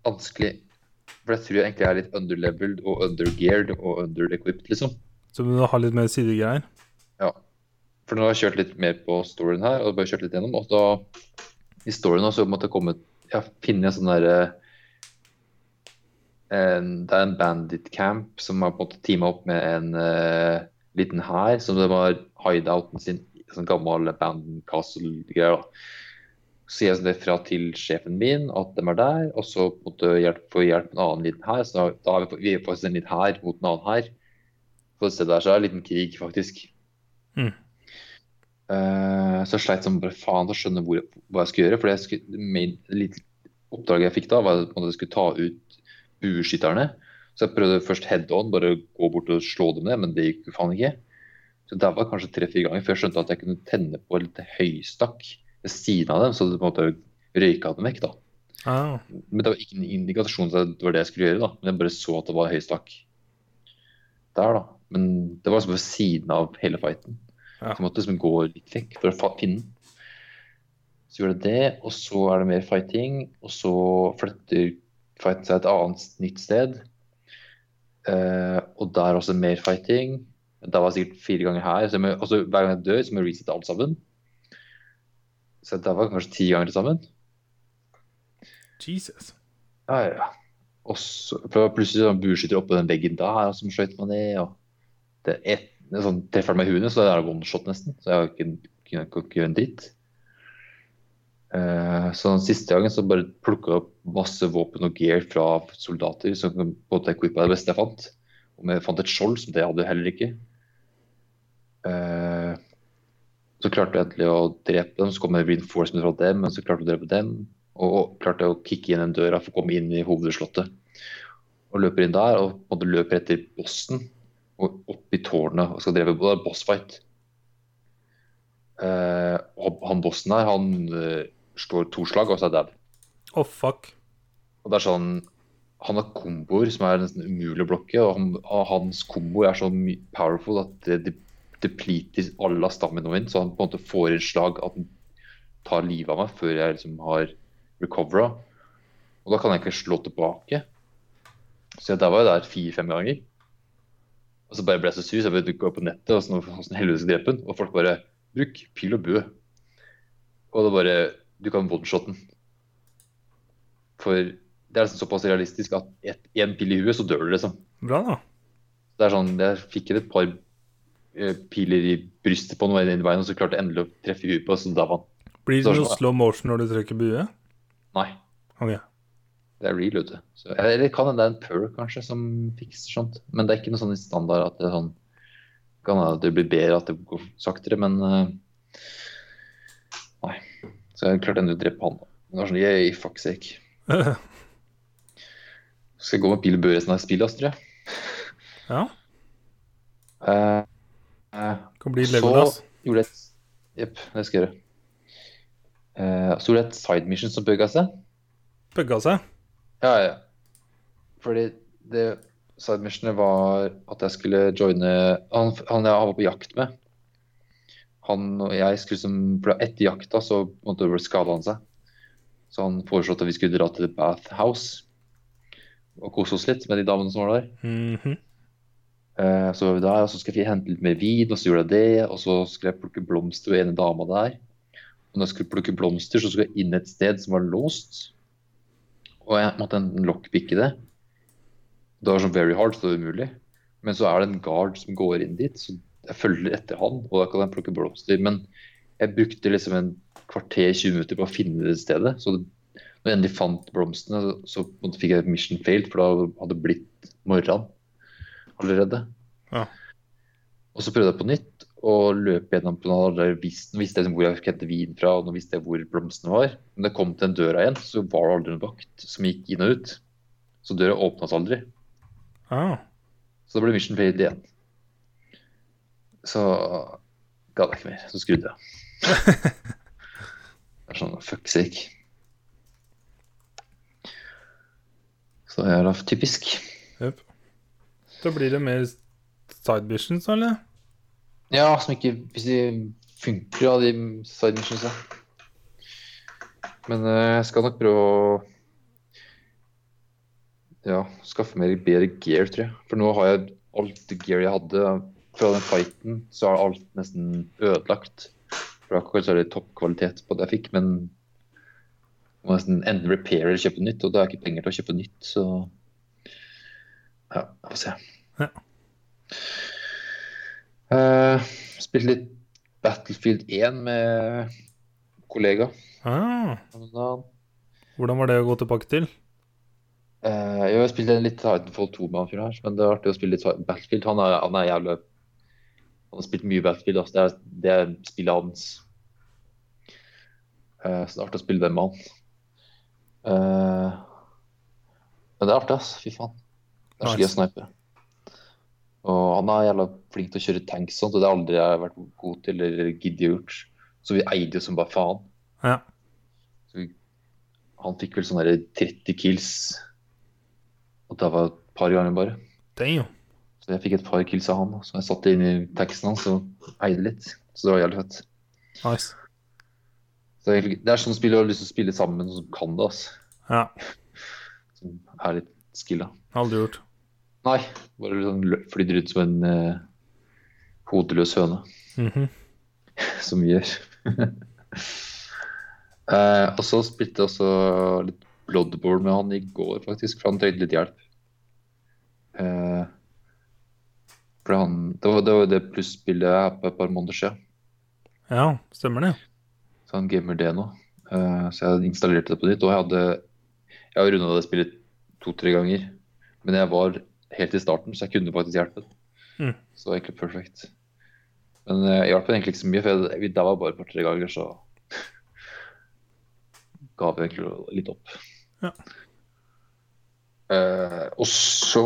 Vanskelig. For jeg tror jeg egentlig er litt underleveled og undergeared og underequipped, liksom.
Så må du ha litt mer sidegreier.
Ja. For nå har jeg kjørt litt mer på storyen her, og bare kjørt litt gjennom. Og da, i storyen også, måtte jeg komme Jeg finner en sånn derre en- Det er en bandit camp som har på en måte teama opp med en eh, liten hær, som det var hideouten sin, sånn gammel Abandon Castle-greier. da. Så sier jeg sånn det fra til sjefen min at de er der, og så på en måte hjelp, får hjelp en annen liten hær. Så da, da er vi på, vi er faktisk en liten hær mot en annen hær. På det stedet der så er det en liten krig, faktisk. Eh, så jeg sleit som bare faen til å skjønne hvor, hva jeg skulle gjøre. For det skulle- det main- lite oppdraget jeg fikk da, var at jeg skulle ta ut bueskytterne. Så jeg prøvde først head on, bare gå bort og slå dem ned, men det gikk jo faen ikke. Så der var jeg kanskje tre-fire ganger før jeg skjønte at jeg kunne tenne på et lite høystakk ved siden av dem, så det på en måte røyka dem vekk, da.
Ah,
Men det var ikke en indikasjon til at det var det jeg skulle gjøre, da. Men jeg bare så at det var høystakk der, da. Men det var liksom ved siden av hele fighten.
Ja.
Så jeg måtte liksom gå litt vekk for å fa- finne den. Så gjorde jeg det, og så er det mer fighting. Og så flytter fighten seg et annet nytt sted. Eh, og der også mer fighting. Der var jeg sikkert fire ganger her. Så jeg må, altså, hver gang jeg dør, så må jeg resette alt sammen. Så der var jeg kanskje ti ganger til sammen.
Jesus.
Ja, ja, ja. Og så for det var plutselig sånn bueskytter oppå den veggen der som skjøt meg ned. og det er et, det er sånn, Treffer han meg i huet, så er det one shot nesten. Så jeg har ikke, kunne kunne ikke gjøre en dritt. Eh, så den siste gangen så bare plukka jeg opp masse våpen og gear fra soldater som på en måte equippa det beste jeg fant. Om jeg fant et skjold, som det hadde jeg heller ikke. Eh, så klarte jeg endelig å drepe dem, så kom det reinforcement fra dem, men så klarte jeg å drepe dem. Og og klarte å kicke inn den døra for å komme inn i hovedslottet. Og løper inn der, og på en måte løper etter bossen og opp i tårnet og skal dreve det er bossfight. Eh, og han bossen her, han eh, slår to slag, og så er dau.
Å, fuck.
Og det er sånn Han har komboer som er nesten umulig å blokke, og, han, og hans kombo er så my- powerful at det de- depleter alle av stammen min, så han på en måte får et slag at han tar livet av meg før jeg liksom har recovera. Og da kan jeg ikke slå tilbake. Så jeg, der var jeg der fire-fem ganger. Og så bare ble jeg så sur, så jeg begynte å gå på nettet og sånn, hvordan helvete skal jeg drepe den? Og folk bare Bruk pil og bue. Og det bare Du kan one-shot den. For det er liksom såpass realistisk at et- en pil i huet, så dør du, liksom.
Bra, da.
Det er sånn, Jeg fikk et par eh, piler i brystet på noen veien, og så klarte jeg endelig å treffe i huet på, så da var han.
Blir det
Så-
noe slow motion når du trykker bue?
Nei,
Ok. <laughs>
det er real, vet du. Så, eh, eller kan hende det er en perk, kanskje, som fikser sånt. Men det er ikke noe sånn i standard at det er sånn Kan hende at det blir bedre, at det går saktere, men eh, Nei. Så jeg klarte endelig å drepe han. da. Men det var sånn, yeah, fuck sake. Skal jeg gå med pil og bue resten av spillet, Astrid?
ja.
Eh, eh,
Kan bli
Så-
level, ass.
gjorde jeg et Jepp, det skal jeg gjøre. Eh, så gjorde jeg et side mission som bugga seg.
Bugga seg.
Ja, ja. Fordi det side missionet var at jeg skulle joine han, han jeg var på jakt med. Han og jeg skulle som For etter jakta så på en måte skada han seg. Så han foreslått at vi skulle dra til The Bathhouse og kose oss litt med de damene som var der.
Mhm.
Eh, Så var vi der, og så skulle jeg hente litt mer vin, og så gjorde jeg det. Og så skulle jeg plukke blomster ved ene dama der. Og når jeg skulle plukke blomster, så skulle jeg inn et sted som var låst. Og jeg måtte enten lockpicke det. Det var sånn very hard, så det var umulig. Men så er det en guard som går inn dit, så jeg følger etter han, og da kan jeg plukke blomster. Men jeg brukte liksom en kvarter, 20 minutter på å finne det stedet. Så det, når jeg endelig fant blomstene, så på en måte fikk jeg mission failed, for da hadde det blitt morgen allerede.
Ja.
Og så prøvde jeg på nytt og løp gjennom på noen andre vis- Nå visste jeg liksom hvor jeg hentet vin fra, og nå visste jeg hvor blomstene var. Men da jeg kom til den døra igjen, så var det aldri en vakt som gikk inn og ut. Så døra åpna seg aldri.
Ah.
Så det ble Mission Failed igjen. Så gadd jeg ikke mer. Så skrudde jeg. det er sånn fuck sake. Så jævla typisk.
Jep. Da blir det mer side missions, eller?
Ja, som ikke Hvis de funker, ja, de side missions, ja. Men eh, jeg skal nok prøve å Ja, skaffe mer bedre gear, tror jeg. For nå har jeg alt det gear jeg hadde fra den fighten, så er alt nesten ødelagt. For det er kanskje litt toppkvalitet på det jeg fikk, men jeg må nesten enten repair eller kjøpe nytt, og da har jeg ikke penger til å kjøpe nytt, så Ja, vi får se.
Ja.
Eh, spilte litt Battlefield 1 med kollega.
Ah.
Uh,
Hvordan var det å gå tilbake til?
Eh, jeg har spilt litt Titanfall 2 med han fyren her, men det er artig å spille litt Battlefield. Han er, han er jævlig Han har spilt mye Battlefield. Altså. Det, er, det er spillet hans. Eh, så det er artig å spille den med han. Eh, men det er artig, ass. Fy faen. Det er så gøy å
Nice.
snipe. Og han er jævla flink til å kjøre tanks og sånt, og det har aldri jeg vært god til eller giddet å gjort. Så vi eide jo som bare faen.
Ja.
Så vi, han fikk vel sånn der 30 kills, og det var et par ganger bare.
Damn.
Så jeg fikk et par kills av han, så jeg satte inn i teksten hans og eide litt. Så det var jævlig fett.
Nice.
Så det er egentlig- det er sånn spill jeg har lyst til å spille sammen med noen som kan det, ass.
Ja.
Som er litt skilla.
Aldri gjort.
Nei, bare liksom lø- flydd rundt som en eh, hodeløs høne, <laughs>
Mhm.
som vi gjør. <laughs> eh, og så spilte jeg også litt Bloodborne med han i går, faktisk, for han trengte litt hjelp. Eh, for han, det var det, var det plusspillet jeg hadde på et par måneder siden.
Ja, stemmer det.
Så han gamer det nå. Eh, så jeg installerte det på nytt. Og jeg hadde Jeg har runda det spillet to-tre ganger. Men jeg var helt i starten, så jeg kunne faktisk hjelpe.
Mm.
Så det var egentlig perfekt. Men eh, jeg hjalp egentlig ikke så mye, for jeg, det var bare et par-tre ganger, så <laughs> ga vi egentlig litt opp.
Ja.
Eh, og så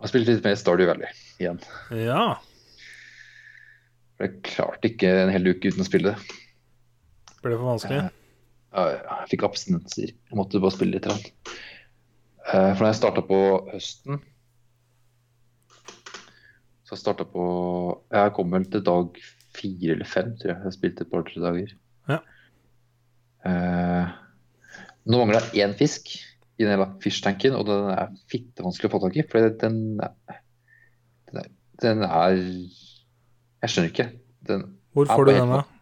Jeg spilte litt mer Stardew Valley igjen.
Ja.
For jeg klarte ikke en hel uke uten å spille det.
Ble det for vanskelig?
Ja, ja, Jeg fikk abstinenser. Jeg måtte bare spille litt. grann. Eh, For da jeg starta på høsten Så jeg starta på Jeg kom vel til dag fire eller fem, tror jeg. Jeg spilte et par-tre dager.
Ja.
Eh, Nå mangler jeg én fisk i den hele fishtanken, og den er fittevanskelig å få tak i. For den, er- den, er- den er Jeg skjønner ikke. Den
Hvor
Ja,
får
på
du
helt
den, da?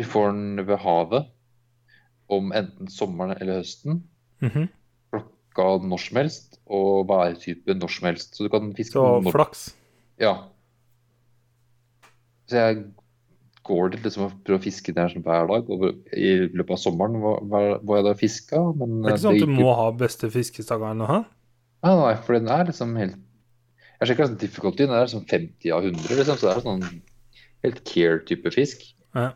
du får den ved havet om enten sommeren eller høsten.
Mhm.
Klokka når som helst, og værtype når som helst. Så du kan fiske
Så
når
flaks.
Ja. Så jeg går til liksom å prøve å fiske der sånn hver dag. Og I løpet av sommeren var, var, var jeg der og fiska, men eh,
Det er ikke sånn at du må ha beste fiskestanga eller noe?
Nei, Ah, nei, for den er liksom helt Jeg sjekka liksom difficulty, den er sånn 50 av 100, liksom, så det er sånn helt care-type fisk.
Ja.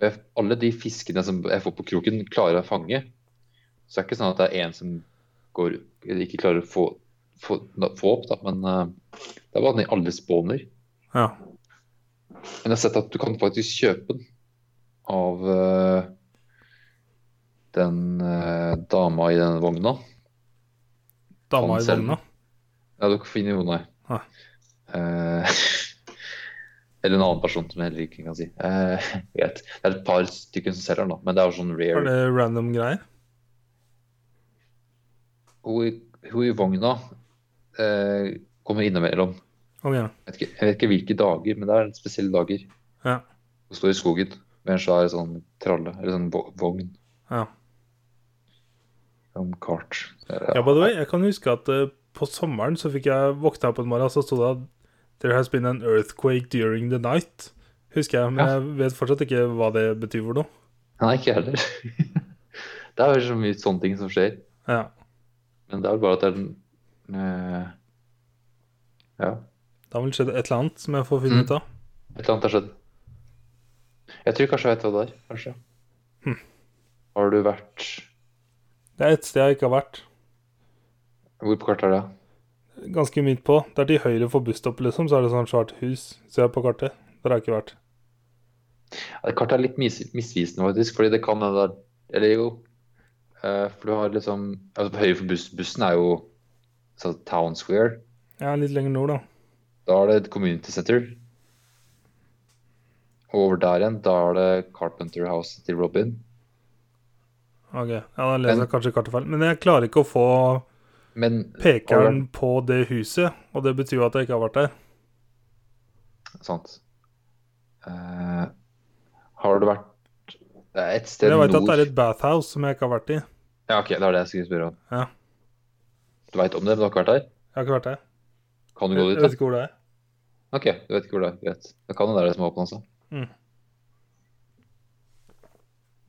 Og Jeg, alle de fiskene som jeg får på kroken, klarer jeg å fange. Så det er ikke sånn at det er én som går, ikke klarer å få, få, na- få opp, da, men eh, det er bare at den aldri spawner.
Ja.
Men jeg har sett at du kan faktisk kjøpe den av eh, den eh, dama i den vogna.
Dama
Han
i
selv.
vogna?
Ja, dere finner jo nei.
Ah.
Eh, <laughs> eller en annen person som jeg heller ikke kan si. Eh, <laughs> vet. Det er et par stykker som selger den, da. Men det er jo sånn
Er
rare.
det random greier?
Hun, i- hun i vogna eh, kommer innimellom.
Ok,
Jeg vet, ikke, jeg vet ikke hvilke dager, men det er spesielle dager.
Ja.
Hun står i skogen med en svær sånn tralle, eller sånn vo- vogn,
ja.
som kart. Eh,
Ja, by the way, jeg kan huske at eh, på sommeren så fikk jeg våkna opp en morgen, så sto det at There has been an earthquake during the night. Husker jeg, men
Ja.
jeg vet fortsatt ikke hva det betyr for noe.
Nei, ikke jeg heller. <laughs> det er jo så mye sånne ting som skjer.
Ja.
Men det er vel bare at det er den eh, Ja.
Det har vel skjedd et eller annet som jeg får finne
Mm.
ut av.
Et eller annet har skjedd. Jeg tror kanskje jeg vet hva det er. Kanskje.
Hm.
Har du vært
Det er et sted jeg ikke har vært.
Hvor på kartet er det?
Ganske midt på. Det er til høyre for busstoppet, liksom, så er det sånn svært hus. Ser jeg på kartet. Der har jeg ikke vært.
Ja, det kartet er litt mis misvisende, faktisk. Fordi det kan hende det er Eller jo. eh, for du har liksom altså, på Høyre for buss, bussen er jo så Town Square.
Jeg er litt lenger nord, da.
Da er det et community center. Og over der igjen, da er det Carpenter House til Robin.
Ok, ja, Da leser
Men-
jeg kanskje kartet feil. Men jeg klarer ikke å få
Men
pekeren på det huset, og det betyr jo at jeg ikke har vært der.
Sant. Eh, har det vært Det er et sted
Men jeg
nord
veit at det er et bathhouse som jeg ikke har vært i.
Ja, ok, det er det jeg skulle spørre om.
Ja.
Du veit om det, men du har ikke vært der?
Jeg har ikke vært der.
Kan du gå
Jeg
dit?
vet
da?
ikke hvor det er.
Ok, du vet ikke hvor det er. Greit. Det kan jo være det som har åpna seg.
Mm.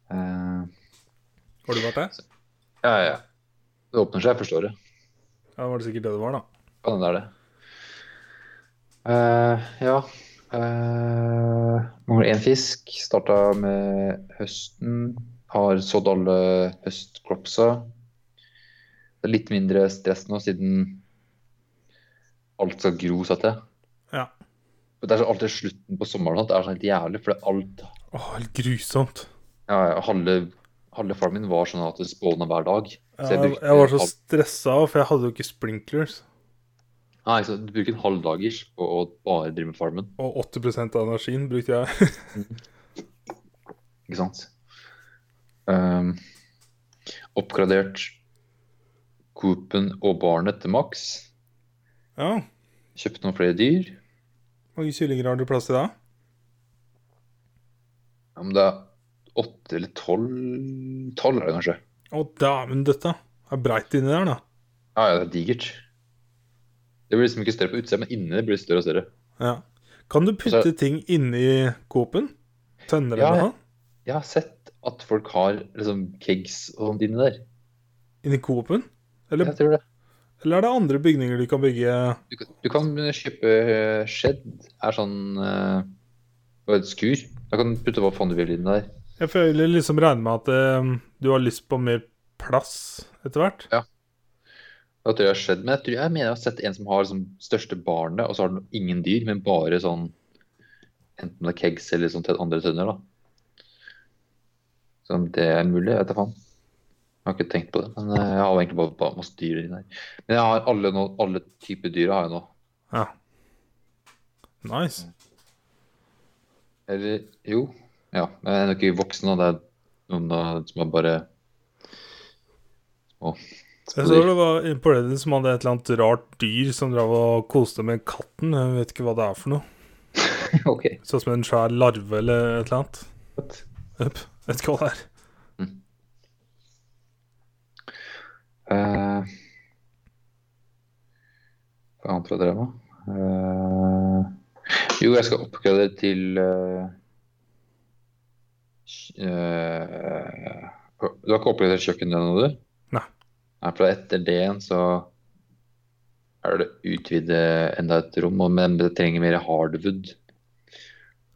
Eh,
Har du vært der?
ja, ja, ja. Det åpner seg, jeg forstår det.
Ja, det var det sikkert det det var, da.
Kan hende det er det. Eh, ja. Eh, mangler én fisk. Starta med høsten. Har sådd alle høstcropsa. Det er litt mindre stress nå siden alt skal gro, satt jeg.
Ja.
Men Det er så alltid slutten på sommeren at det er så helt jævlig, for det er alt
Å, helt grusomt.
ja, ja, halve, halve farmen min var sånn at det spåna hver dag. Så jeg
Jeg,
brukte
jeg var så
halv-
stressa, for jeg hadde jo ikke sprinklers.
Nei, så du bruker en halv dagers på å bare drive med farmen.
Og 80 av energien brukte jeg.
Ikke sant? Ehm, oppgradert Coopen og barnet til maks.
ja.
Kjøpt noen flere dyr.
Hvor mange kyllinger har du plass til da?
Ja, men det er åtte eller tolv Tolv er det kanskje.
Å, dæven døtte. Det er breit inni der, da.
Ja, ja, det er digert. Det blir liksom ikke større på utsida, men inni det blir det større og større.
Ja. Kan du putte
Altså-
ting inni Coop-en? Tønner
Ja,
eller
jeg-
noe?
Jeg har sett at folk har liksom kegs og sånt inni der.
Inni Coop-en? Eller,
Jeg tror det.
eller er det andre bygninger du kan bygge?
Du kan, du kan kjøpe eh, shed. Er sånn eh, bare et skur. Da kan du putte hva faen du vil inni der.
Jeg føler liksom regner med at eh, du har lyst på mer plass etter hvert.
Da tror jeg det har skjedd, men jeg, tror, jeg mener jeg har sett en som har liksom største barnet, og så har den ingen dyr, men bare sånn Enten det er kegs eller sånn til andre tønner, da. Så om det er mulig, jeg vet da faen. Jeg har ikke tenkt på det. Men eh, jeg har jo egentlig bare, bare masse dyr inni der. Men jeg har alle, nå, alle typer dyr har jeg nå.
Ja. Nice.
Eller jo. Ja. men Jeg er nok ikke voksen, og det er noen da, som er bare små.
Jeg så det var en på Reddit som hadde et eller annet rart dyr som drev og koste med katten. Jeg vet ikke hva det er for noe.
<laughs> OK.
Sånn som en svær larve eller et eller annet. Øpp. Vet ikke hva det er.
Eh, Hva annet var det jeg drev med? Eh, jo, jeg skal oppgradere til eh, kj- eh, Du har ikke oppgradert kjøkkenet ennå, du?
Nei.
Nei, for etter det igjen så er det å utvide enda et rom, og- men det trenger mer hardwood.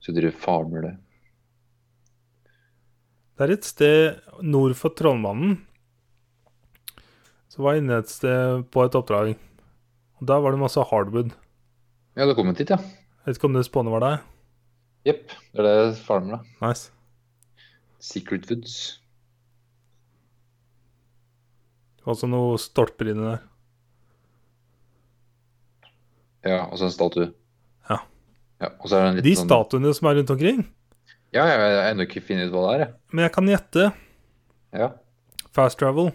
Så du farmer det.
Det er et sted nord for Trollmannen. Så var jeg inne et sted på et oppdrag. Og Der var det masse hardwood.
Ja, du har kommet dit, ja.
Jeg vet ikke om det spånet var deg.
Jepp. Det er det jeg farmer, da.
Nice.
Secret Woods.
Det var også noen stolper inni der.
Ja, og så en statue.
Ja.
ja og så er det en liten
De
sånn-
statuene som er rundt omkring.
Ja, ja, jeg har ennå ikke funnet ut hva det er, jeg.
Men jeg kan gjette.
Ja.
Fast travel.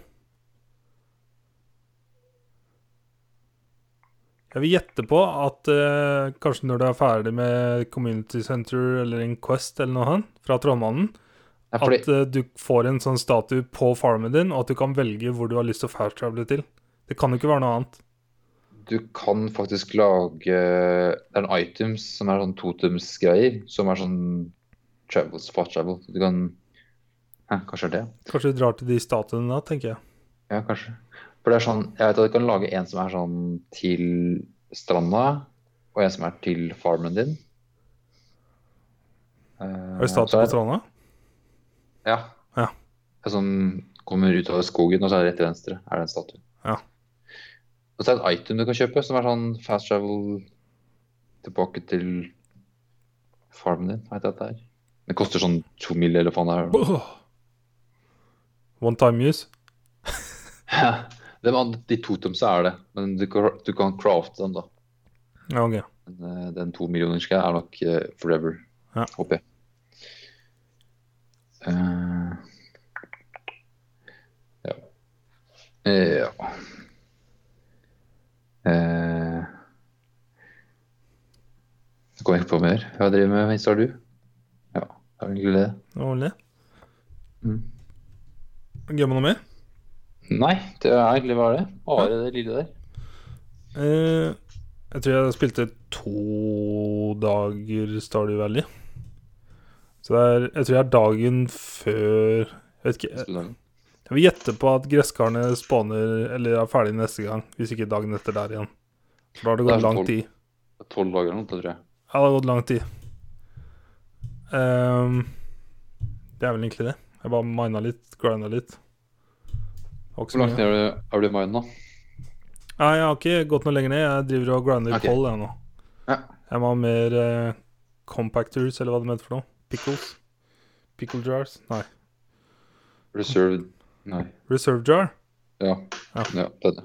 Jeg vil gjette på at eh, kanskje når du er ferdig med Community Center eller en Quest eller noe sånt fra Trollmannen,
Nei, fordi,
At eh, du får en sånn statue på farmen din, og at du kan velge hvor du har lyst til å fast-travele til. Det kan jo ikke være noe annet.
du kan faktisk lage Det er en items som er sånn totems-greier, som er sånn travel, spot travel. Du kan Hæ, kanskje det?
Kanskje du drar til de statuene da, tenker jeg.
Ja, kanskje. For det er sånn Jeg vet at du kan lage en som er sånn til stranda, og en som er til farmen din.
Har du statue på stranda?
Ja.
Ja.
Det Som kommer ut av skogen, og så er det rett til venstre. Er det en statue.
Ja.
Og så er det et item du kan kjøpe, som er sånn fast travel tilbake til farmen din. Vet jeg at det er. Det koster sånn to mil eller faen det er.
Åh. One time use?
De, andre- de totemsa er det, men du kan, du kan crafte dem, da.
Ja, ok.
Men eh, den to millionerske er nok eh, forever,
Ja.
håper jeg. Eh, ja. Eh, ja. Eh, jeg kommer ikke på mer. Hva driver du med, Vince, har du? Ja, det er egentlig det.
Det var vel det.
Mm.
Gøy med noe mer?
Nei, det er egentlig bare det. Bare det lille der.
Eh, jeg tror jeg spilte to dager Stardew Valley. Så det er, jeg tror jeg er dagen før Jeg vet ikke.
Studenten.
Jeg vil gjette på at gresskarene spawner eller er ferdig neste gang, hvis ikke dagen etter der igjen. For da har det
Det er
gått
så
lang
tolv.
tid.
Tolv dager eller noe, tror jeg.
Ja, det har gått lang tid. Ehm, det er vel egentlig det. Jeg bare mina litt, grinda litt. Det var ikke så
Hvor langt
mye.
ned er du- er du i mine, da?
Nei, jeg har ikke gått noe lenger ned. Jeg driver og grinder i
Ok.
poll, jeg nå.
Ja.
Jeg må ha mer eh, compactors, eller hva det mente for noe. Pickles. Pickle jars. Nei.
Reserved Nei.
Reserve jar.
Ja.
Ja.
ja det er det.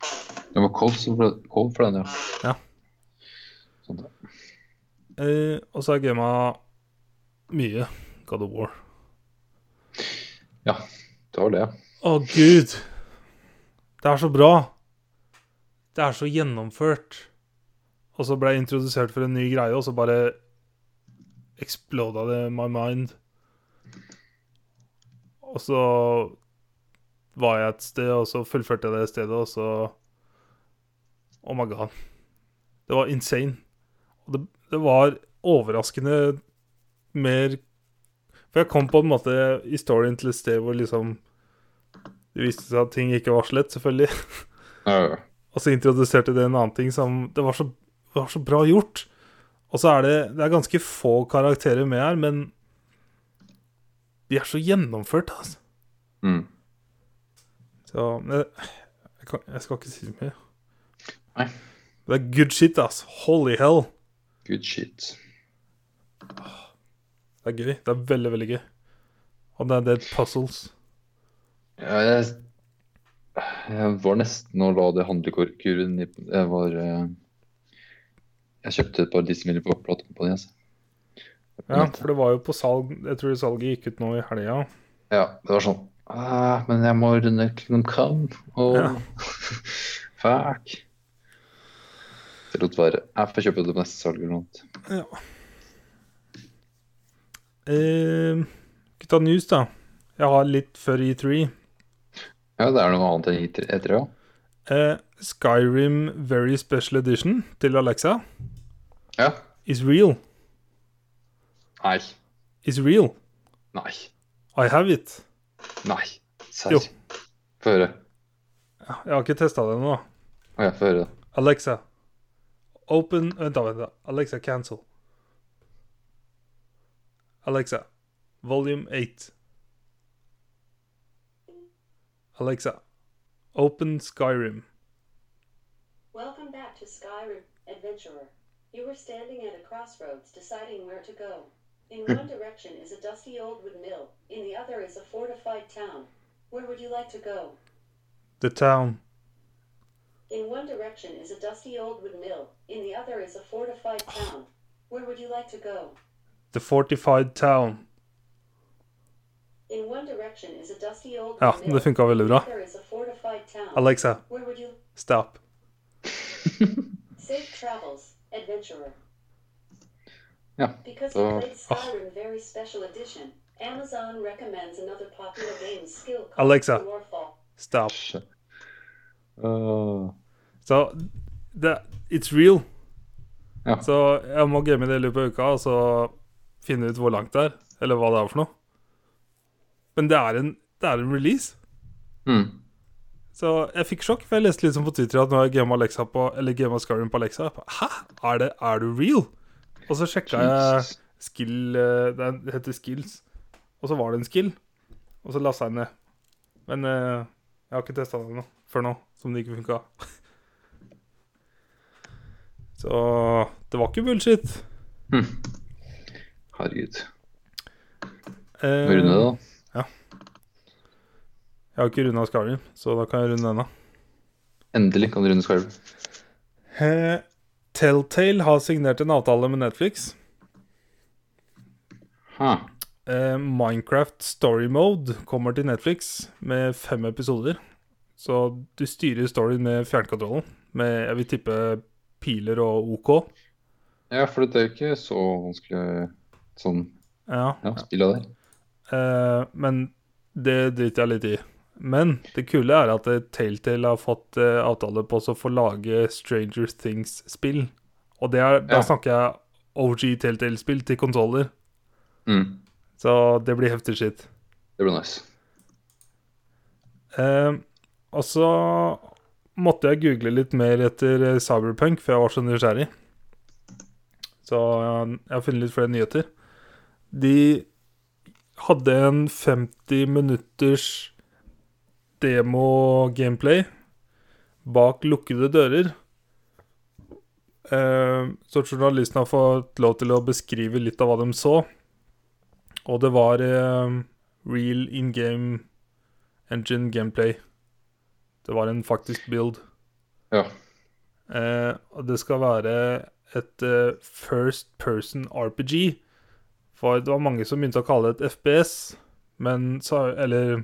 Det var cold, så ble cold for den, ja.
Ja.
Sånn, da.
Eh, og så har jeg gama mye God of War.
ja. Du har det, ja.
Å, gud! Det er så bra! Det er så gjennomført. Og så ble jeg introdusert for en ny greie, og så bare exploda det my mind. Og så var jeg et sted, og så fullførte jeg det stedet, og så Oh my god. Det var insane. Og det, det var overraskende mer For jeg kom på en måte i storyen til et sted hvor liksom det viste seg at ting ikke var slett, selvfølgelig. <laughs>
Ja, ja, ja.
Og så introduserte det en annen ting som Det var så, det var så bra gjort. Og så er det Det er ganske få karakterer med her, men de er så gjennomførte, altså.
Mm.
Så jeg, jeg, kan, jeg skal ikke si så mye.
Nei.
Det er good shit, ass. Holy hell.
Good shit.
Det er gøy. Det er veldig, veldig gøy. Og det er det puzzles.
Ja, jeg, jeg var nesten å la det handlekurven i Jeg var eh, Jeg kjøpte et par dieselbiler på platekompaniet. Altså.
Ja, for det var jo på salg Jeg tror salget gikk ut nå i helga.
Ja, det var sånn ah, Men jeg må runde Kingdom Come, og
Ja.
<laughs> Fuck. Det lot være. Jeg får kjøpe det på neste salg eller noe. annet.
Ja. Eh, gutta news, da. Jeg har litt før E E3.
Ja, det er noe annet enn E E3, E3 ja.
Eh, Skyrim Very Special Edition til Alexa
ja.
is real.
Nei.
Is real.
Nei.
I have it.
Nei.
Jo.
Serr. Få høre.
Jeg har ikke testa det ennå.
Å ja, få <laughs> høre.
Alexa, open Vent, da. vent da. Alexa, cancel. Alexa, volume 8. Alexa, open Skyrim.
Welcome back to Skyrim, adventurer. You were standing at a crossroads deciding where to go. In
<laughs>
one direction is a dusty old wood mill, in the other is a fortified town. Where would you like to go?
The town.
In one direction is a dusty old wood mill, in the other is a fortified town. Where would you like to go?
The fortified town.
In one direction is a dusty old
Ja,
wood mill.
det funka veldig bra.
There is a fortified town.
Alexa,
Where would you
stop.
safe travels, adventurer?
det. Ja.
Because
Da-
you played Skyrim Very Special Edition, Amazon recommends another popular game skill called
Alexa.
Warfall.
Stop.
Shit. Åh.
Så det, it's real.
Ja.
Så jeg må game det i løpet av uka og så finne ut hvor langt det er, eller hva det er for noe. Men det er en, det er en release.
Mm.
Så jeg fikk sjokk, for jeg leste liksom på Twitter at nå har jeg gama Alexa på Eller gama Skyrim på Alexa. Jeg ba, Hæ? Er det Er du real? Og så sjekka jeg
Jesus.
skill eh, Det er- det heter skills. Og så var det en skill, og så lasta jeg den ned. Men eh, jeg har ikke testa den ennå, før nå, som det ikke funka. <laughs> så det var ikke bullshit.
mm. Herregud.
Eh,
Må runde det, da.
jeg har ikke runda Skyrim, så da kan jeg runde denne.
Endelig kan du runde Skyrim.
Eh, Telltale har signert en avtale med Netflix.
Hæ.
Eh, Minecraft Story Mode kommer til Netflix med fem episoder. Så du styrer storyen med fjernkontrollen. Med, jeg vil tippe, piler og OK.
Ja, for det er jo ikke så vanskelig sånn
Ja.
ja, spilla der.
Eh, men det driter jeg litt i. Men det kule er at eh, Telltale har fått eh, avtale på å få lage Stranger Things-spill. Og det er,
Ja.
da snakker jeg OG Telltale-spill til konsoller.
Mm.
Så det blir heftig skitt.
Det blir nice.
Eh, og så måtte jeg google litt mer etter eh, Cyberpunk, for jeg var så nysgjerrig. så jeg har funnet litt flere nyheter. De hadde en 50 minutters demo-gameplay bak lukkede dører. Eh, Så journalisten har fått lov til å beskrive litt av hva de så. Og det var eh, real in game engine gameplay. Det var en faktisk build.
Ja.
Eh, og det skal være et eh, first person RPG. For det var mange som begynte å kalle det et FPS, men så Eller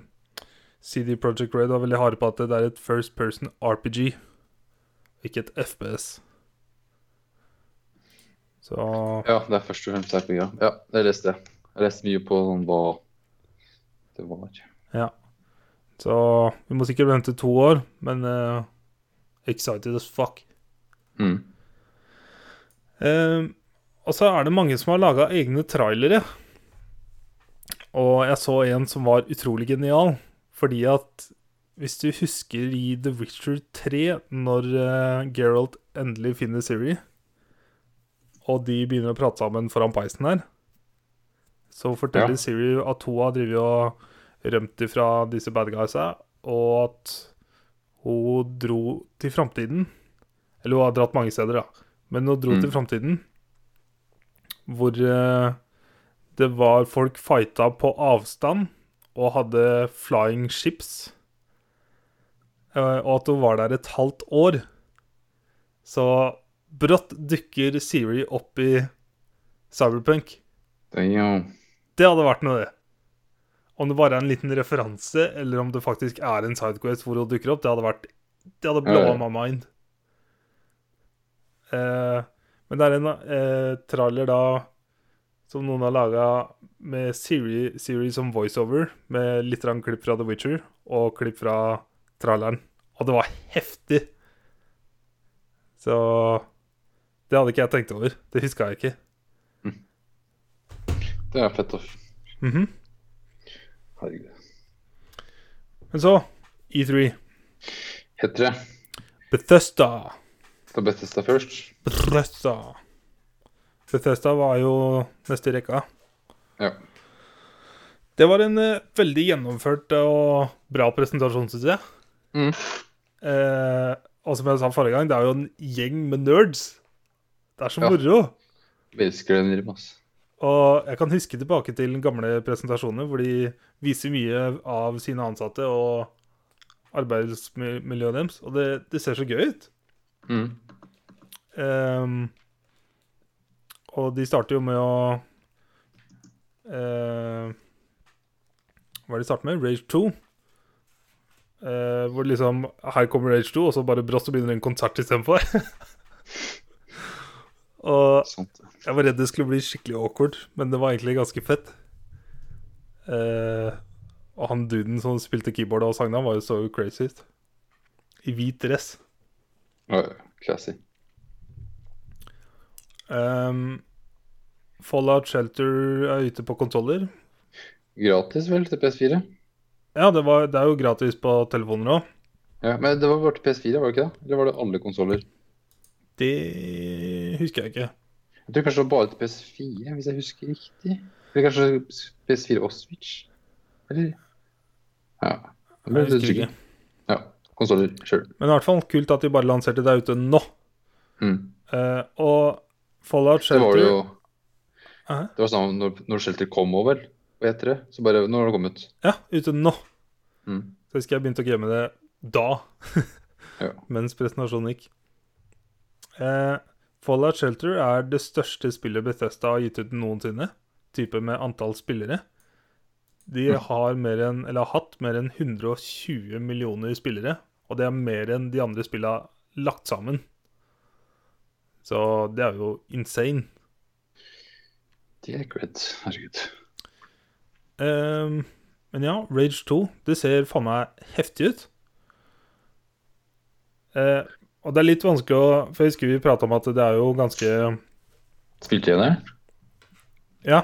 CD Project Red var veldig harde på at det er et first person RPG, ikke et FPS. Så
Ja, det er først og fremst RPG. ja. Ja, jeg leste det. Jeg leste mye på sånn hva det var.
Så vi må sikkert vente to år, men eh, excited as fuck.
Mm.
Eh, og så er det mange som har laga egne trailere. Og jeg så en som var utrolig genial, fordi at hvis du husker i The Witcher 3, når eh, Geralt endelig finner Siri, og de begynner å prate sammen foran peisen her, så forteller
Ja.
Siri at hun har drevet og rømt ifra disse bad guysa, og at hun dro til framtiden. Eller hun har dratt mange steder, da. Men hun dro
Mm.
til framtiden, hvor eh, det var folk fighta på avstand og hadde flying ships. Eh, og at hun var der et halvt år. Så brått dukker Siri opp i Cyberpunk.
Damn.
Det hadde vært noe, det. Om det bare er en liten referanse, eller om det faktisk er en sidequest hvor hun dukker opp, det hadde vært Det hadde blowa
Ja, ja.
my mind. Eh, men det er en eh, trailer da som noen har laga med Siri, Siri som voiceover, med litt grann klipp fra The Witcher og klipp fra traileren. Og det var heftig! Så Det hadde ikke jeg tenkt over. Det huska jeg ikke.
Det er fett. Off.
Mhm.
Herregud.
Men så E E3.
Heter det
Bethesda.
Det Bethesda først?
Bethesda. Bethesda var jo neste i rekka.
Ja.
Det var en eh, veldig gjennomført og bra presentasjon, syns jeg.
Mm.
Eh, og som jeg sa forrige gang, det er jo en gjeng med nerds. Det er så
Ja.
moro.
Jeg elsker den rimen, ass.
Og jeg kan huske tilbake til gamle presentasjoner hvor de viser mye av sine ansatte og arbeidsmiljøet deres, og det, det ser så gøy ut.
Mm.
Ehm, og de starter jo med å eh, Hva er det de starter med? Rage 2. Eh, hvor det liksom Her kommer Rage 2, og så bare brått så begynner en konsert istedenfor. <laughs> og
Sant.
jeg var redd det skulle bli skikkelig awkward, men det var egentlig ganske fett. Eh, og han duden som spilte keyboard og sang, han var jo så crazy ut. I hvit dress.
Ja, ja. Classy.
Ehm, Fallout Shelter er ute på konsoller.
Gratis, vel, til PS4?
Ja, det, var, det er jo gratis på telefoner òg.
Ja, Men det var bare til PS4, var det ikke det? Eller var det alle konsoller?
Det husker jeg ikke.
Jeg tror kanskje det var bare til PS4, hvis jeg husker riktig. Eller kanskje PS4 og Switch? Eller Ja. Jeg ble
Jeg
litt
husker
usikker.
ikke.
Ja. Konsoller, sure.
Men i hvert fall kult at de bare lanserte det ute nå.
Mm.
Eh, og Fallout
Det
Shelter
var det jo
Hæ?
Det var sånn når, når Shelter kom over, og etter det, så bare Nå har det kommet.
Ja, ute nå.
Mm.
Så husker jeg begynte å game det da. <laughs>
Ja.
Mens presentasjonen gikk. Eh, Fallout Shelter er det største spillet Bethesda har gitt ut noensinne. Type med antall spillere.
Mm.
De har, mer enn, eller har hatt mer enn 120 millioner spillere. Og det er mer enn de andre spillene lagt sammen. Så det er jo insane.
Det er cred. Herregud.
Ehm, men ja, Rage 2, det ser faen meg heftig ut. Eh, og det er litt vanskelig å For jeg husker vi prata om at det er jo ganske
Spilte jeg det?
Ja.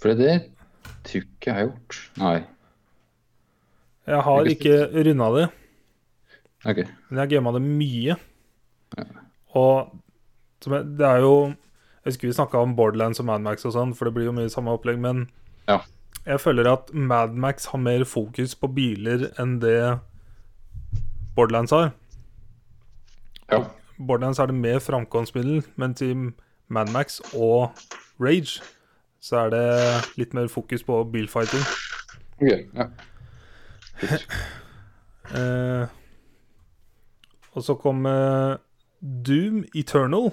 For det tror ikke jeg har gjort. Nei.
Jeg har ikke runda det,
OK.
men jeg har gama det mye. Og Som er, det er jo Jeg husker vi snakka om Borderlands og Madmax og sånn, for det blir jo mye samme opplegg, men
Ja.
jeg føler at Madmax har mer fokus på biler enn det Borderlands har.
Ja.
Borderlands er det mer framkomstmiddel, men til Madmax og Rage så er det litt mer fokus på bilfighting.
Ok, ja.
Eh, og så kom eh, Doom Eternal.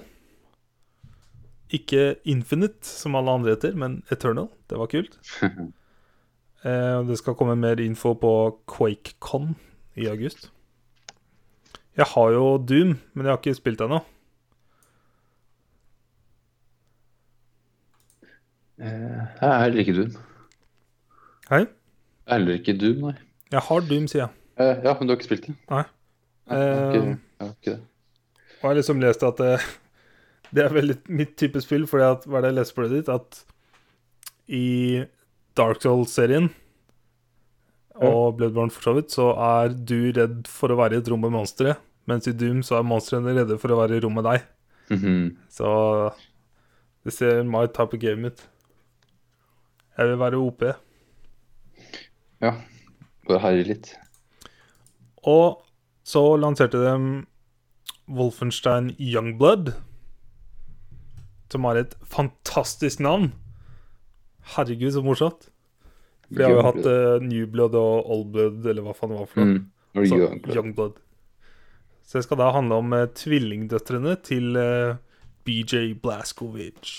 Ikke Infinite, som alle andre heter, men Eternal. Det var kult. Eh, og det skal komme mer info på QuakeCon i august. Jeg har jo Doom, men jeg har ikke spilt ennå.
Eh,
Jeg er heller ikke Doom.
Hei?
Jeg er heller ikke Doom, nei.
Jeg har Doom, sier jeg.
Eh, ja, men du har ikke spilt det?
Nei.
Nei, jeg
Eh,
har ikke, jeg har ikke det.
Og jeg har liksom lest at det, det er veldig mitt type spill, fordi at, hva er det jeg leste på Reddit? At i Dark Souls-serien, og Bloodborne for så vidt, så er du redd for å være i et rom med monstre, mens i Doom så er monstrene redde for å være i rom med deg.
Mm-hmm.
mhm.
Så det ser my type of game ut. Jeg vil være OP.
Ja. Bare herje litt.
Og så lanserte de Wolfenstein Youngblood, som har et fantastisk navn. Herregud, så morsomt. For de har jo hatt eh, New Blood og Old Blood, eller hva faen det var for noe.
mm. Når du
Så,
gjør det.
Youngblood. Så det skal da handle om eh, tvillingdøtrene til eh, BJ Blaskovic.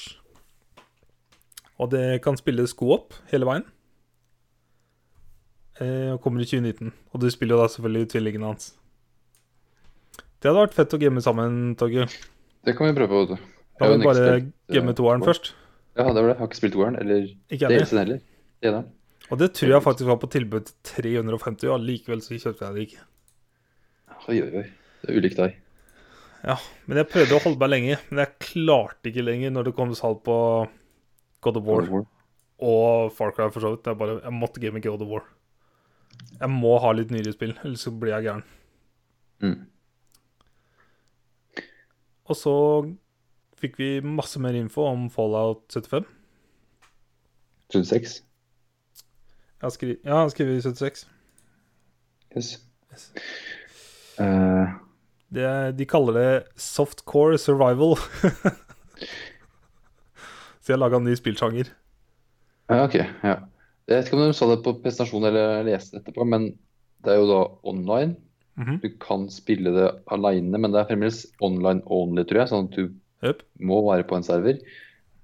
Og det kan spilles co-op hele veien. Eh, og kommer i 2019. Og du spiller jo da selvfølgelig tvillingene hans. Det hadde vært fett å game sammen, Torgeir.
det kan vi prøve. vet du. Jeg
Da
har
må
jo
vi bare
ikke spilt, eh,
game toeren
Warren.
først.
Ja, det var det. Jeg har ikke spilt Warren, eller
Ikke jeg heller.
DLC-en heller. Det er det.
Og det tror jeg faktisk var på tilbud til 350, og allikevel så kjøpte jeg det ikke.
Oi, oi, oi. Det er ulikt deg.
Ja, men jeg prøvde å holde meg lenge, men jeg klarte ikke lenger når det kom salg på God of War
Warren.
og Far Cry for så vidt. Jeg, bare, jeg måtte game God of War. Jeg må ha litt nyere spill, ellers så blir jeg gæren.
Mm.
Og så fikk vi masse mer info om Fallout 75.
36.
Jeg har skri- ja, jeg har skrevet 76.
Yes.
Yes.
Eh,
Det, er- de kaller det softcore survival. <laughs> så jeg laga en ny spillsjanger.
ja, ok. Ja. Jeg vet ikke om de sa det på presentasjonen eller jeg leste det etterpå, men det er jo da online.
Mhm.
Du kan spille det aleine, men det er fremdeles online only, tror jeg. Sånn at du
Jøp.
må være på en server.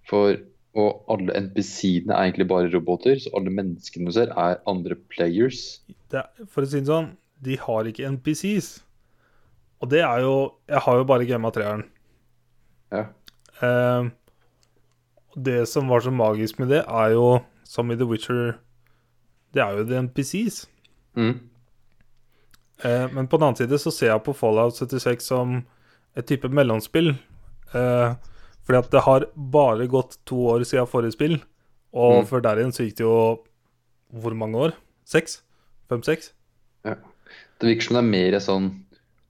For, og alle NPC-ene er egentlig bare roboter, så alle menneskene du ser, er andre players.
det, er- For å si det sånn, de har ikke NPCs. Og det er jo Jeg har jo bare gamma treeren.
Ja.
Eh, og det som var så magisk med det, er jo, som i The Witcher Det er jo de NPCs.
Mm.
Eh, men på den annen side så ser jeg på Fallout 76 som et type mellomspill. Eh, fordi at det har bare gått to år siden forrige spill, og
Mm.
før der igjen så gikk det jo Hvor mange år? Seks? Fem-seks?
Det virker som det er mer sånn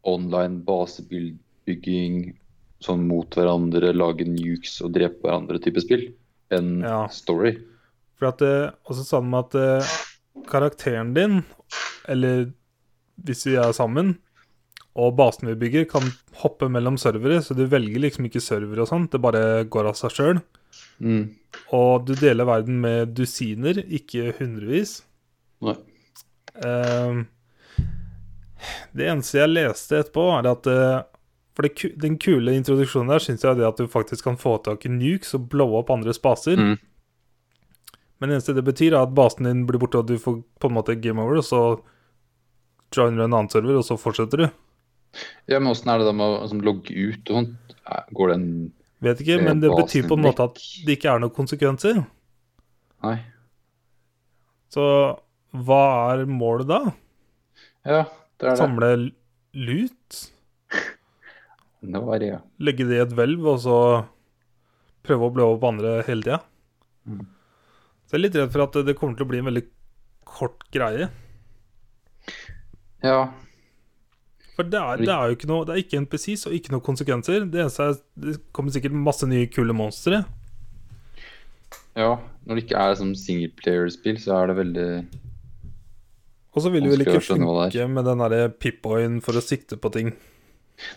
online basebygging, sånn mot hverandre, lage nukes og drepe hverandre-type spill, enn
Ja.
story.
For at eh, Og så sa de at eh, karakteren din, eller hvis vi er sammen, og basen vi bygger, kan hoppe mellom servere, så du velger liksom ikke server og sånt, det bare går av seg sjøl.
Mm.
Og du deler verden med dusiner, ikke hundrevis.
Nei.
Ehm, det eneste jeg leste etterpå, er at eh, For det, ku- den kule introduksjonen der syns jeg er det at du faktisk kan få tak i nukes og blowe opp andres baser.
Mm.
Men det eneste det betyr, er at basen din blir borte, og du får på en måte game over, og så joiner du en annen server, og så fortsetter du.
Ja, men åssen er det da med å liksom, logge ut og sånt? Er- Går det en
Vet ikke,
Eh,
men det
basen
betyr på en
vekk.
måte at det ikke er noen konsekvenser.
Nei.
Så hva er målet da?
Ja, det er det.
Samle l- lut?
Det var det, ja.
Legge det i et hvelv, og så prøve å blå opp andre hele tida?
Mm.
Så jeg er litt redd for at det kommer til å bli en veldig kort greie.
Ja.
For det er, det er jo ikke noe Det er ikke NPCs og ikke noe konsekvenser. Det eneste er Det kommer sikkert masse nye kule monstre.
Ja, når det ikke er som singleplayerspill, så er det veldig
Og så vil du vel
Vanskelig
ikke
å skjønne hva det er.
funke med den derre pip-oyen for å sikte på ting.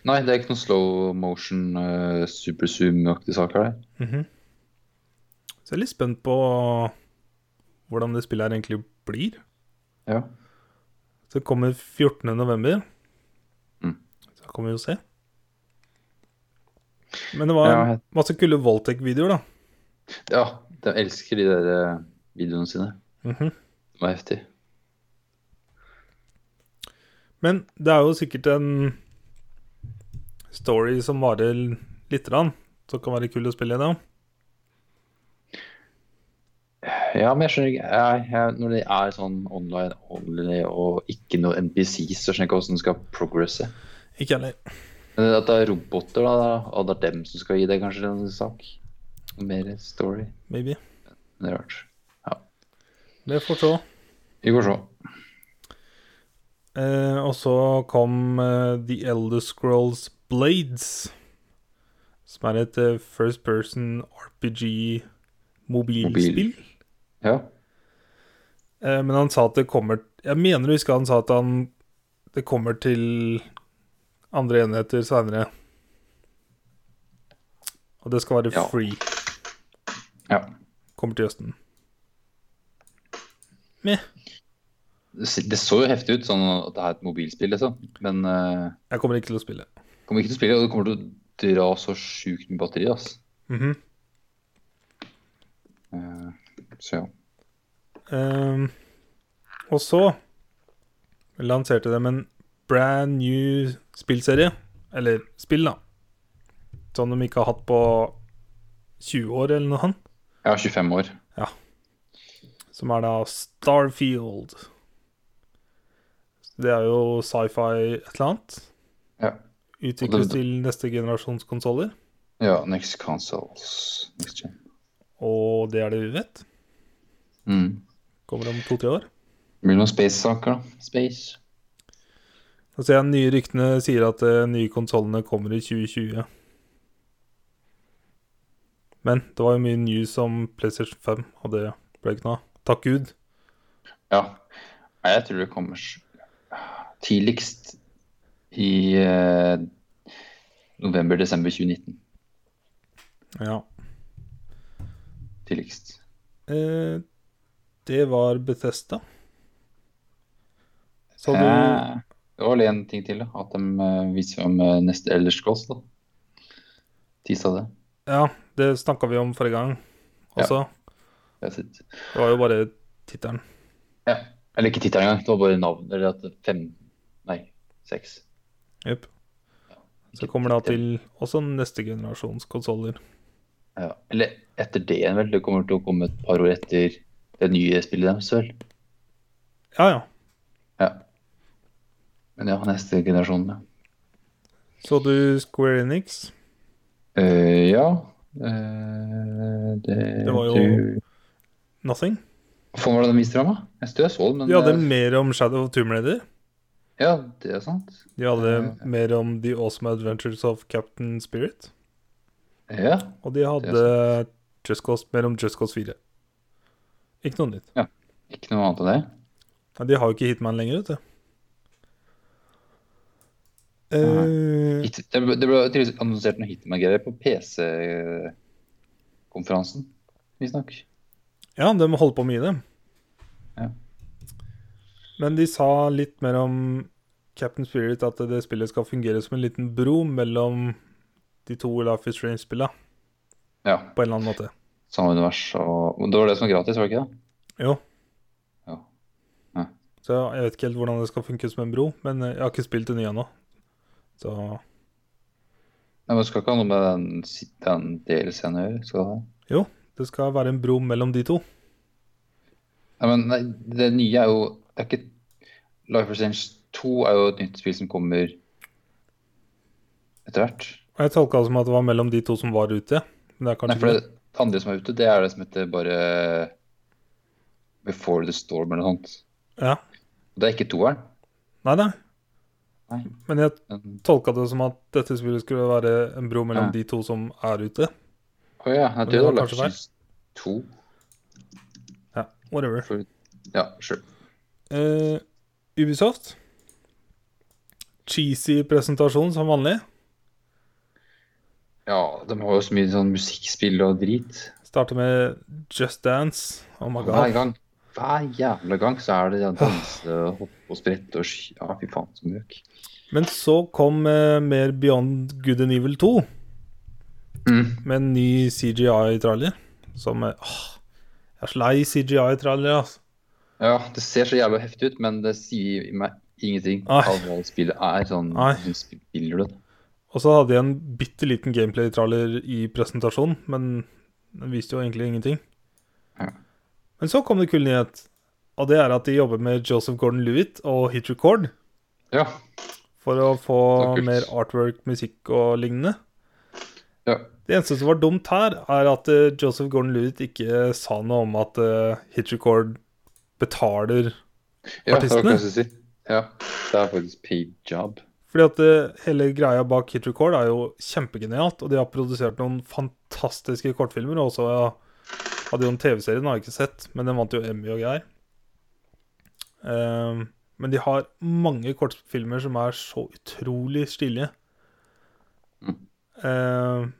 Nei, det er ikke noe slow motion, eh, super zoom-aktige saker der.
Mhm. Så jeg er litt spent på hvordan det spillet her egentlig blir.
Ja.
Så det kommer 14. november.
Mm.
Så da kommer vi jo se. Men det var
Ja, jeg-
masse kule Voltec-videoer, da.
ja, de elsker de der eh, videoene sine.
Mhm.
De er heftige.
Men det er jo sikkert en story som varer l- lite grann, som kan være kul å spille i det.
Ja, men jeg skjønner ikke jeg, jeg, Når det er sånn online only og ikke noe NPC, så skjønner jeg ikke hvordan det skal progresse.
Ikke heller.
Men at det er roboter, da, og det er dem som skal gi deg kanskje en sak. Mer story.
Maybe.
Det er rart.
Det får så.
Vi får se.
Eh, og så kom eh, The Elder Scrolls Blades, som er et eh, first person RPG-mobilspill.
Mobil. Ja.
Eh, men han sa at det kommer Jeg mener å huske han sa at han det kommer til andre enheter seinere. Og det skal være
Ja.
free.
ja.
Kommer til høsten.
Det se- det så jo heftig ut, sånn at det er et mobilspill, liksom. Men eh,
Jeg kommer ikke til å spille.
kommer ikke til å spille, og det kommer til å dra så sjukt med batteri, ass.
Mhm.
Eh, så ja.
Ehm, og så lanserte de en brand new spillserie. Eller spill, da. Som de ikke har hatt på 20 år, eller noe annet.
Jeg er 25 år.
Som er da Starfield. Det er jo sci-fi et eller annet.
Ja.
Utvikles
Og det-
til neste generasjons konsoller.
ja next consoles. Next gen.
Og det er det vi vet.
Mm.
Kommer om to-tre år.
Blir det noen space-saker, da? Space.
Så ser jeg nye ryktene sier at de nye konsollene kommer i 2020. Men det var jo mye news om PlayStation 5, og det ble ikke noe av. Takk Gud.
Ja. Nei, jeg tror det kommer s- tidligst i eh, november-desember 2019.
Ja.
Tidligst.
Eh, det var Bethesda. Så du
Eh, Det var vel en ting til, da. At de eh, viser frem eh, neste Elders Cross, da. Tisa det.
Ja, det snakka vi om forrige gang også.
Jeg har sett.
Det var jo bare tittelen.
Ja. Eller ikke tittelen engang. Det var bare navn. Eller at det- fem Nei, seks.
Jepp. Så kommer det da til også neste generasjons konsoller.
Ja. Eller etter det igjen, vel. Det kommer til å komme et par år etter det nye spillet deres, vel.
Ja, ja.
Ja. Men ja, neste generasjon, ja.
Så du Square Enix?
Eh, ja. Eh, det,
Det var jo-
du-
Nothing?
Faen, hva var det de viste frem, da? Jeg tror jeg så den, men
De hadde
eh,
mer om Shadow of Tomb Raider.
ja, det er sant.
De hadde
Eh.
mer om The Awesome Adventures of Captain Spirit.
Ja.
Og de hadde Just Cause, mer om Just Cause 4. Ikke noe nytt.
Ikke noe annet enn det.
Nei, De har jo ikke Hitman lenger, vet du. Eh,
Hit, det ble, det ble tydeligvis annonsert noe Hitman-greier på PC-konferansen, visstnok.
ja, de holder på mye, dem.
Ja.
Men de sa litt mer om Captain Spirit, at det spillet skal fungere som en liten bro mellom de to Life is Strange-spillene,
Ja.
på en eller annen måte.
Samme univers og men Det var det som var gratis, var det ikke det?
Jo.
Ja. Ja.
Så jeg vet ikke helt hvordan det skal funke som en bro, men eh, jeg har ikke spilt det nye ennå. Så
Nei, men skal ikke ha noe med den, den DLC-en å gjøre? Skal det?
jo, det skal være en bro mellom de to.
Nei, men nei, det nye er jo det er ikke, Life is Strange 2 er jo et nytt spill som kommer etter hvert.
Og jeg tolka det som at det var mellom de to som var ute. Men det er
Nei,
kanskje
for det andre som er ute, det er det som heter bare Before the Storm eller noe sånt.
ikke det. Ja.
Og det er ikke toeren.
Nei, nei.
Nei.
Men jeg
Den-
tolka det som at dette spillet skulle være en bro mellom
Ja.
de to som er ute.
Å ja, jeg
det
tror det var
var kanskje
Lachis 2.
Ja, whatever.
For, ja, sure.
Eh, Ubisoft. Cheesy presentasjon som vanlig.
Ja, de har jo så mye sånn musikkspill og drit.
Starter med Just Dance. Oh my
Hver
god.
gang. Hver jævla gang så er det den danse, hoppe og sprette og sky. Ja, fy faen, som røk.
Men så kom eh, mer Beyond Good and Evil 2
Mm.
med en ny CGI-trailer. Som eh, Åh, jeg er så lei CGI-trailer, altså.
Ja, det ser så jævla heftig ut, men det sier meg ingenting
Nei.
av hva spillet er. Sånn,
Nei.
hvordan spiller du det?
Og så hadde jeg en bitte liten gameplay-trailer i presentasjonen, men den viste jo egentlig ingenting.
Ja.
Men så kom det kul nyhet, og det er at de jobber med Joseph Gordon-Lewitt og Hit Record
Ja.
for å få
Det er kult.
mer artwork, musikk og lignende.
Ja.
Det eneste som var dumt her, er at eh, Joseph Gordon-Lewitt ikke sa noe om at eh, Hit Record betaler
ja det
Artistene?
var hva jeg skulle si. Ja, det er faktisk paid job.
Fordi at eh, hele greia bak Hit Record er jo kjempegenialt, og de har produsert noen fantastiske kortfilmer. Og så ja, hadde jo en TV-serie, den har jeg ikke sett, men den vant jo Emmy og greier. Ehm, men de har mange kortfilmer som er så utrolig stilige.
Mm.
Ehm,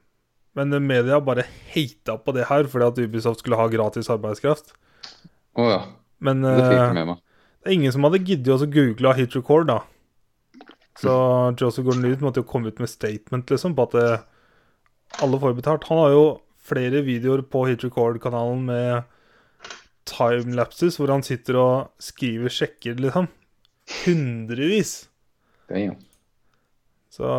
men media bare hata på det her fordi at Ubisoft skulle ha gratis arbeidskraft.
Å ja.
Men
Det fikk
eh,
jeg med meg.
det er ingen som hadde giddet å google hit record, da. Så Joseph Gordon-Lewitt måtte jo komme ut med statement liksom, på at eh, alle får betalt. Han har jo flere videoer på hit record-kanalen med timelapses, hvor han sitter og skriver sjekker, liksom. Hundrevis.
Damn.
Så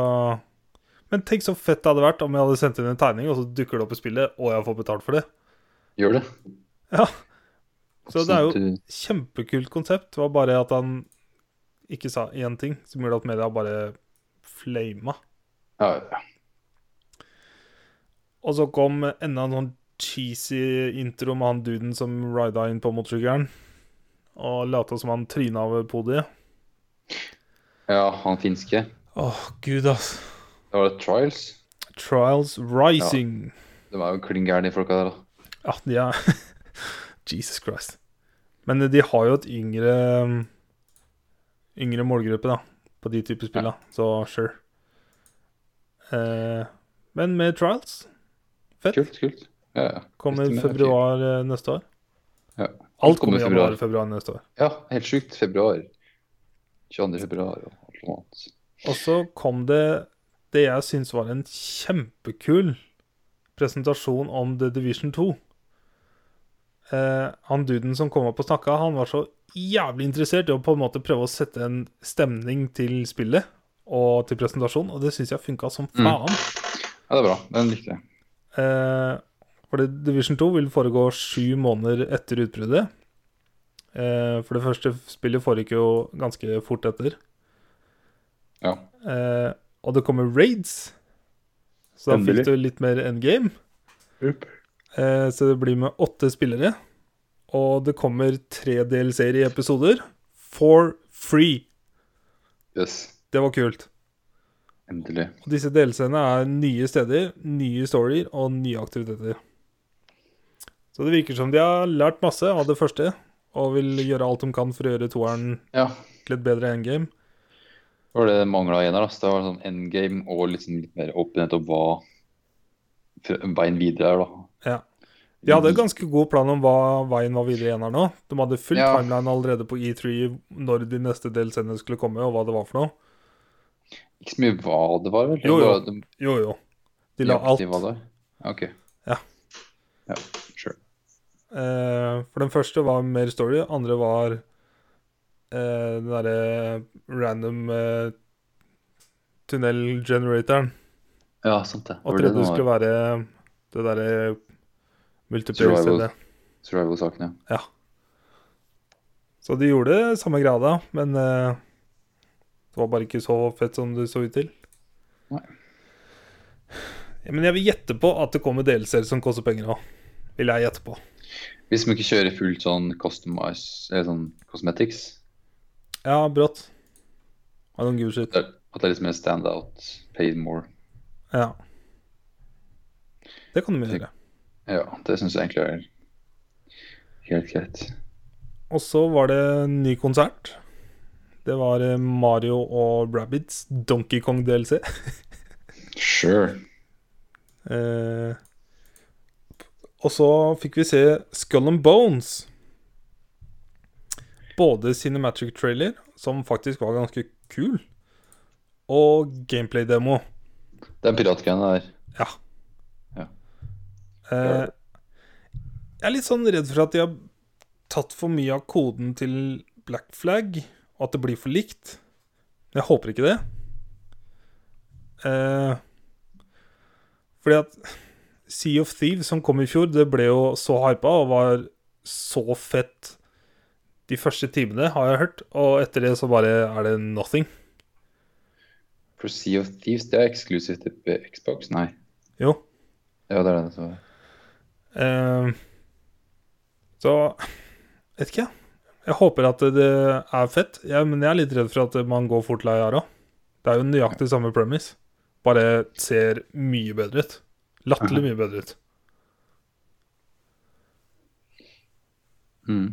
Men tenk så fett det hadde vært om jeg hadde sendt inn en tegning, og så dukker det opp i spillet, og jeg får betalt for det.
Gjør det.
Ja. Så det er jo-
Sånn at du-
Kjempekult konsept. Det var bare at han ikke sa én ting, som gjorde at media bare flama.
Ja, ja.
Og så kom enda en sånn cheesy intro med han duden som rida inn på motorsykkelen. Og lata som han tryna over podiet.
ja, han finske.
Åh, gud, ass.
Det var det Trials.
Trials Rising.
De er jo klin gærne, de folka der, da.
Ja, de er <laughs> Jesus Christ. Men de har jo et yngre um, Yngre målgruppe, da, på de typer spilla, så sure. Eh, men med trials Fett.
Kult, kult. Ja, ja.
Kommer
Litt mer, ok.
februar eh, neste år.
Ja.
Alt kommer i
Kommer i
januar februar neste år.
ja helt sjukt. Februar. 22. februar og alt sånt annet.
Og så kom det det jeg syns var en kjempekul presentasjon om The Division 2. Eh, han duden som kom opp og snakka, han var så jævlig interessert i å på en måte prøve å sette en stemning til spillet og til presentasjonen, og det syns jeg funka som faen.
Ja, det er bra. Den likte jeg.
Eh, for det, Division 2 vil foregå sju måneder etter utbruddet. Eh, for det første spillet foregikk jo ganske fort etter.
Ja.
Eh, og det kommer raids, så da
Endelig.
fikk du litt mer endgame.
Jupp.
Eh, så det blir med åtte spillere. Og det kommer tre delserie episoder for free.
Yes.
Det var kult.
Endelig.
Og disse delscenene er nye steder, nye storyer og nye aktiviteter. Så det virker som de har lært masse av det første, og vil gjøre alt de kan for å gjøre toeren
Ja.
til et bedre endgame.
Det var det det mangla igjen her. da. Så Det var sånn endgame og liksom litt mer åpenhet om hva fr- veien videre er, da.
Ja. De hadde ganske god plan om hva veien var videre igjen her nå. De hadde full
Ja.
timeline allerede på E3 når de neste delscenene skulle komme, og hva det var for noe.
Ikke så mye hva det var, vel?
Jo, jo.
Bare at de-
Jo, jo. De la
nøyaktig
alt.
hva det var. Ja, OK.
Ja.
Ja, sure.
Eh, for den første var mer story, andre var eh, den derre random eh, tunnel-generatoren.
Ja, sant det. Det
Og
var det
tredje
den
skulle
var
være det derre multiplayer-stedet.
survival-saken, ja.
Så de gjorde det samme greia da, men eh, det var bare ikke så fett som det så ut til.
Nei.
Ja, Men jeg vil gjette på at det kommer delser som koster penger òg. Vil jeg gjette på.
Hvis man ikke kjører fullt sånn customize, eller sånn cosmetics
Ja, brått. I don't give a shit.
Det er- At det er liksom en standout, paid more.
Ja. Det kan de gjøre.
Ja, det syns jeg egentlig er helt greit.
Og så var det en ny konsert. Det var eh, Mario og Rabbids Donkey Kong DLC.
Sure.
Eh, og så fikk vi se Skull and Bones. Både Cinematic Trailer, som faktisk var ganske kul, og gameplay-demo.
Den piratgreiene der.
Ja.
Ja.
Eh, jeg er litt sånn redd for at de har tatt for mye av koden til Black Flag, og at det blir for likt. Men jeg håper ikke det. Eh, fordi at Sea of Thieves, som kom i fjor, det ble jo så hypa og var så fett de første timene, har jeg hørt. Og etter det så bare er det nothing.
For Sea of Thieves, det er eksklusivt til Xbox? Nei.
Jo.
Ja, det er det. Så.
Eh, så vet ikke, jeg. Jeg håper at det er fett, jeg, men jeg er litt redd for at man går fort lei av det. Det er jo nøyaktig samme premise, bare ser mye bedre ut. Latterlig mye bedre ut.
Mm.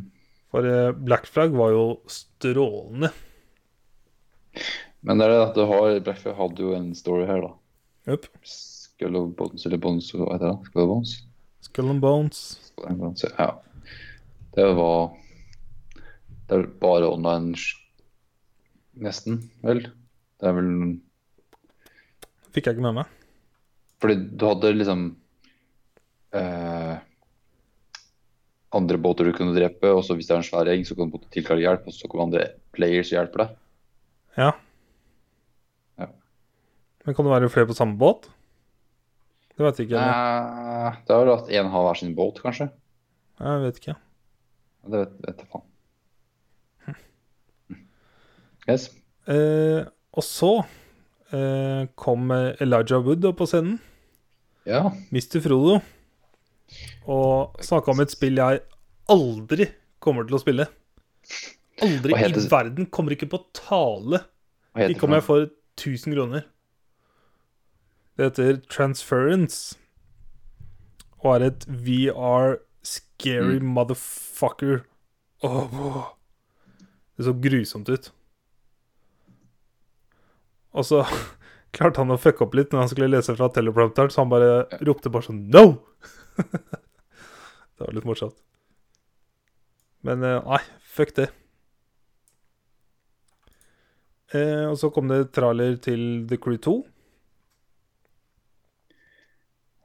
For eh, Black Flag var jo strålende.
Men det er det at du har Blackfire hadde jo en story her, da.
Jupp.
Skull of Bones eller Bones hva heter det? Skull of Bones?
Skull and Bones.
Skull and Bones, ja. Det var Det er bare online sj- Nesten, vel? Det er vel
Fikk jeg ikke med meg.
Fordi du hadde liksom eh, andre båter du kunne drepe, og så hvis det er en svær gjeng, så kan du tilkalle hjelp, og så kommer andre players og hjelper deg.
Ja.
Ja.
Men kan det være flere på samme båt? Det veit jeg ikke. eller?
Eh, det er vel at én har hver sin båt, kanskje?
Jeg vet ikke.
Det vet, vet jeg faen. Yes.
Eh, og så eh, kom eh, Elijah Wood opp på scenen,
Ja.
Mr. Frodo, og snakka om et spill jeg aldri kommer til å spille. Aldri
Hva
i
heter det?
verden. Kommer ikke på tale.
Hva heter
Ikke om
det
jeg får 1000 kroner. Det heter Transference. Og er et VR scary motherfucker. Åh, åh. Det så grusomt ut. Og så <laughs> klarte han å fucke opp litt når han skulle lese fra teleprompteren, så han bare ropte bare sånn No! <laughs> det var litt morsomt. Men eh, nei, fuck det. Eh, og så kom det trailer til The Crew 2.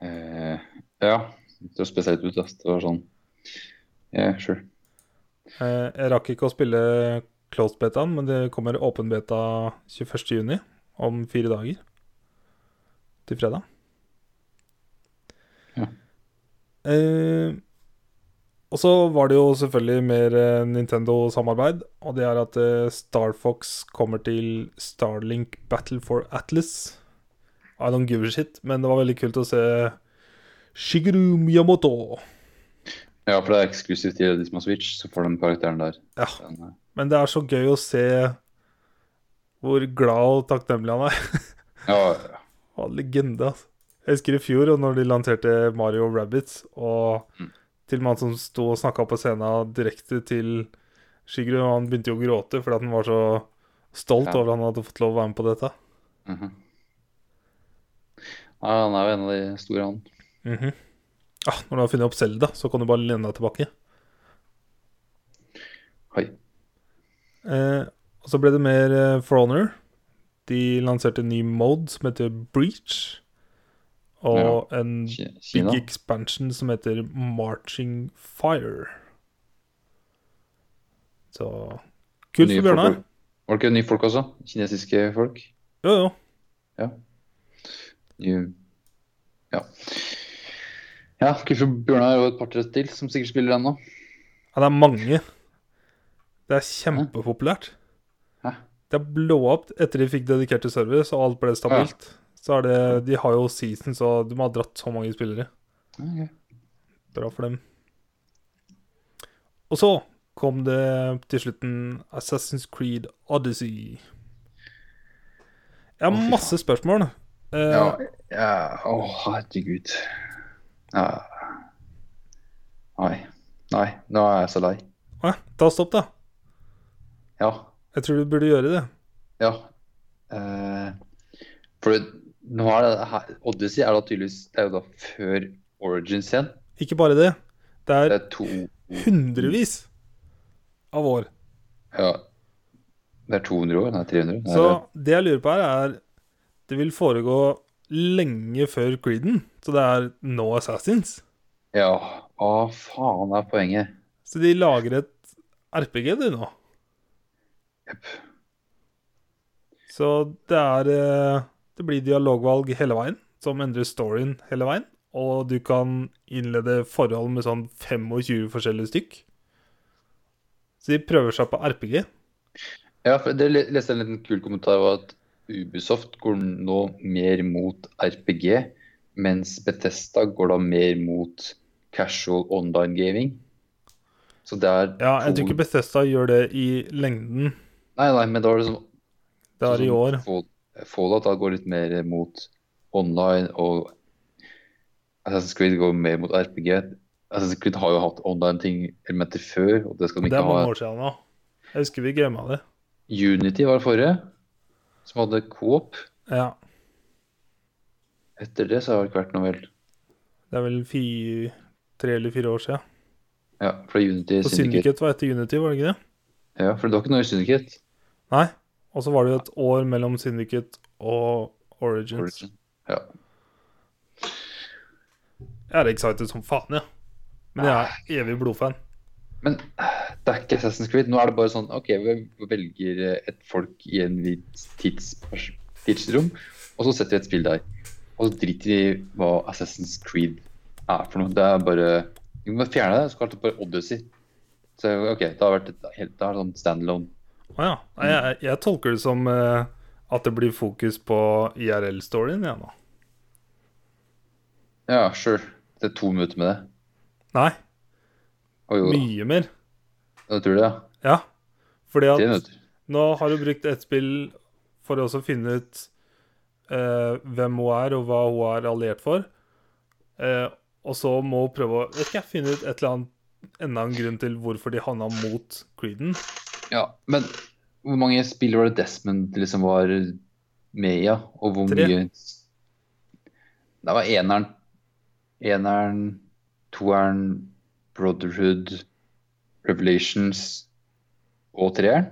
Eh, ja. Det var spesielt ut, ass. Det var sånn Ja, sure.
Eh, jeg rakk ikke å spille closed betaen, men det kommer åpen beta 21.6, om fire dager. Til fredag.
Ja.
Eh, og så var det jo selvfølgelig mer eh, Nintendo-samarbeid, og det er at eh, Star Fox kommer til Starlink Battle for Atlas. I don't give a shit, men det var veldig kult å se Shigeru Miyamoto.
Ja, for det er eksklusivt til de som har Switch, så får de karakteren der.
Ja.
Den, eh,
Men det er så gøy å se hvor glad og takknemlig han er. <laughs>
Ja, ja,
Han er legende, altså. Jeg husker i fjor, og når de lanserte Mario Rabbits, og
Mm.
til og med han som sto og snakka på scenen direkte til Shigeru, han begynte jo å gråte fordi at han var så stolt
Ja.
over at han hadde fått lov å være med på dette.
mhm. Nei, han er jo en av de store, han.
Mhm. ah, når du har funnet opp Selda, så kan du bare lene deg tilbake.
Hei.
Eh, og så ble det mer eh, For Honor. De lanserte en ny mode som heter Breach, og en
Ki- Kina.
big expansion som heter Marching Fire. Så kult
Nye
for Bjørnar.
folk- Var det ikke nye folk også? Kinesiske folk?
Jo, jo.
Nye- Ja. Ja, kult for Bjørnar og et par-tre til som sikkert spiller den nå.
Ja, det er mange. Det er kjempepopulært.
Hæ?
Det har blåa opp etter de fikk dedikerte servere, så alt ble stabilt. Så er det, De har jo season, så de må ha dratt så mange spillere.
Ok.
Bra for dem. Og så kom det til slutten Assassin's Creed Odyssey. Jeg
Å, fy
har masse spørsmål. Eh,
Ja, ja.
Å, herregud.
ja. Nei. Nei, nå er jeg så lei.
Hæ? Ta og stopp, da.
Ja.
Jeg tror du burde gjøre det.
Ja.
Eh, for det- nå er det her Odyssey er da tydeligvis Det er jo da før Origins igjen.
Ikke bare det. Det
Det
er
er to
hundrevis av år.
Ja.
Det er 200 år, nei 300. Nei,
Så det jeg lurer på her, er Det vil foregå lenge før Creeden, så det er nå Assassins.
ja.
Hva faen er poenget?
Så de lager et RPG, du, nå.
Jepp.
Så det er eh, Det blir dialogvalg hele veien, som endrer storyen hele veien. Og du kan innlede forhold med sånn 25 forskjellige stykk. Så de prøver seg på RPG.
ja for dere le- leste en liten kul kommentar om at Ubisoft går nå mer mot RPG, mens Bethesda går da mer mot casual online gaming. Så det er
Ja, jeg
to-
tror ikke Bethesda gjør det i lengden.
Nei, nei, men da er det sånn
Det er i år.
Fall- Fallout da går litt mer mot online, og Assassin's Creed går mer mot RPG. Assassin's Creed har jo hatt online-ting-elementer før, og det skal de
Det
ikke
er mange
ha.
år siden nå. Jeg husker vi gama det.
Unity var det forrige, som hadde co-op.
Ja.
Etter det så har det ikke vært noe vel.
Det er vel fire, tre eller fire år siden.
Ja, for Unity
Så
Syndicate.
Syndicate var etter Unity, var det ikke det?
Ja, for det var ikke noe i Syndicate.
Nei. Og så var det jo et år mellom Syndicate og Origins.
Origin. Ja.
Jeg er excited som faen, ja. Men jeg er evig blodfan.
Men eh, det er ikke Assassin's Creed. Nå er det bare sånn OK, vi velger eh, et folk i en vidt tids, tidsrom, og så setter vi et spill der. Og så driter vi i hva Assassin's Creed er for noe. Det er bare Vi må fjerne det, så kaller det bare Odyssey. Så OK, det har vært et helt det er sånn standalone.
Å ja. Nei, Jeg,
Mm.
jeg tolker det som eh, at det blir fokus på IRL-storyen, jeg nå.
Ja, sure. Det er to minutter med det.
Nei,
Å jo, da.
mye mer.
jeg tror det, ja.
Ja. Fordi
Tre
at
minutter.
Nå har du brukt ett spill for å også finne ut eh, hvem hun er, og hva hun er alliert for. Eh, og så må hun prøve å vet ikke, jeg, finne ut et eller annet, enda en grunn til hvorfor de havna mot Creeden.
Ja, men hvor mange spill var det Desmond liksom var med i, ja? Og hvor
Tre.
mye Det var eneren. Eneren, toeren, Brotherhood, Revelations og treeren?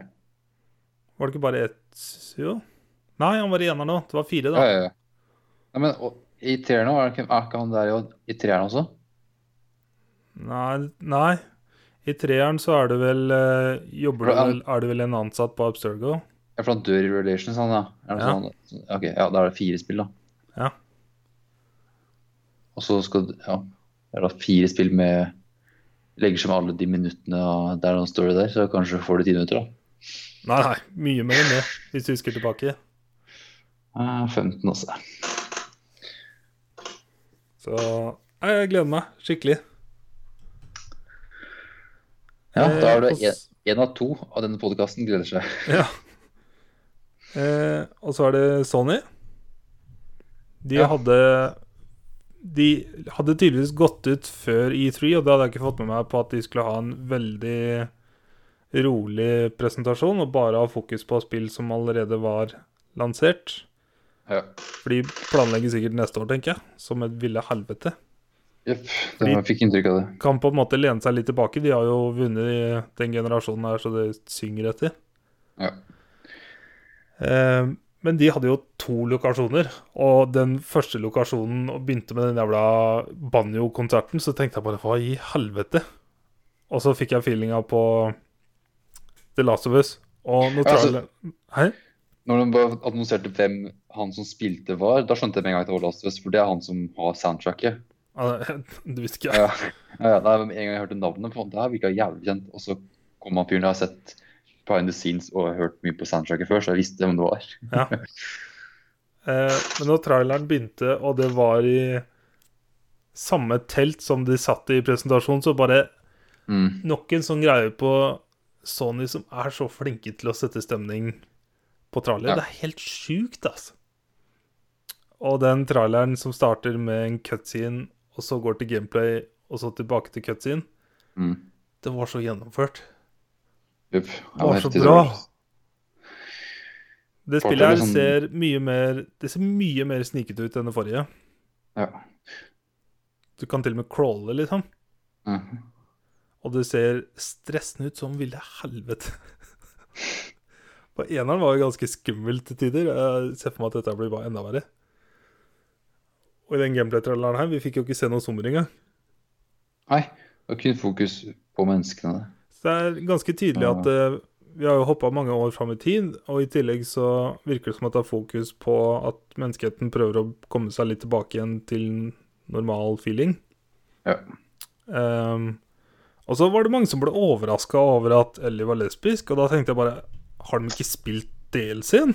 Var det ikke bare ett Jo. Nei, han var i eneren nå. Det var fire,
Ja,
da.
ja, ja. Nei, men og, i treeren òg, er ikke er ikke han der jo, i treeren også?
Nei, nei. I treeren så er det vel eh, Jobber du
Ja.
vel Er det vel en ansatt på Abstergo?
Ja, for han dør i Revelations, han, ja. Er det
Ja.
noe Sånn, ok, ja, da er det fire spill, da.
Ja.
Og så skal du Ja. Det er da fire spill med Legger seg med alle de minuttene og der han står det der, så kanskje får du ti minutter, da.
Nei, nei. Mye mer enn det, hvis du husker tilbake.
Eh, 15, altså.
Så nei, jeg gleder meg skikkelig.
Ja, da er
Eh,
det
og
en,
s-
en av to av denne podkasten gleder seg.
Ja. Eh, og så er det Sony. De
Ja.
hadde De hadde tydeligvis gått ut før E3, og det hadde jeg ikke fått med meg på at de skulle ha en veldig rolig presentasjon og bare ha fokus på spill som allerede var lansert.
Ja.
For de planlegger sikkert neste år, tenker jeg, som et ville helvete.
Jepp. det-
Fordi-
Jeg fikk inntrykk av det.
kan på en måte lene seg litt tilbake. De har jo vunnet i den generasjonen her, så det synger etter.
Ja.
Eh, men de hadde jo to lokasjoner, og den første lokasjonen og begynte med den jævla banjo-konserten, så tenkte jeg bare hva i helvete? Og så fikk jeg feelinga på The Last of Us. Og nå
Ja,
tror
altså-
jeg Hei?
Når de bare annonserte hvem han som spilte var, da skjønte jeg med en gang at det var Last of Us, for det er han som har soundtracket.
Ah, <laughs> Du visste ikke?
Ja, ja, ja, nei, men en gang jeg hørte navnet, for det her virka jævlig kjent. Og så kom han fyren jeg har sett behind the scenes og hørt mye på soundtracket før, så jeg visste hvem det var.
Ja. Eh, men når traileren begynte, og det var i samme telt som de satt i presentasjonen, så bare
Mm.
nok en sånn greie på Sony som er så flinke til å sette stemning på trailer.
Ja.
Det er helt sjukt, altså. Og den traileren som starter med en cutscene, og så går til gameplay, og så tilbake til cutscene,
Mm.
det var så gjennomført.
Jupp.
Det var så
heftig
bra.
trailer.
Det
Folk er
spillet her
liksom-
ser mye mer Det ser mye mer snikete ut enn det forrige.
Ja.
Du kan til og med crawle, liksom.
Mhm.
Og det ser stressende ut som ville helvete. <laughs> For eneren var jo ganske skummel til tider. Jeg ser for meg at dette blir bare enda verre. Og i den gameplay-tralleren her, vi fikk jo ikke se noen zommer engang.
Nei, det var kun fokus på menneskene. det.
Så det er ganske tydelig at eh, vi har jo hoppa mange år fram i tid, og i tillegg så virker det som at det er fokus på at menneskeheten prøver å komme seg litt tilbake igjen til normal feeling.
Ja.
Ehm, og så var det mange som ble overraska over at Ellie var lesbisk, og da tenkte jeg bare Har de ikke spilt DLC-en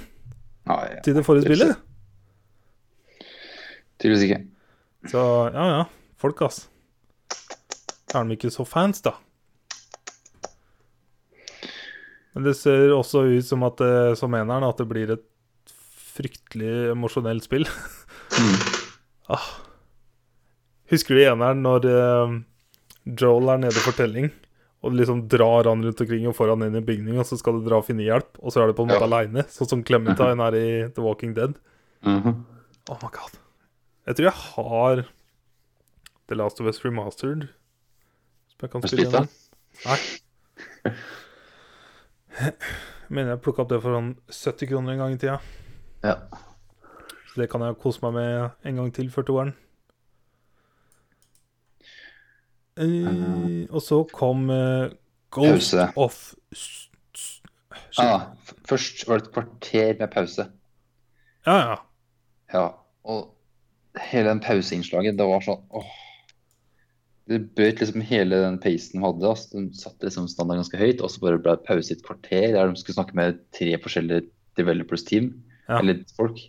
Nei, ja.
til det forrige
Det er
spillet?
tydeligvis ikke.
Så ja, ja. Folk, ass. Da er de ikke så fans, da. Men det ser også ut som at eh, som eneren at det blir et fryktelig emosjonelt spill. <laughs> ah. Husker du i eneren når eh, Joel er nede for telling, og liksom drar han rundt omkring og får han inn i en bygning, og så skal du dra og finne hjelp, og så er du på en måte
Ja.
alene aleine, sånn som Clementine er i The Walking Dead.
Mhm.
Oh my god. Jeg tror jeg har The Last of Us Remastered. Som jeg kan
Har du
spille
spilt det?
igjen. Nei. Jeg mener jeg plukka opp det for sånn 70 kroner en gang i tida.
Ja.
Så det kan jeg kose meg med en gang til før toeren. Eh, og så kom eh, Ghost
Pause.
of S- S- Shit.
Ah, f- først var det et kvarter med pause.
Ja, ja.
Ja, og hele den pauseinnslaget, det var sånn åh. Det bøt liksom hele den pacen de hadde. Altså, de satte liksom standarden ganske høyt, og så bare ble det pause i et kvarter der de skulle snakke med tre forskjellige developers team,
Ja.
eller folk.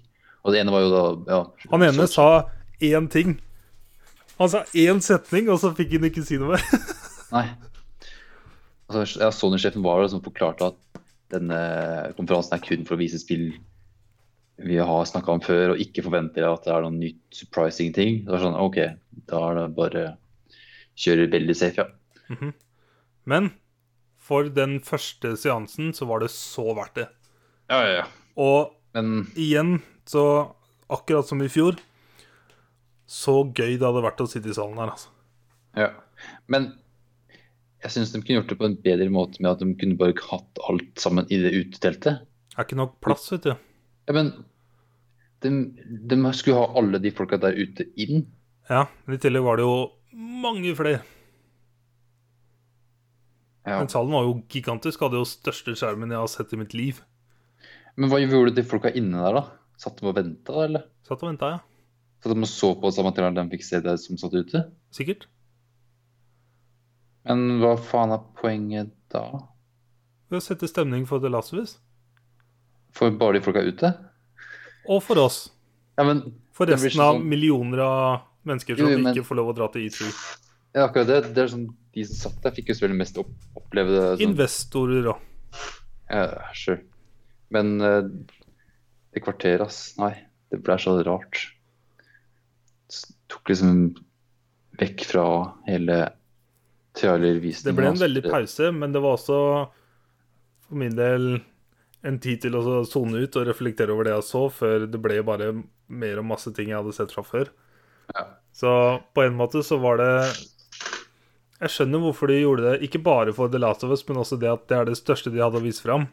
Og det ene var jo da ja,
Han ene
så-
sa én ting. Han sa én setning, og så fikk han ikke si noe mer.
Nei. Altså, ja, Sony-sjefen var der som forklarte at denne konferansen er kun for å vise spill vi har snakka om før, og ikke forventer at det er noen nytt surprising ting. Det var sånn, OK, da er det bare kjøre veldig safe, ja.
Men for den første seansen så var det så verdt det.
Ja, ja, ja.
Og
Men
igjen, så akkurat som i fjor, så gøy det hadde vært å sitte i salen her, altså.
Ja. Men jeg syns de kunne gjort det på en bedre måte med at de kunne bare ikke hatt alt sammen i det uteteltet.
Det er ikke nok plass, vet du.
Ja, men de, de skulle ha alle de folka der ute inn.
Ja, men i tillegg var det jo mange flere.
Ja.
Men salen var jo gigantisk, hadde jo største skjermen jeg har sett i mitt liv.
Men hva gjorde de folka inne der, da? Satt de og venta, da, eller?
Satt og venta, ja.
For de så på samme trailer de fikk se det som satt ute.
Sikkert.
Men hva faen er poenget da?
Ved å sette stemning for The Last of Us.
For bare de folka ute?
Og for oss.
Ja, men
For
Det blir
resten av
sånn-
millioner av mennesker som
Jo, jo, men-
ikke får lov å dra til E E3.
ja, akkurat det. det er sånn, de som satt der, fikk jo selvfølgelig mest opp, oppleve det. Sånn,
Investorer og
ja, sure. Men eh, det kvarteret, ass. Nei, det ble så rart. S- Tok liksom vekk fra hele trailervisningen.
Det ble en
ass.
veldig pause, men det var også for min del en tid til å sone ut og reflektere over det jeg så, før det ble bare mer og masse ting jeg hadde sett fra før.
Ja.
Så på en måte så var det Jeg skjønner hvorfor de gjorde det, ikke bare for The Last of Us, men også det at det er det største de hadde å vise fram.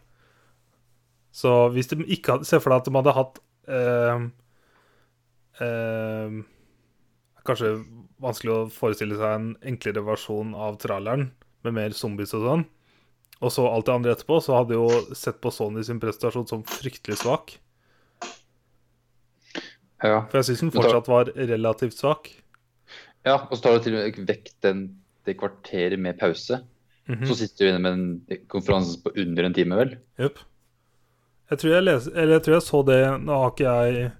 Så hvis de ikke hadde Se for deg at de hadde hatt eh, eh, Kanskje vanskelig å forestille seg en enklere versjon av traileren, med mer zombies og sånn. Og så alt det andre etterpå, så hadde jo sett på Sony sin prestasjon som fryktelig svak.
Ja.
For jeg syns den
Men da-
fortsatt var relativt svak.
ja, og så tar du til og med vekk den, det kvarteret med pause.
Mhm.
Så sitter du inne med en konferanse på under en time, vel?
Jepp. Jeg tror jeg, les, eller jeg tror jeg så det Nå har ikke jeg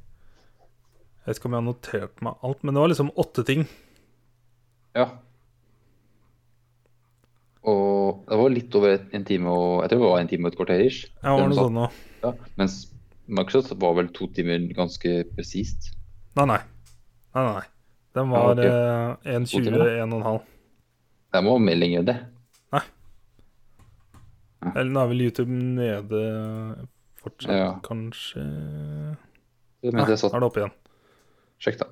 Jeg vet ikke om jeg har notert meg alt, men det var liksom åtte ting.
Ja. Og det var litt over en time og Jeg tror det var en time og et kvarter ish.
Jeg var
Eller
noe
noe
sånn nå.
sånt. Ja. Mens Microsoft var vel to timer ganske presist.
Nei, nei. Nei, nei. Den var
Ja,
eh, 1,20,
Hvor
1,5.
Det må melding gjøre det.
Eller nå er vel YouTube nede fortsatt,
Ja.
kanskje
Jeg
Nei,
mente jeg
nå
satt
er det oppe igjen.
Sjekk, da.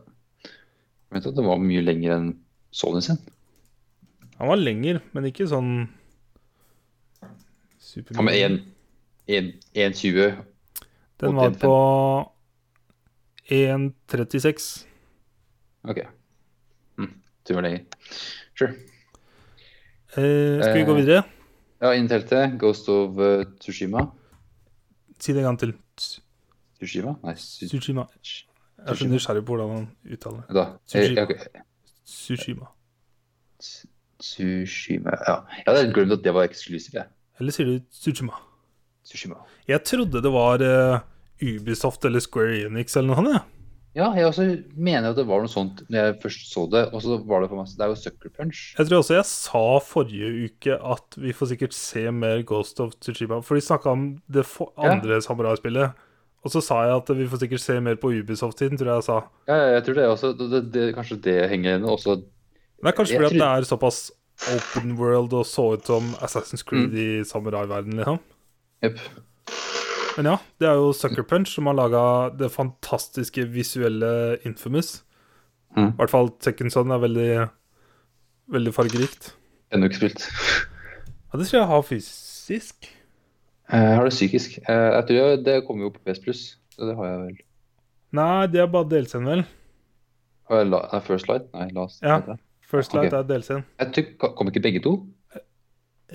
Jeg mente at det var mye lenger enn Sony sin.
Han var lenger, men ikke sånn super
Ja, men 1,20
Den var
85.
på 1,36.
OK. Mm,
Timer lenger.
Eh, skal vi gå
Eh.
videre?
Ja, innen teltet. Ghost of eh, Tsushima.
Si det en gang til. Ts-
Tsushima? Nei, Su-
Tsushima. Jeg er så
Tsushima.
nysgjerrig på hvordan han uttaler det.
da. Eh,
Tsushima.
ok.
Tsushima.
Tsushima Ja, jeg hadde helt glemt at det var eksklusivt. jeg.
Eller sier du Tsushima?
Tsushima.
Jeg trodde det var eh, Ubisoft eller Square Enix eller noe sånt. Ja.
Ja, jeg også mener at det var noe sånt når jeg først så det. Og så var det for meg Det er jo Sucker Punch.
Jeg tror også jeg sa forrige uke at vi får sikkert se mer Ghost of Tsushima. For de snakka om det for
Ja.
andre samuraispillet. Og så sa jeg at vi får sikkert se mer på Ubisoft-tiden, tror jeg jeg sa.
Ja, ja, jeg tror det også. Det, det, det, kanskje det henger igjen også.
Men det er kanskje
Jeg
fordi at
tror-
det er såpass open world og så ut som Assassin's
Mm.
Creed i samuraiverdenen, liksom.
Jepp.
Men ja, det er jo Sucker Punch som har laga det fantastiske visuelle Infamous. I
Mhm.
hvert fall Second Son er veldig, veldig fargerikt.
Ennå ikke spilt. <laughs>
Ja, det tror jeg jeg har fysisk.
Jeg har det psykisk. Eh, Jeg tror jeg, det kommer jo på PS Plus. så Det har jeg vel.
Nei, det er bare DLC-en, vel.
Har jeg la, nei, First Light? Nei, Last.
Ja.
Light, ja.
First Light
Ok.
er DLC-en.
Jeg tror, Kom ikke begge to?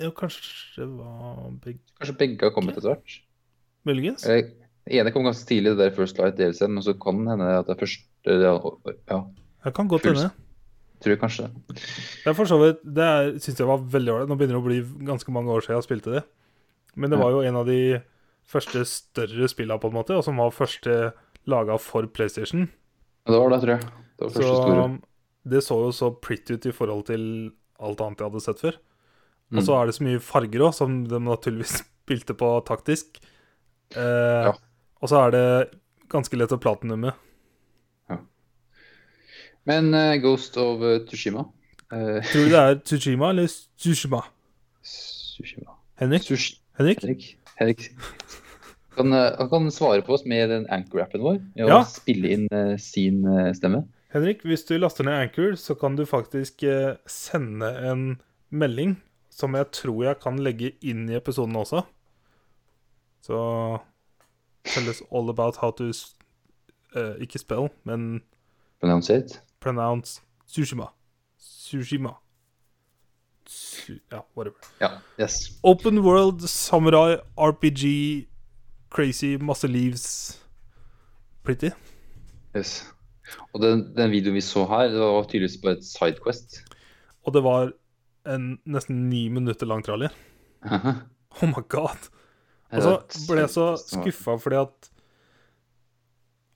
Jo, kanskje det var begge
Kanskje begge har kommet etter hvert?
Muligens?
Eller, Den Eh, ene kom ganske tidlig, det der First Light DLC-en, men så kan det hende at det er først Ja, ja,
Jeg kan godt
First-
hende.
tror jeg kanskje det.
Det er for så vidt Det er- synes jeg var veldig ålreit. Nå begynner det å bli ganske mange år siden jeg spilte det. Men det var jo en av de første større spillene, på en måte, og som var første laga for PlayStation.
Men det var det, tror jeg. Det var første store.
Så um, det så jo så pretty ut i forhold til alt annet jeg hadde sett før. Og
Mm.
så er det så mye farger òg, som de naturligvis <laughs> spilte på taktisk. Eh, Og så er det ganske lett å platinumme.
Men eh, Ghost of eh, Tsushima eh,
Tror du det er Tsushima eller Tsushima?
Tsushima
Henrik?
Tsush-
Henrik?
Henrik. Henrik. Kan, eh, han kan svare på oss med den anchor-appen vår. Og
Ja.
spille inn eh, sin eh, stemme.
Henrik, hvis du laster ned Anchor, så kan du faktisk eh, sende en melding som jeg tror jeg kan legge inn i episoden også. Så tell us all about how to s- eh, Ikke spell, men
Pronounce it.
pronounce Tsushima. Tsushima. Tsu- Ja, whatever.
Ja. Yes.
Open world, samurai, RPG, crazy, masse lives. Pretty.
yes. Og den, den videoen vi så her, det var tydeligvis bare et sidequest. <laughs>
Og det var en nesten ni minutter lang trailer. <laughs> Oh my god. Og så ble jeg så skuffa fordi at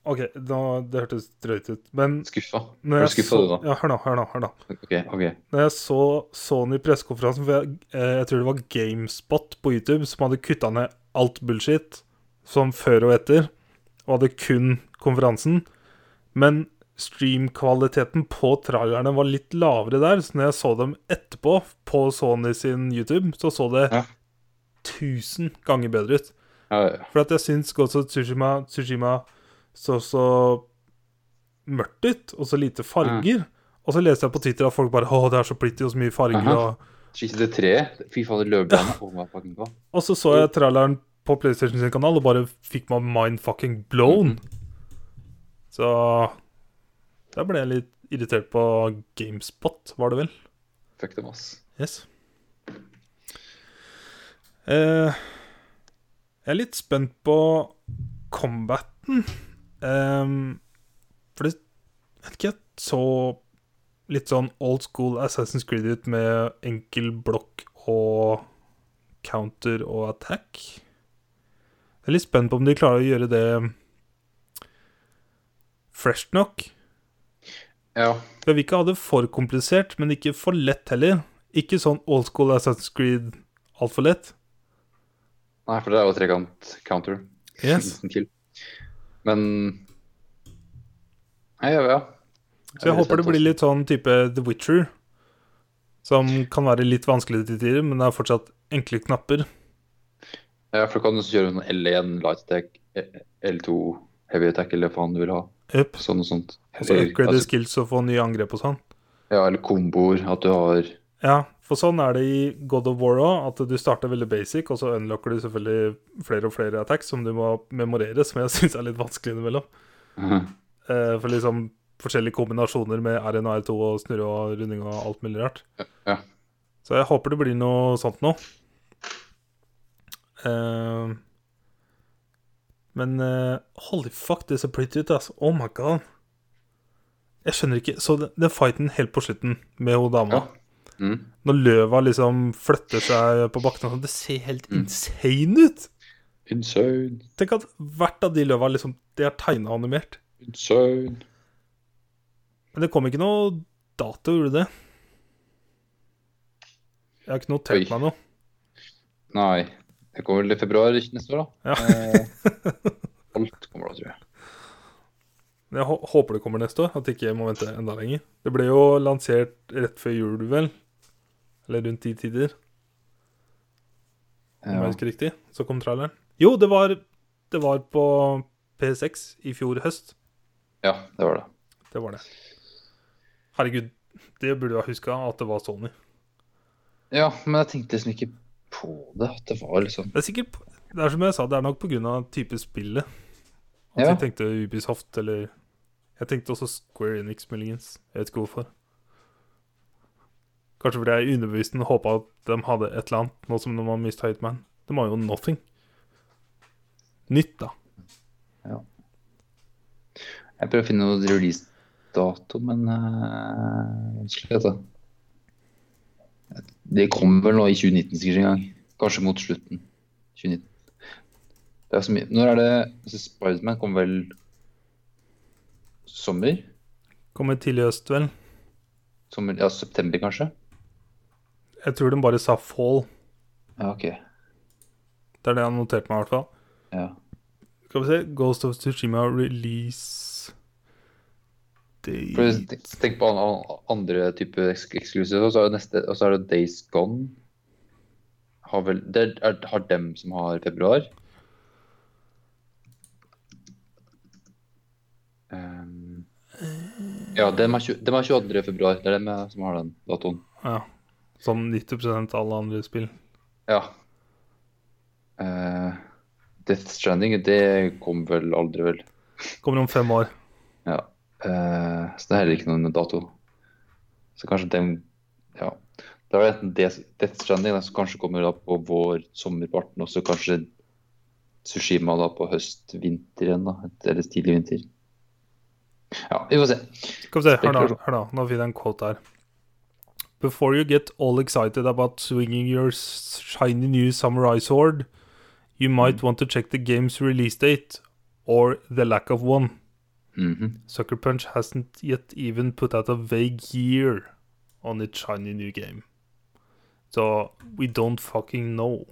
OK, da, det hørtes drøyt ut, men
Skuffa?
når
Er du
jeg
skuffa,
så,
du, da?
ja, hør nå, hør nå, hør nå.
OK. ok.
Når jeg så Sony pressekonferansen, for jeg, eh, jeg tror det var GameSpot på YouTube som hadde kutta ned alt bullshit, som før og etter, og hadde kun konferansen. Men streamkvaliteten på trailerne var litt lavere der, så når jeg så dem etterpå på Sony sin YouTube, så så det
Ja.
tusen ganger bedre ut.
Ja, ja.
For at jeg syns Ghost of Tsushima, Tsushima så så mørkt ut, og så lite farger. Og så leste jeg på Twitter at folk bare Å, det er så pretty og så mye farger.
Aha.
og...
Skisse det treet. Fy fader, løvbjørna. Oh, my fucking god.
og så så jeg traileren på PlayStation sin kanal og bare fikk meg mind fucking blown. Så der ble jeg litt irritert på GameSpot, var det vel.
Fuck dem, ass.
Yes. Eh, jeg er litt spent på combaten. Ehm, for det jeg vet ikke, jeg så litt sånn old school Assassin's Creed ut med enkel blokk og counter og attack. Jeg er litt spent på om de klarer å gjøre det fresh nok.
Ja.
Jeg vil ikke ha det for komplisert, men ikke for lett heller. Ikke sånn old school Assassin's Creed altfor lett.
Nei, for det er jo <laughs> trekant counter.
Yes.
Instant kill. Men Ja, ja, ja.
Så jeg håper det blir litt sånn type The Witcher. Som kan være litt vanskelig til tider, men det er fortsatt enkle knapper.
Ja, for du kan også kjøre en L1 light attack, eh, L2 heavy attack, eller hva faen du vil ha.
Up.
Sånn og sånt.
Og så upgrade
altså,
skills og få nye angrep og sånn.
ja, eller komboer. At du har <laughs>
Ja, for sånn er det i God of War òg, at du starter veldig basic, og så unlocker du selvfølgelig flere og flere attacks som du må memorere, som jeg <laughs> syns er litt vanskelig innimellom. Eh, for liksom forskjellige kombinasjoner med R1 og R2 og snurre og runding og alt mulig rart.
Ja.
Så jeg håper det blir noe sånt nå. Eh, men eh, holy fuck, det ser pretty ut, altså. Oh my god. Jeg skjønner ikke Så den, den fighten helt på slutten med hun dama
Ja. Mm.
når løva liksom flytter seg på bakken og sånn, Det ser helt
Mm.
insane ut!
Insane,
Tenk at hvert av de løva liksom, de er tegna og animert.
insane.
Men det kom ikke noe dato, gjorde det? Jeg har ikke notert
Oi.
meg noe.
Nei. Det kommer vel i februar neste år, da.
Ja.
Eh, alt kommer da, tror jeg.
Men jeg hå- håper det kommer neste år, at jeg ikke må vente enda lenger. Det ble jo lansert rett før jul, vel? Eller rundt de tider, om jeg
Ja.
husker riktig. Så kom traileren. Jo, det var, det var på P6 i fjor høst.
ja, det var det.
Det var det. Herregud, det burde jeg huska at det var Sony.
Ja, men jeg tenkte liksom ikke på det. At det var liksom
Det er sikkert Det er som jeg sa, det er nok pga. type spillet. At
Ja.
jeg tenkte Ubisoft eller Jeg tenkte også Square Enix, muligens. Jeg vet ikke hvorfor. Kanskje fordi jeg i underbevisstheten håpa at de hadde et eller annet, nå som de har mista Hitman. De har jo nothing. Nytt, da.
Jeg prøver å finne noen releasedato, men eh, vanskelig, vet du. Det kommer vel nå i 2019 sikkert en gang. Kanskje mot slutten. 2019. Det er så mye. Når er det altså, Spiderman kommer vel sommer?
Kommer tidlig i høst, vel.
sommer? Ja, september kanskje?
Jeg tror de bare sa fall.
Ja, OK.
Det er det jeg har notert meg, i hvert fall.
Ja.
Skal vi se Ghost of Tsushima release date
For tenk- tenk på an- an- andre typer eks eksklusiver, og så er det neste, og så er det Days Gone. Har vel Det er- er, har dem som har februar. Ehm, ja, dem er, tjue- dem er 22. februar. Det er dem jeg- som har den datoen.
Ja. Som 90 av alle andre spill.
Ja. Eh, Death Stranding, det kom vel aldri, vel.
Kommer om fem år.
Ja. eh, så det er heller ikke noen dato. Så kanskje den Ja. Da er det enten Death Death Stranding da, som kanskje kommer da på vår, sommerparten, og så kanskje Sushima da på høst, vinter igjen, da. Eller tidlig vinter. Ja, vi får se.
Skal vi se, hør da,
Spekulasjon.
hør da. Nå finner jeg en quote her. Before you get all excited about swinging your shiny new samurai sword, you
Mm.
might want to check the game's release date, or the lack of one.
Mhm.
Sucker Punch hasn't yet even put out a vague year on its shiny new game. So we don't fucking know.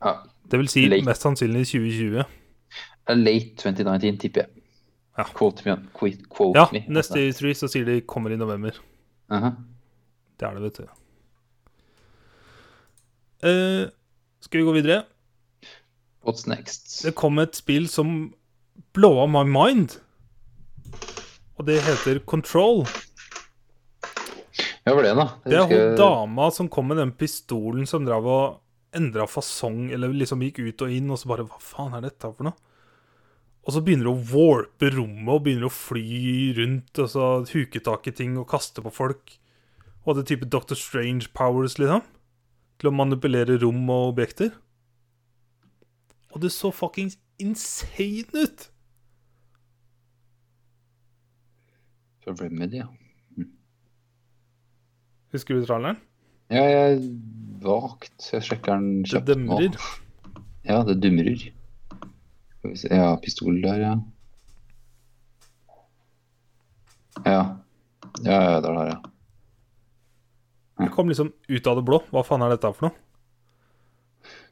ja.
Det vil si
Late.
mest sannsynlig 2020.
det er Eh, Late 2019, tipper jeg.
Ja.
Quote me. on- Quote, quote
Ja,
me. altså. Uh-huh.
neste E3 så sier de kommer i november.
Aha.
Det er det, vet du. Eh, skal vi gå videre?
What's next?
Det kom et spill som blowa my mind. Og det heter Control.
Ja, hva var det, da?
Det er hun
husker-
dama som kom med den pistolen som drev og endra fasong, eller liksom gikk ut og inn, og så bare Hva faen er dette for noe? Og så begynner hun å warpe rommet og begynner å fly rundt og så huke tak i ting og kaste på folk. Og det type Doctor Strange powers, liksom. Til å manipulere rom og objekter. Og det så fuckings insane ut!
Fra Remedy, ja.
Husker du traileren?
Ja, jeg vagt. Jeg sjekker den
Det
kjapt nå.
demrer.
Ja, det dumrer. Skal vi se Ja, pistol der, ja. Ja. Ja, ja, der, der, ja.
Det kom liksom ut av det blå. Hva faen er dette for noe?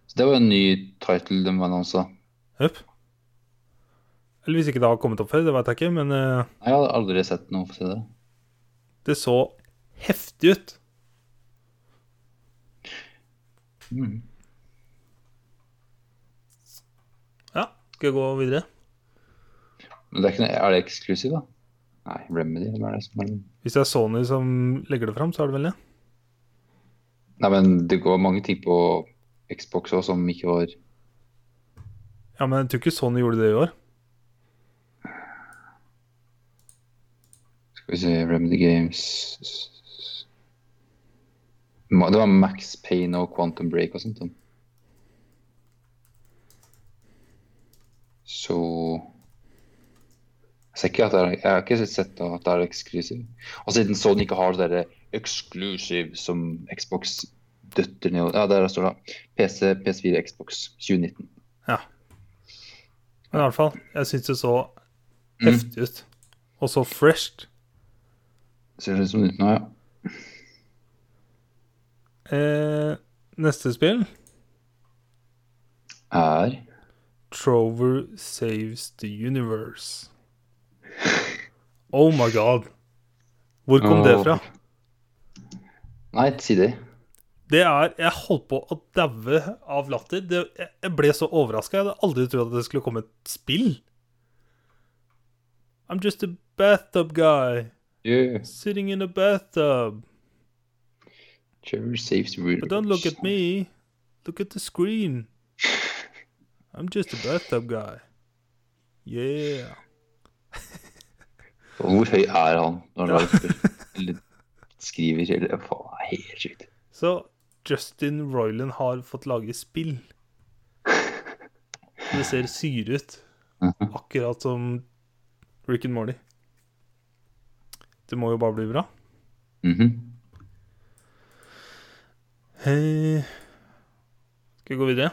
Så det var en ny title de annonsa.
Jøp. Eller hvis ikke det har kommet opp før, det vet jeg ikke, men eh,
Jeg har aldri sett noe for å si det.
det så heftig ut.
Mm.
Ja, skal jeg gå videre?
Men det er, ikke, noe- er det eksklusiv, da? Nei, Remedy. Hvem er det som er
Hvis det er Sony som legger det fram, så er det vel det.
Nei, men det går mange ting på Xbox også som ikke var
Ja, men jeg tror ikke Sony gjorde det i år.
Skal vi se Remedy Games Ma- Det var Max Payne og Quantum Break og sånt. da. Så Jeg ser ikke at det er, jeg har ikke sett da at det er eksklusiv. Og siden Sony ikke har det derre eksklusiv som Xbox døtter ned Ja, der står det. PC, PS4, Xbox 2019.
Men i hvert fall, jeg syns det så heftig ut. Og så fresht.
Ser det ut som det er nå, ja.
Eh, neste spill,
Er
Trover Saves the Universe. Oh my god. Hvor kom det
Åh.
fra?
Nei, si det.
Det er Jeg holdt på å daue av latter. Det, jeg- jeg ble så overraska. Jeg hadde aldri trodd at det skulle komme et spill. I'm just a bathtub guy
Yeah.
sitting in a bathtub.
Trevor saves the
But don't look at me. Look at the screen. I'm just a bathtub guy. Yeah.
Og Hvor høy er han når han lager, eller skriver eller faen, det er helt sjukt.
Så Justin Roiland har fått lage spill. Det ser syre ut. Akkurat som Rick and Morty. Det må jo bare bli bra.
Mhm.
Eh, Skal vi gå videre?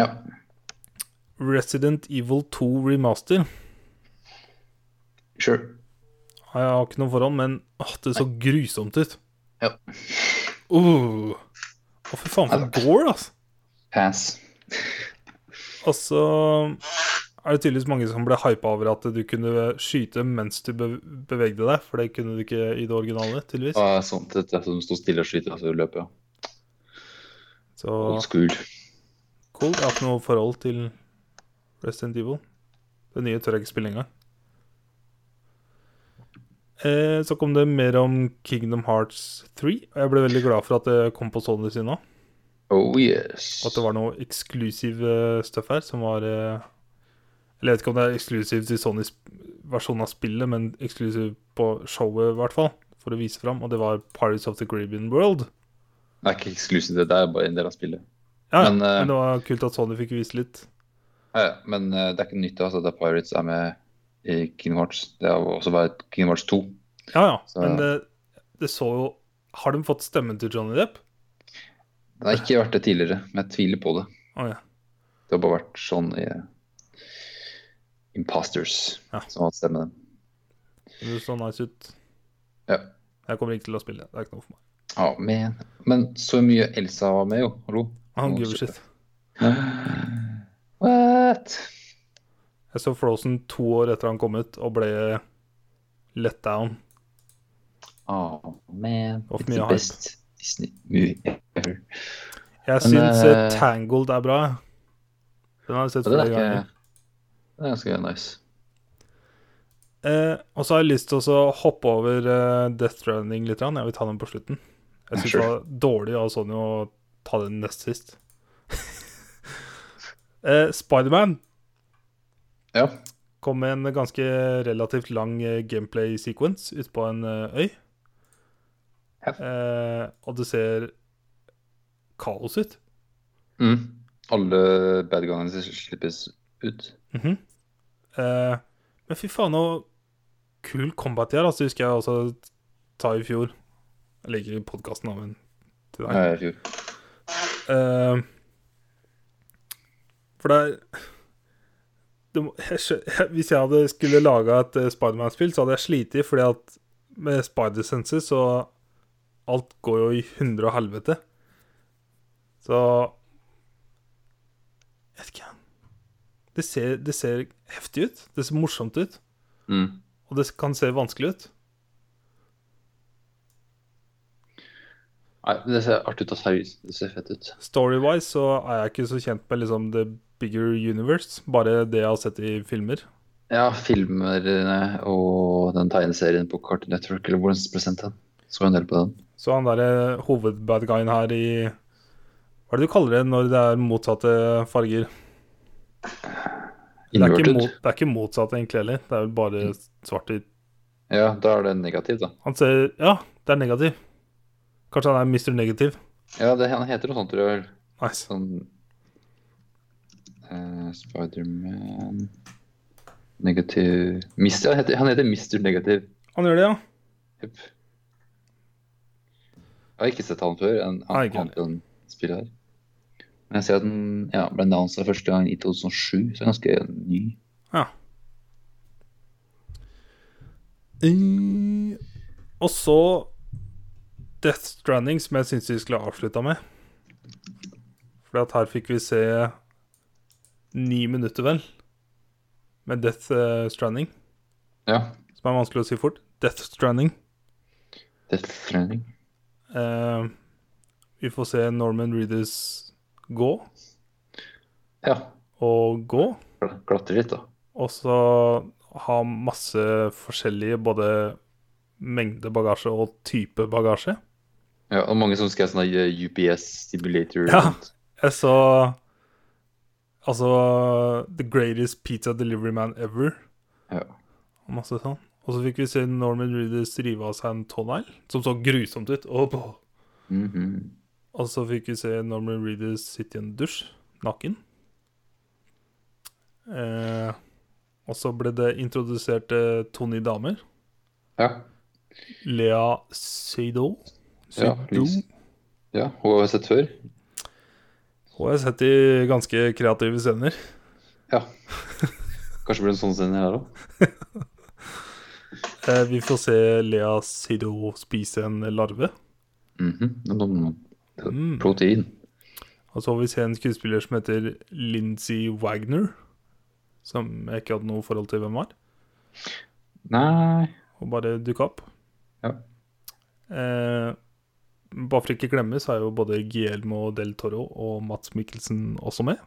Ja.
Resident Evil 2 Remaster.
Sure.
Jeg har ikke noe forhånd, men åh, det så grusomt ut.
Ja.
Uh. Å, fy faen, for gore, altså.
Pass.
Og så er det tydeligvis mange som ble hypa over at du kunne skyte mens du be bevegde deg, for det kunne du ikke i det originale, tydeligvis.
Ja, sånt, dette er som står stille og skyter, og
altså,
så løper jeg.
Så
Old school.
cool. Jeg har ikke noe forhold til Resident Evil. Det nye tør jeg ikke spille engang. Eh, så kom det mer om Kingdom Hearts 3, og jeg ble veldig glad for at det kom på Sony sin nå.
Oh yes.
Og at det var noe eksklusiv eh, stuff her som var eh, Eller jeg vet ikke om det er eksklusivt i Sonys versjon av spillet, men eksklusivt på showet, i hvert fall. For å vise fram. Og det var Pirates of the Caribbean World.
Det er ikke eksklusivt, det er bare en del av spillet.
Ja, ja,
Men,
men,
eh,
det var kult at Sony fikk vise litt.
Ja, ja, Men eh, det er ikke nytt altså, at det er Pirates er med i Kingdom Hearts. Det har også vært Kingdom Hearts 2.
Ja, ja.
Så-
Men det, det så jo Har de fått stemmen til Johnny Depp?
Det har ikke vært det tidligere, men jeg tviler på det.
Å ja.
Det har bare vært sånn i eh, Imposters
Ja.
som har hatt stemme.
Det så nice ut.
Ja.
Jeg kommer ikke til å spille det. Det er ikke noe for meg.
Ja, men, men så mye Elsa var med, jo. Hallo.
Han
Å,
giver
shit.
shit.
What?
Jeg så Frozen to år etter han kom ut, og ble let down.
Oh, man.
Og for
It's
mye
the
hype.
best Disney movie ever.
Jeg
Men,
syns
eh,
eh, Tangled er bra. jeg. Den har jeg sett
Og det
flere
er ikke
ganger.
Det er ganske nice.
Eh, og så har jeg lyst til også å hoppe over eh, Death Running litt. grann. Jeg vil ta den på slutten. Jeg syns
Sure.
det var dårlig av Sonny å ta den nest sist. <laughs> eh, Spiderman
Ja.
kom med en ganske relativt lang eh, gameplay-sequence ute på en eh, øy.
Ja.
Eh, og det ser kaos ut.
Mm. Alle bad guyene slippes ut.
Mhm. Eh, men fy faen, så kul combat de har. Altså, husker jeg også ta i fjor. Jeg ligger i podkasten, da, men til deg.
Nei, i fjor.
Eh, for det er det må, jeg, skjø- jeg, Hvis jeg hadde skulle laga et eh, Spiderman-spill, så hadde jeg slitt, fordi at med Spider-senser så Alt går jo i hundre og helvete. Så Jeg vet ikke. Det ser, det ser heftig ut. Det ser morsomt ut.
Mm.
Og det kan se vanskelig ut.
Nei, men det ser artig ut og seriøst. Det ser fett ut.
Story-wise så er jeg ikke så kjent med liksom the bigger universe. Bare det jeg har sett i filmer.
Ja, filmerne og den tegneserien på Cartoon Network, eller hvordan ble sendt den? Så en del på den.
Så han derre hovedbadguyen her i Hva er det du kaller det når det er motsatte farger? Det er, ikke
Inverted.
mot, det er ikke motsatt egentlig heller. Det er vel bare svart-hvitt.
Ja, da er det negativ, da.
Han ser Ja, det er negativ. Kanskje han er Mr. Negativ.
Ja, det han heter noe sånt, tror jeg. vel.
Nice.
Sånn eh, Spiderman Negativ Mister, han, heter, han heter Mister Negativ.
Han gjør det, ja.
Jepp. Jeg har ikke sett han før, en,
Nei,
han,
ikke
han, den spillet her. Men jeg ser at den ja, ble dansa første gang i 2007, så ganske ny.
Eh, Og så Death Stranding, som jeg syns vi skulle ha avslutta med. For at her fikk vi se ni minutter, vel, med Death eh, Stranding.
Ja.
Som er vanskelig å si fort. Death Stranding.
Death Stranding.
Eh, vi får se Norman Reedus gå
Ja.
og gå.
kla- Klatre litt, da.
Og så ha masse forskjellige både mengde bagasje og type bagasje.
Ja, og mange som skrev sånn der, eh, UPS Simulator.
Ja.
sånt.
Jeg så Altså The Greatest Pizza Delivery Man Ever.
Ja.
Og masse sånn. Og så fikk vi se Norman Reedus rive av seg en tånegl, som så grusomt ut. Og,
Mhm.
og så fikk vi se Norman Reedus sitte i en dusj, naken. Eh, og så ble det introdusert eh, to nye damer.
ja.
Lea Seydoux.
Ja, lys. ja. Hun har jeg sett før.
Hun har jeg sett i ganske kreative scener.
Ja. Kanskje blir det en sånn scene her òg.
Eh, vi får se Lea Seydoux spise en larve.
Mhm.
Mm.
Protein.
Og så får vi se en skuespiller som heter Lindsay Wagner. Som jeg ikke hadde noe forhold til hvem var.
Nei
Og bare dukka opp.
Ja.
Eh, bare for ikke glemme, så er jo både Guillermo del Toro og Mats Mikkelsen også med.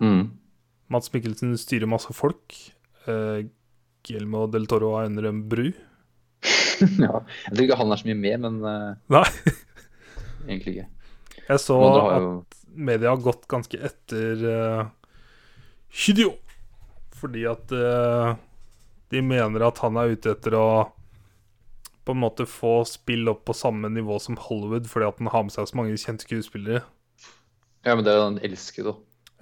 mm.
Mats Mikkelsen styrer masse folk. Eh, Guillermo del Toro er under en bru.
<laughs> ja. Jeg tror ikke han er så mye med, men eh,
Nei,
<laughs> egentlig ikke.
jeg så
Men andre har
at
jo
media har gått ganske etter uh, Hideo. Fordi at eh, de mener at han er ute etter å på en måte få spill opp på samme nivå som Hollywood, fordi at han har med seg så mange kjente skuespillere.
Ja, men det er jo han elsker, da.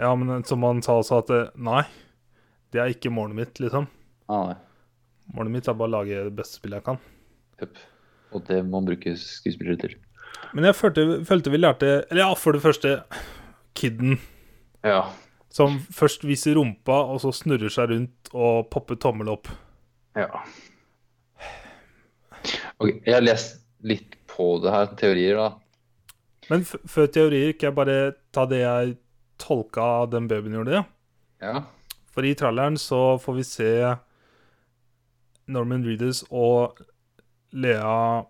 Ja, men som han sa også, at eh, nei, det er ikke målet mitt, liksom.
Ah, nei.
Målet mitt er bare å lage det beste spillet jeg kan.
Jepp. Og det må han bruke skuespillere til.
Men jeg følte, følte vi lærte Eller ja, for det første Kidden.
Ja.
Som først viser rumpa, og så snurrer seg rundt og popper tommel opp.
ja. Ok, jeg har lest litt på det her, teorier, da.
Men f- før teorier kan jeg bare ta det jeg tolka den babyen gjorde.
Ja.
For i tralleren så får vi se Norman Reedus og Lea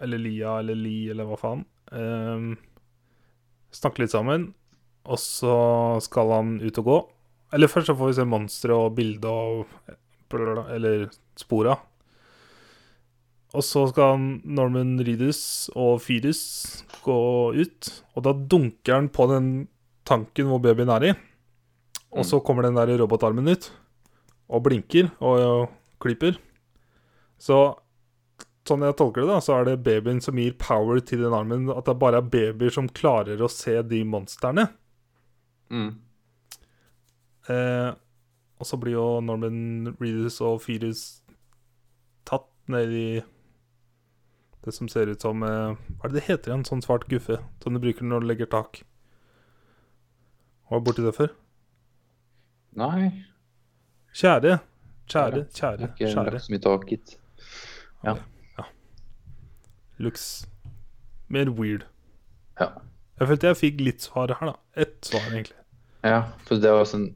Eller Lia eller Li eller hva faen ehm, snakke litt sammen. Og så skal han ut og gå. Eller først så får vi se monstre og bilde og blablabla, Eller spora. Og så skal han- Norman Reedus og Fyrus gå ut, og da dunker han på den tanken hvor babyen er i. Og så kommer den der robotarmen ut og blinker og, og klipper. Så sånn jeg tolker det, da, så er det babyen som gir power til den armen. At det bare er babyer som klarer å se de monstrene.
Mm.
Eh, og så blir jo Norman Reedus og Fyrus tatt ned i det som ser ut som eh, Hva er det det heter igjen? Sånn svart guffe som du bruker når du legger tak. Var borti det før?
Nei,
Tjære. Tjære,
jeg
tjære,
har ikke
tjære.
lagt så mye tak hit.
Looks mer weird.
Ja.
Jeg følte jeg fikk litt svar her, da. Ett svar, egentlig.
Ja, for det var sånn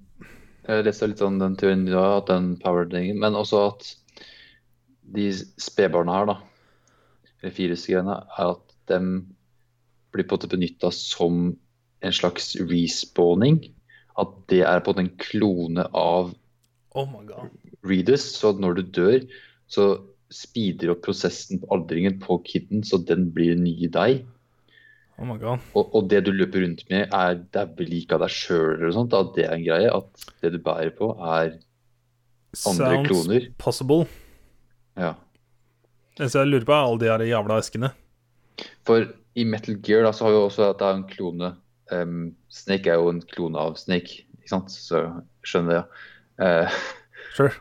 Jeg leste litt om den teorien du har, at den powerdingen, men også at de spedbarna her, da, eller virusgreiene, er at dem blir på en måte benytta som en slags respawning. At det er på en måte en klone av
Oh my god.
Readers, så at når du dør, så speeder opp prosessen på aldringen på kiden, så den blir en ny deg.
Oh my god.
Og, og det du løper rundt med, er daue lik av deg sjøl eller noe sånt. At det er en greie. At det du bærer på, er andre
Sounds
kloner.
possible.
Ja.
Det eneste jeg lurer på, er alle de her jævla eskene.
For i Metal Gear da, så har vi også at det er en klone. Ehm, Snake er jo en klone av Snake, ikke sant? Så skjønner jeg. Eh,
Sure.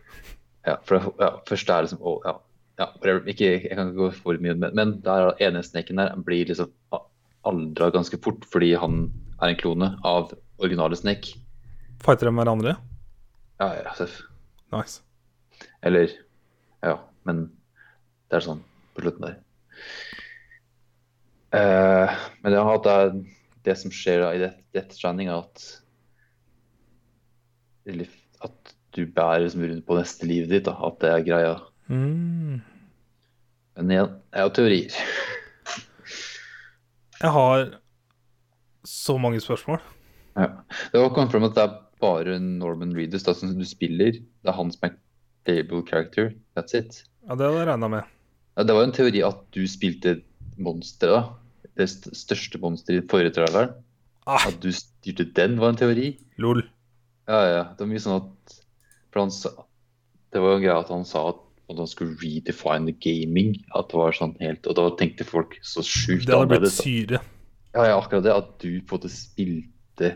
ja, for det, ja, først er det liksom å, ja, ja, whatever. ikke, Jeg kan ikke gå for mye, men, men der er den ene Snaken der han blir liksom aldra ganske fort fordi han er en klone av originale Snake.
Fighter de hverandre?
Ja, ja, seff.
Nice.
Eller Ja, men det er sånn på slutten der. Eh, men ja, at det er det som skjer da i Death, Death Stranding, er at eller At du bærer liksom rundt på neste livet ditt. da, At det er greia.
Mm.
Men igjen, det er jo teorier.
Jeg har så mange spørsmål.
Ja. Det var kommet frem at det er bare Norman Reedus da, som du spiller. Det er han som er playable character. That's it.
Ja, Det hadde jeg regna med.
Ja, det var jo en teori at du spilte monsteret, da. Det st største monsteret i den forrige traileren.
Ah.
At du styrte den, var en teori.
Lol.
Ja, ja. Det var mye sånn at For han sa Det var jo greia at han sa at at han skulle redefine the gaming. At det var sånn helt Og da tenkte folk så
Det
sjukt
hadde blitt
da.
syre.
Ja, ja, akkurat det. At du på en måte spilte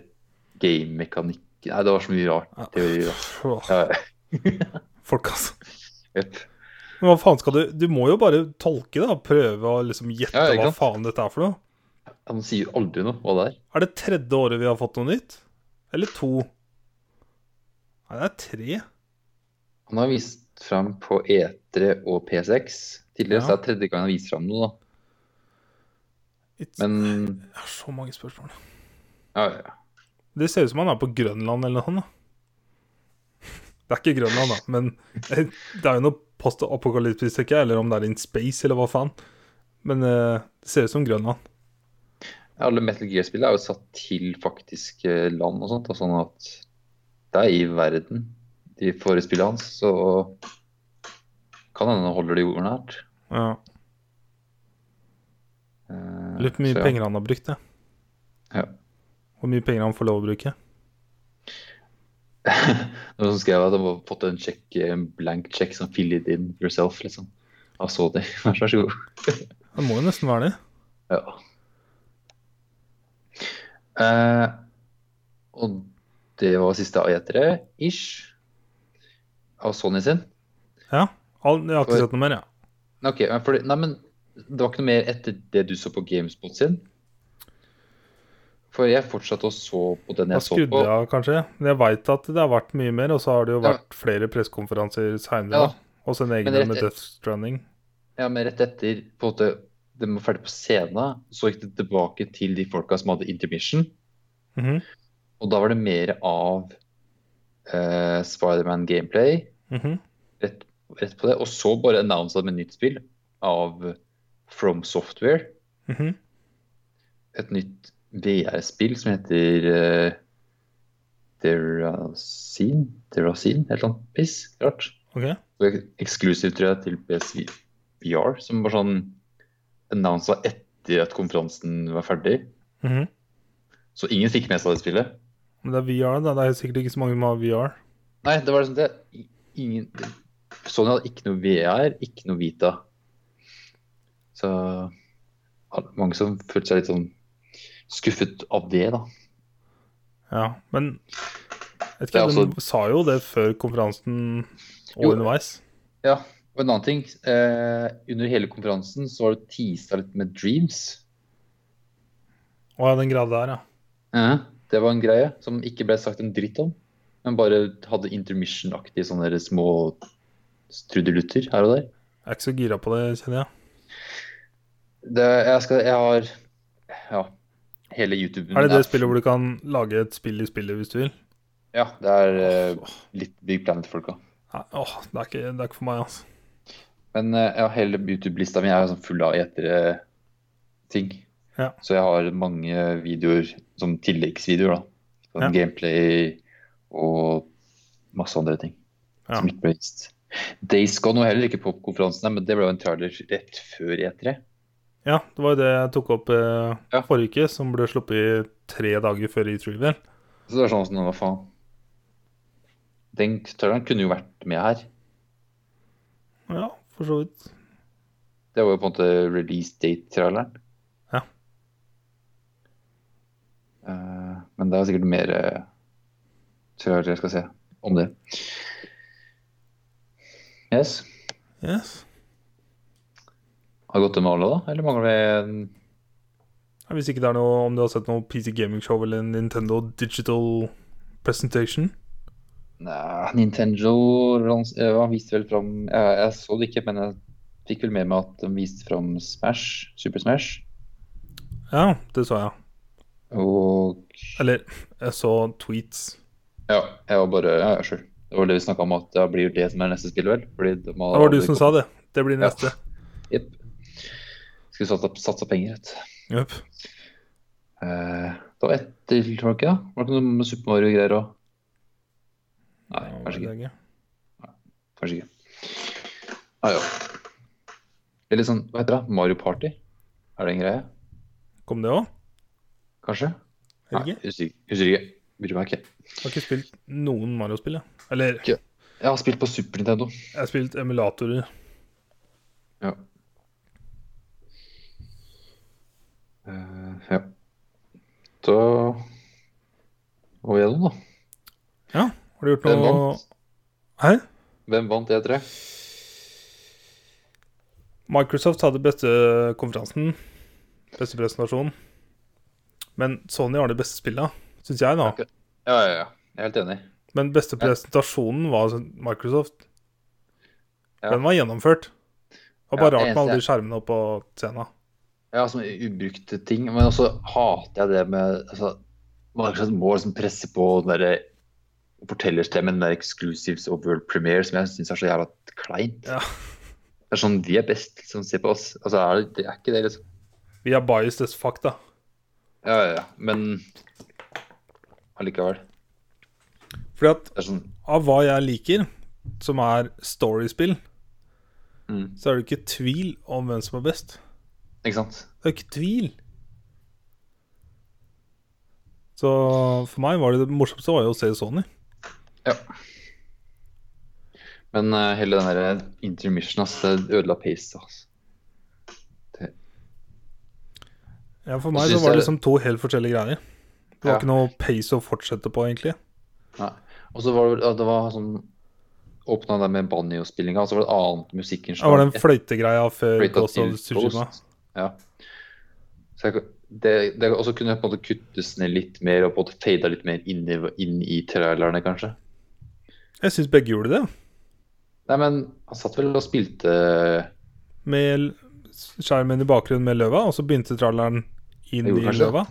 gamemekanikken Nei, det var så mye rart
Ja.
teori. Da.
Åh,
Ja, ja.
Ah,
<laughs>
Folk, altså.
Jep.
Men hva faen skal du Du må jo bare tolke, da. Prøve å liksom gjette
Ja, ikke
hva
sant?
faen dette er for noe.
Han sier jo aldri noe hva det er.
Er det tredje året vi har fått noe nytt? Eller to? Nei, det er tre.
Han har vist frem på E3 og P6
Ja.
tidligere, så det er tredje gang han viser frem noe, da.
It's,
Men
Jeg har så mange spørsmål.
ja, ja, ja.
Det ser ut som han er på Grønland eller noe sånt. da. Det er ikke Grønland, da, men eh, det er jo noe post-apokalyptisk, tenker jeg, eller om det er in space, eller hva faen. Men eh, det ser ut som Grønland.
alle Metal Gear-spillene er jo satt til faktisk eh, land og sånt, og sånn at det er i verden. De forrige spillene hans, så kan hende han holder det jorden nært.
Ja.
Eh,
Lurer på hvor mye
så <laughs> ja.
penger han har brukt, jeg.
Ja.
Hvor mye penger han får lov å bruke.
Noen som skrev at han har fått en, check, eh, en blank check som fill it in yourself, liksom. Av Sony. <laughs> Vær så god.
Det må jo nesten være det.
Ja. Eh, og det var siste A3-ish av Sony sin.
Ja. All, jeg har ikke sett noe mer, jeg.
Nei, ok, men fordi- nei, men det var ikke noe mer etter det du så på Gamespot sin? For jeg fortsatte å så på den
Da
jeg så
skrudde jeg
på.
av, kanskje. Men jeg veit at det har vært mye mer, og så har det jo
Ja.
vært flere pressekonferanser
Ja.
seinere. Og så en egen
Men det-
med Death Stranding.
Ja, men rett etter på en måte, de var ferdig på scenen, så gikk det tilbake til de folka som hadde intermission.
Mhm,
Og da var det mer av eh, Spiderman gameplay.
mhm.
rett, rett på det. Og så bare annonsa med nytt spill av From Software.
mhm.
Et nytt VR-spill som heter uh, Deracine? Deracine? Et eller annet piss. Rart.
Ok.
Og ek- Eksklusivt, tror jeg, til PSVR. Som var sånn annonsa etter at konferansen var ferdig.
mhm.
Så ingen fikk med seg det spillet.
Men det er VR, da. Det er sikkert ikke så mange som har VR.
Nei, det var liksom det. I- Ingen Sony hadde ikke noe VR, ikke noe Vita. Så al- mange som følte seg litt sånn skuffet av det, da.
Ja, men jeg vet
Det
ikke,
er altså-
De sa jo det før konferansen og
Jo.
underveis.
Ja, og en annen ting. Eh, under hele konferansen så var det teasa litt med Dreams.
Å ja, den greia der, ja.
Det var en greie som ikke ble sagt en dritt om, men bare hadde intermission-aktige sånne der små strudelutter her og der.
Jeg er ikke så gira på det, kjenner jeg.
Det, jeg, skal, jeg har ja, hele YouTube-en
Er det det spillet hvor du kan lage et spill i spillet hvis du vil?
Ja, det er eh, litt Big Planet-folka.
Nei, åh, det, er ikke, det er ikke for meg, altså.
Men eh, ja, hele YouTube-lista mi er jo sånn full av gjetere ting.
Ja.
Så jeg har mange videoer som tilleggsvideoer, da. Sånn Gameplay og masse andre ting.
Ja.
Som ikke ble vist. Days Gone var heller ikke på konferansen, men det ble jo en trailer rett før E E3.
Ja, det var jo det jeg tok opp eh,
Ja.
forrige uke, som ble sluppet i tre dager før i Trivial.
Så det er sånn sånn, hva faen. Den traileren kunne jo vært med her.
Ja, for så vidt.
Det var jo på en måte release date-traileren.
Ja.
Eh, men det er sikkert mer uh, trailere jeg skal se om det. Yes.
Yes.
Har vi gått gjennom alle, da? Eller mangler vi en
Ja, Hvis ikke det er noe om du har sett noe PC Gaming Show eller Nintendo Digital Presentation.
Nei, Nintendo lans- eh, han viste vel fram jeg, jeg så det ikke, men jeg fikk vel med meg at de viste fram Smash, Super Smash.
Ja, det så jeg.
Og
Eller jeg så tweets.
ja, jeg var bare Ja, ja, sure. Det var det vi snakka om, at det blir det som er neste spill, vel? Fordi de har
Det var du
aldri
som sa det. Det blir
Ja.
neste.
Jepp. Skulle satsa, satsa penger, vet du.
Jøp.
Eh, det var ett til, var det ikke? det? Var det ikke noe med Super Mario-greier òg? Nei,
Ja,
kanskje ikke.
det er gøy.
Kanskje ikke. Ah, ja. Eller sånn, hva heter det? Mario Party? Er det en greie?
Kom det òg?
Kanskje? Nei,
Helge?
husker ikke. Husker ikke. Bryr meg ikke.
Jeg har ikke spilt noen Mario-spill, jeg. Eller
Jeg har spilt på Super Nintendo.
jeg har spilt emulatorer.
Ja. Eh, ja. Så Og gjennom, da.
Har du gjort
Hvem
noe
vant?
Hæ?
Hvem vant E E3?
Microsoft hadde beste konferansen, beste presentasjon. Men Sony har de beste spilla, syns jeg, da.
Ok. Ja, ja, ja. Jeg er helt enig.
Men beste
Ja.
presentasjonen var Microsoft.
Ja.
Den var gjennomført. Det var
Ja,
bare rart
det
med alle de
eneste
skjermene oppå scenen.
Ja, sånne ubrukte ting. Men også hater jeg det med altså, Microsoft må liksom presse på den derre fortellerstemmen, den der exclusives og world premiere, som jeg syns er så jævla kleint.
Ja.
Det er sånn vi er best, liksom. Se på oss. Altså, er det, det er ikke det, liksom.
Vi er biased as fuck, da.
Ja, ja, ja. Men allikevel.
Fordi at
Det er sånn
av hva jeg liker, som er storiespill,
Mm.
så er det ikke tvil om hvem som er best.
Ikke sant?
Det er ikke tvil. Så for meg var det det morsomste var jo å se Sony.
Ja. Men eh, hele den der intermission, ass, det ødela pace, ass.
Ja, for
Jeg
meg så
synes
var
det er-
det liksom to helt forskjellige greier. Det var
Ja.
ikke noe pace å fortsette på, egentlig.
Nei. Og så var det vel ja, Det var sånn Åpna der med banjo-spillinga, og så var det et annet
Det var
musikkinnslag.
den fløytegreia før Eh, Ghost
Breakout
of
til
Tsushima.
Ghost. Ja. Så jeg, det, det også kunne på en måte kuttes ned litt mer og på en måte fada litt mer inn i, inn i trailerne, kanskje.
Jeg syns begge gjorde det.
Nei, men han satt vel og spilte
Med l- skjermen i bakgrunnen med løva, og så begynte tralleren inn
Jeg gjorde
i
kanskje det.
løva.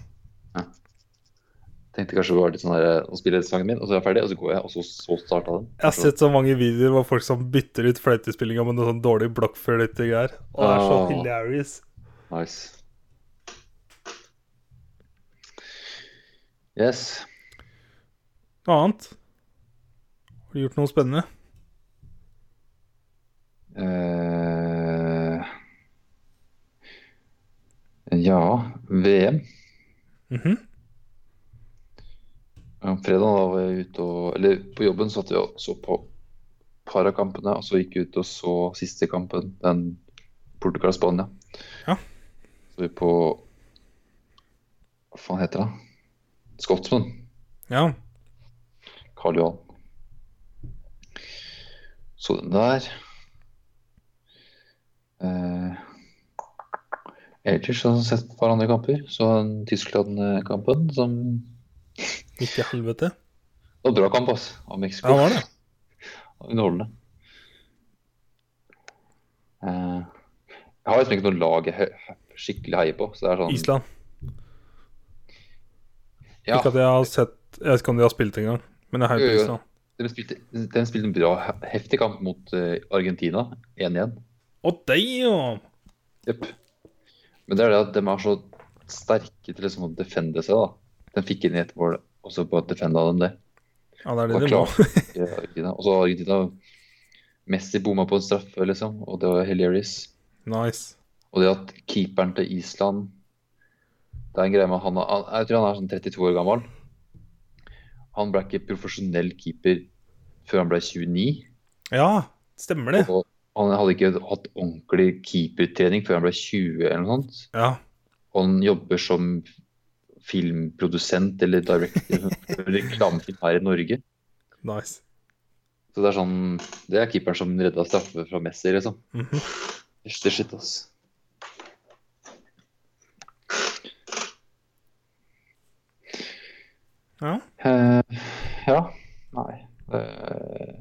Tenkte kanskje det var litt sånn der Nå spiller jeg sangen min, og så er jeg ferdig, og så går jeg, og så, så starta den.
Jeg har sett så mange videoer hvor folk som bytter ut fløytespillinga med noe sånn dårlig blokkfløytegreier. Og det er så
Ah.
hilarious.
Nice. Yes.
Noe annet? Har du gjort noe spennende?
Eh, ja, VM.
Mhm.
Ja, fredag da var jeg ute og Eller på jobben satt vi og så på parakampene, og så gikk jeg ut og så siste kampen, den Portugal-Spania.
Ja.
Så vi på Hva faen heter det? Skotsman.
Ja.
Karl Johan. Så den der. Eh, ellers har jeg sett et par andre kamper. Så den Tyskland-kampen som
Midt i helvete.
Det var en bra kamp, altså. Av Mexico.
Ja, var det.
Underholdende. Eh, jeg har liksom ikke noe lag jeg he- skikkelig heier på. Så det er sånn
Island.
Ja,
Ikke at jeg har sett Jeg vet ikke om de har spilt engang. Men det er
Jo, jo.
Høyprisland.
De spilte, de spilte en bra, heftig kamp mot eh, Argentina, 1-1.
Å, damn!
Jepp. Men det er det at de er så sterke til liksom å defende seg, da. De fikk inn ett mål, og så bare defenda de det.
Ja, det er
Og
det de må.
klart ikke Argentina. Og så Argentina Messi bomma på en straffe, liksom, og det var hilarious.
<laughs> Nice.
Og det at keeperen til Island Det er en greie med han, han Jeg tror han er sånn 32 år gammel. Han ble ikke profesjonell keeper før han ble 29.
Ja, stemmer det.
Og han hadde ikke hatt ordentlig keepertrening før han ble 20 eller noe sånt.
Ja.
Og han jobber som filmprodusent eller director <laughs> for reklamefilm her i Norge.
Nice.
Så det er sånn Det er keeperen som redda straffe fra Messi, liksom.
Mhm.
Shit, shit, ass.
Ja.
Eh, ja. Nei. Uh,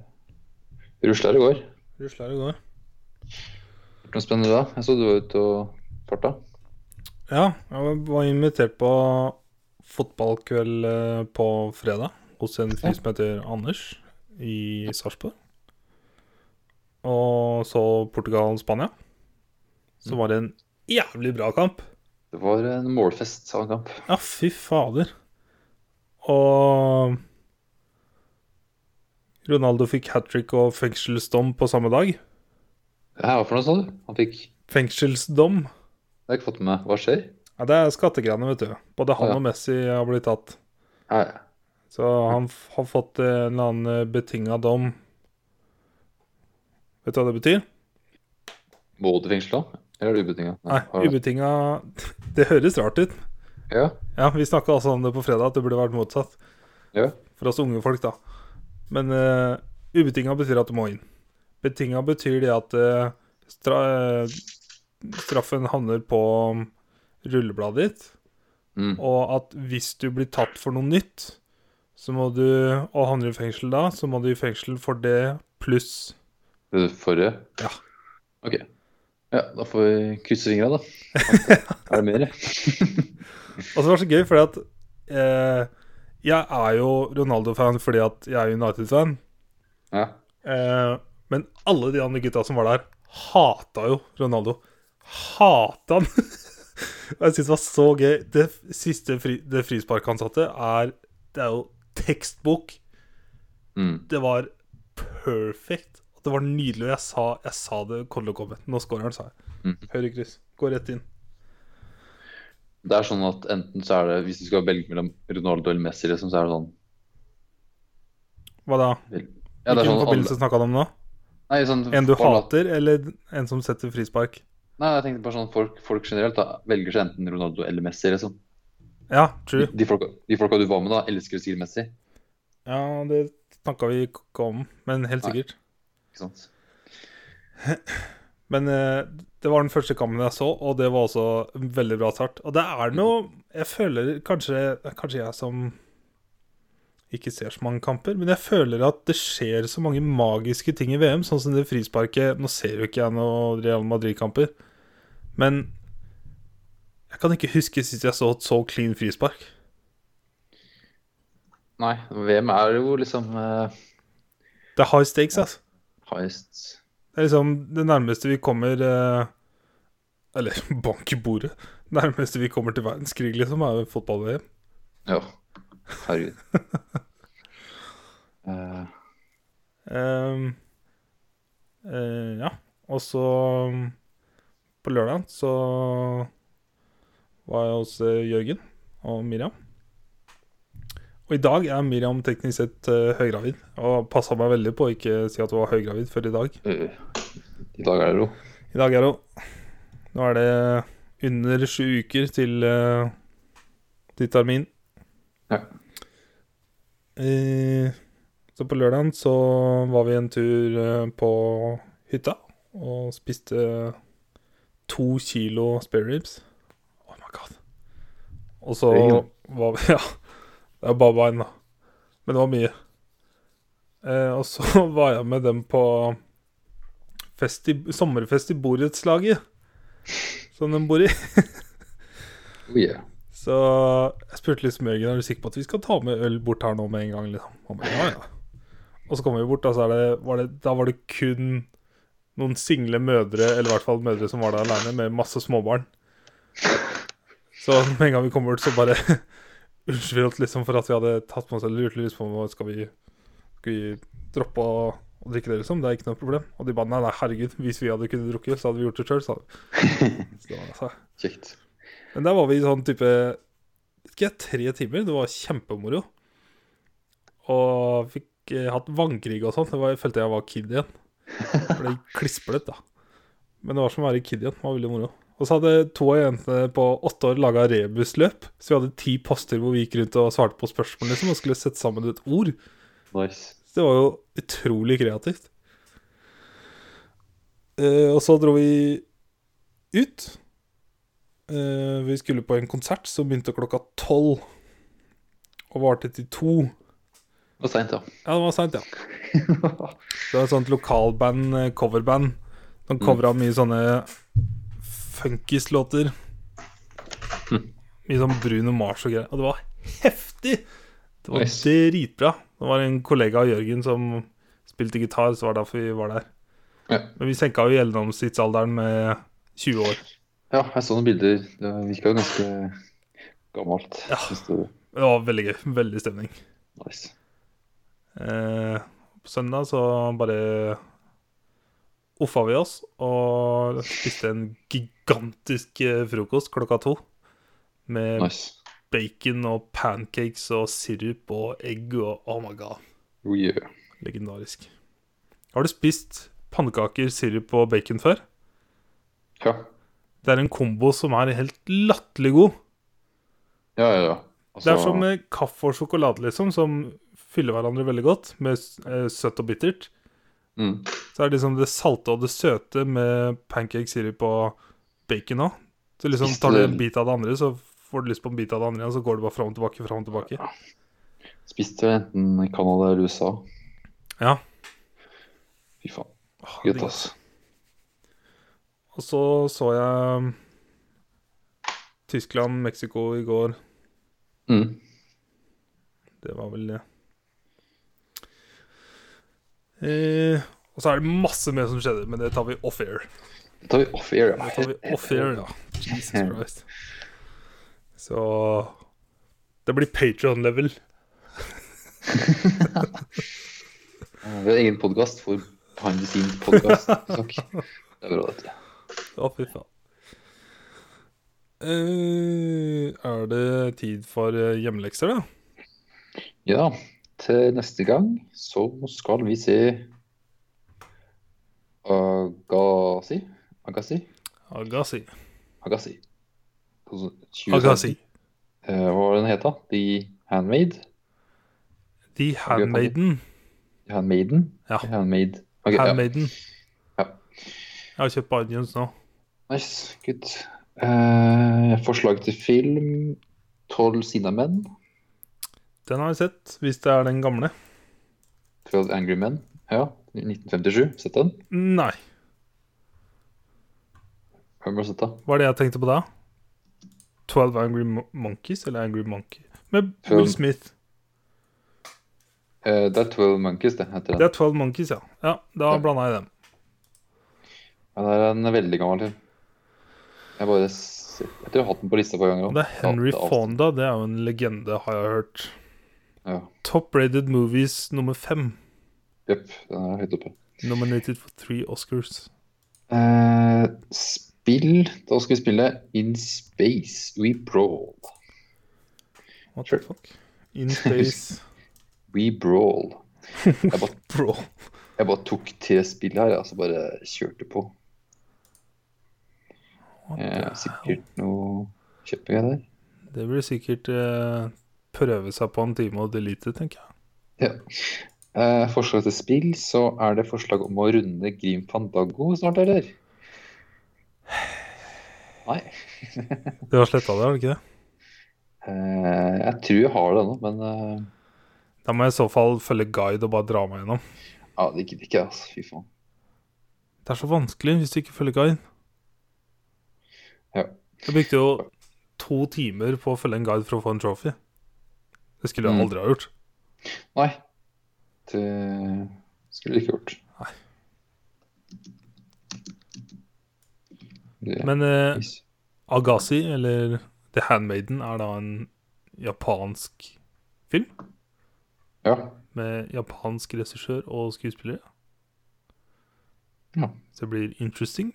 rusler i går.
Rusler det går.
Gjort noe spennende da? Jeg så du var ute og farta.
Ja, jeg var invitert på fotballkveld eh, på fredag hos en fyr som heter Anders i Sarpsborg. Og så Portugal-Spania. Så var det en jævlig bra kamp.
Det var en målfest av en kamp.
Ja, fy fader. Og Ronaldo fikk hat trick og fengselsdom på samme dag.
Ja, hva for noe, sa du? Han fikk Det
Fengselsdom.
har jeg ikke fått med meg. Hva skjer?
Ja, det er skattegreiene, vet du. Både han
Ja.
og Messi har blitt tatt.
Nei.
Så han f- har fått eh, en eller annen eh, betinga dom. Vet du hva det betyr?
Må du fengsle da? Eller er det ubetinga?
Nei,
har du-
ubetinga <laughs> Det høres rart ut.
Ja.
Ja, vi snakka altså om det på fredag, at det burde vært motsatt.
Ja.
For oss unge folk, da. Men eh, ubetinga betyr at du må inn. Betinga betyr det at eh, stra eh, straffen havner på um, rullebladet ditt.
Mm.
Og at hvis du blir tatt for noe nytt, så må du, og havner i fengsel da, så må du i fengsel for det pluss
Det forrige?
Ja.
Ok. Ja, da får vi krysse fingra, da.
<laughs>
At- Er det mer?
Og så var Altså, det så gøy, fordi at eh, jeg er jo Ronaldo-fan fordi at jeg er United-fan.
Ja.
Eh, men alle de andre gutta som var der, hata jo Ronaldo. Hata han! <laughs> Og jeg syns det var så gøy. Det f- siste fri, det frisparket han satte, er Det er jo tekstbok.
Mm.
Det var perfect. Og Det var nydelig. Og jeg sa, jeg sa det kom til å komme. Nå scorer han, sa jeg.
Mhm.
Høyre kryss. Gå rett inn.
Det er sånn at enten så er det Hvis du skal velge mellom Ronaldo eller Messi, liksom, så er det sånn
Hva da?
Ja, det er
Hvilken
sånn alle-
forbindelse snakka du om nå?
Nei, sånn
En du
bare at-
hater, eller en som setter frispark?
Nei, jeg tenkte bare sånn folk, folk generelt da, velger seg enten Ronaldo eller Messi. liksom.
Ja, true.
De folka, de folka du var med, da, elsker å si Messi.
Ja, det snakka vi ikke om, men helt
Nei.
sikkert.
ikke sant?
Men eh, det var den første kampen jeg så, og det var også en veldig bra start. Og det er noe Jeg føler kanskje Kanskje jeg som ikke ser så mange kamper, men jeg føler at det skjer så mange magiske ting i VM, sånn som det frisparket Nå ser jo ikke jeg noen Real Madrid-kamper, men jeg kan ikke huske sist jeg så et så clean frispark.
Nei, VM er jo liksom eh,
Det er high stakes, altså.
highest
Det er liksom det nærmeste vi kommer eh, Eller <laughs> bank i bordet. Det nærmeste vi kommer til verdenskrig, liksom, er jo fotball-VM.
Ja.
<laughs>
Herregud. Eh,
Ehm, eh, ja. Og så um, På lørdag så var jeg hos eh, Jørgen og Miriam. Og i dag er Miriam teknisk sett eh, høygravid, og passa meg veldig på å ikke si at hun var høygravid før i dag.
ø, I dag er det Oh, jo
I dag er det Nå er det under sju uker til, eh, til termin.
Ja.
Eh, så på lørdagen så var vi en tur eh, på hytta og spiste to kilo spare ribs. Oh my god. Og så
Det er jo-
var vi <laughs> Ja, det er bare bein, da. Men det var mye. Eh, og så <laughs> var jeg med dem på fest i, sommerfest i borettslaget som de bor i.
oh, yeah.
Så jeg spurte liksom Jørgen er du sikker på at vi skal ta med øl bort her nå med en gang. Liksom. Han ba, ja, ja. Og så kom vi bort, da, så er det, var det, da var det kun noen single mødre, eller i hvert fall mødre som var der aleine, med masse småbarn. Så med en gang vi kom bort, så bare <laughs> Unnskyld oss liksom for at vi hadde tatt på oss eller lurte litt på om skal vi skal vi droppe å, å drikke det, liksom. Det er ikke noe problem. Og de ba nei, nei, herregud, hvis vi hadde kunnet drukke, så hadde vi gjort det sjøl, sa de. Så, altså.
Kjekt.
Men der var vi i sånn type vet ikke, tre timer. Det var kjempemoro. Og fikk eh, hatt vannkrig og sånn. Det var- Jeg følte jeg var kid igjen. Ble klisplet, da. Men det var som å være kid igjen. Det var veldig moro. Og så hadde to av jentene på åtte år laga rebusløp. Så vi hadde ti poster hvor vi gikk rundt og svarte på spørsmål liksom, og skulle sette sammen et ord.
Nice.
Så det var jo utrolig kreativt. Eh, og så dro vi ut. Eh, vi skulle på en konsert som begynte klokka tolv og varte til to.
Det var seint, da.
Ja, det var seint, ja. Det var et sånt lokalband, eh, coverband. De covra mye sånne funkislåter. Mye sånn Bruno Mars og greier. Og det var heftig! Det var
Nice.
dritbra. Det var en kollega av Jørgen som spilte gitar, så var det derfor vi var der.
Ja.
Men vi senka jo gjennomsnittsalderen med 20 år.
Ja, jeg så noen bilder. Det virka jo ganske gammelt.
Ja.
Synes det var
Det var veldig gøy. Veldig stemning.
nice.
Eh, på søndag så bare offa vi oss og spiste en gigantisk eh, frokost klokka to. Med
Nice.
bacon og pancakes og sirup og egg og oh my god.
Oh, yeah.
Legendarisk. Har du spist pannekaker, sirup og bacon før?
Ja,
Det er en kombo som er helt latterlig god.
ja, ja. ja.
Det
Altså,
er som eh, kaffe og sjokolade, liksom, som fyller hverandre veldig godt med eh, søtt og bittert.
mm.
Så er det liksom det salte og det søte med pancake, sirup og bacon òg. Så liksom tar du en bit av det andre, så får du lyst på en bit av det andre, og så går det bare fram og tilbake, fram og tilbake.
Spiste jo enten i Canada eller USA.
Ja.
Fy faen.
Åh,
Gutt,
herregud.
ass.
Ah, Og så så jeg um, Tyskland, Mexico i går.
Mm.
Det var vel det. Eh, og så er det masse mer som skjedde, men det tar vi off air.
Det tar vi off air,
Det tar vi off air, ja.
<laughs>
Jesus Christ. Så Det blir Patreon-level.
Vi har egen podkast for behind the scenes podcast. Takk. Det er bra, dette.
Å, fy faen. Eh, er det tid for eh, hjemmelekser, da?
Ja, til neste gang så skal vi se Agassi? Agassi?
Agassi.
Agassi. Altså, 20
Agassi.
Eh, hva var det den het, da? The Handmade?
The Handmaiden.
The Handmaiden?
Ja.
The Handmade. Ok,
Handmaiden.
Ja.
Jeg har kjøpt Bunions nå.
Ja. Nice, good. Eh, forslag til film? Tolv sinnamenn?
Den har jeg sett, hvis det er den gamle.
Twelve Angry Men? Ja, 1957. Sett den?
Nei.
Hvem har sett den?
Hva er det jeg tenkte på da? 12 Angry Mo- Monkeys, eller Angry Monkey? Med Will
Twelve.
Smith.
Eh, det er Twelve Monkeys, det heter
Det
den.
er 12 Monkeys, ja. Ja, Da
Ja.
blanda jeg dem.
Ja, det er en veldig gammel film. Jeg bare s- Jeg tror jeg har hatt den på lista et par ganger. også.
Og det er Henry
Ja, det er alt.
Fonda. Det er jo en legende, har jeg hørt.
Ja.
Top rated movies nummer fem.
Jepp, den er høyt oppe.
Nominated for three Oscars.
Eh, spill Da skal vi spille In Space We Brawl.
What
Sure.
the fuck? In
<laughs>
space
We Brawl. Jeg bare,
<laughs> Bro.
jeg bare tok tre spill her, og så bare kjørte på.
What
Eh,
the
sikkert noe kjempegreier der.
hell? Det blir sikkert eh, prøve seg på en time og delete, tenker jeg.
Ja. Eh, forslag til spill, så er det forslag om å runde Grim Fandango snart, eller? Nei.
Du har sletta det, har du ikke det?
Eh, jeg tror jeg har det ennå, men eh,
Da må jeg i så fall følge guide og bare dra meg gjennom.
ja, det gidder ikke jeg, altså. Fy faen.
Det er så vanskelig hvis du ikke følger guide.
Ja.
Jeg brukte jo to timer på å følge en guide for å få en trophy. Det skulle jeg
Mm.
aldri ha gjort.
Nei, det skulle du ikke gjort.
Nei.
Det-
Men eh, Agassi, eller The Handmaiden, er da en japansk film
Ja.
med japansk regissør og skuespillere.
Ja.
Så det blir interesting.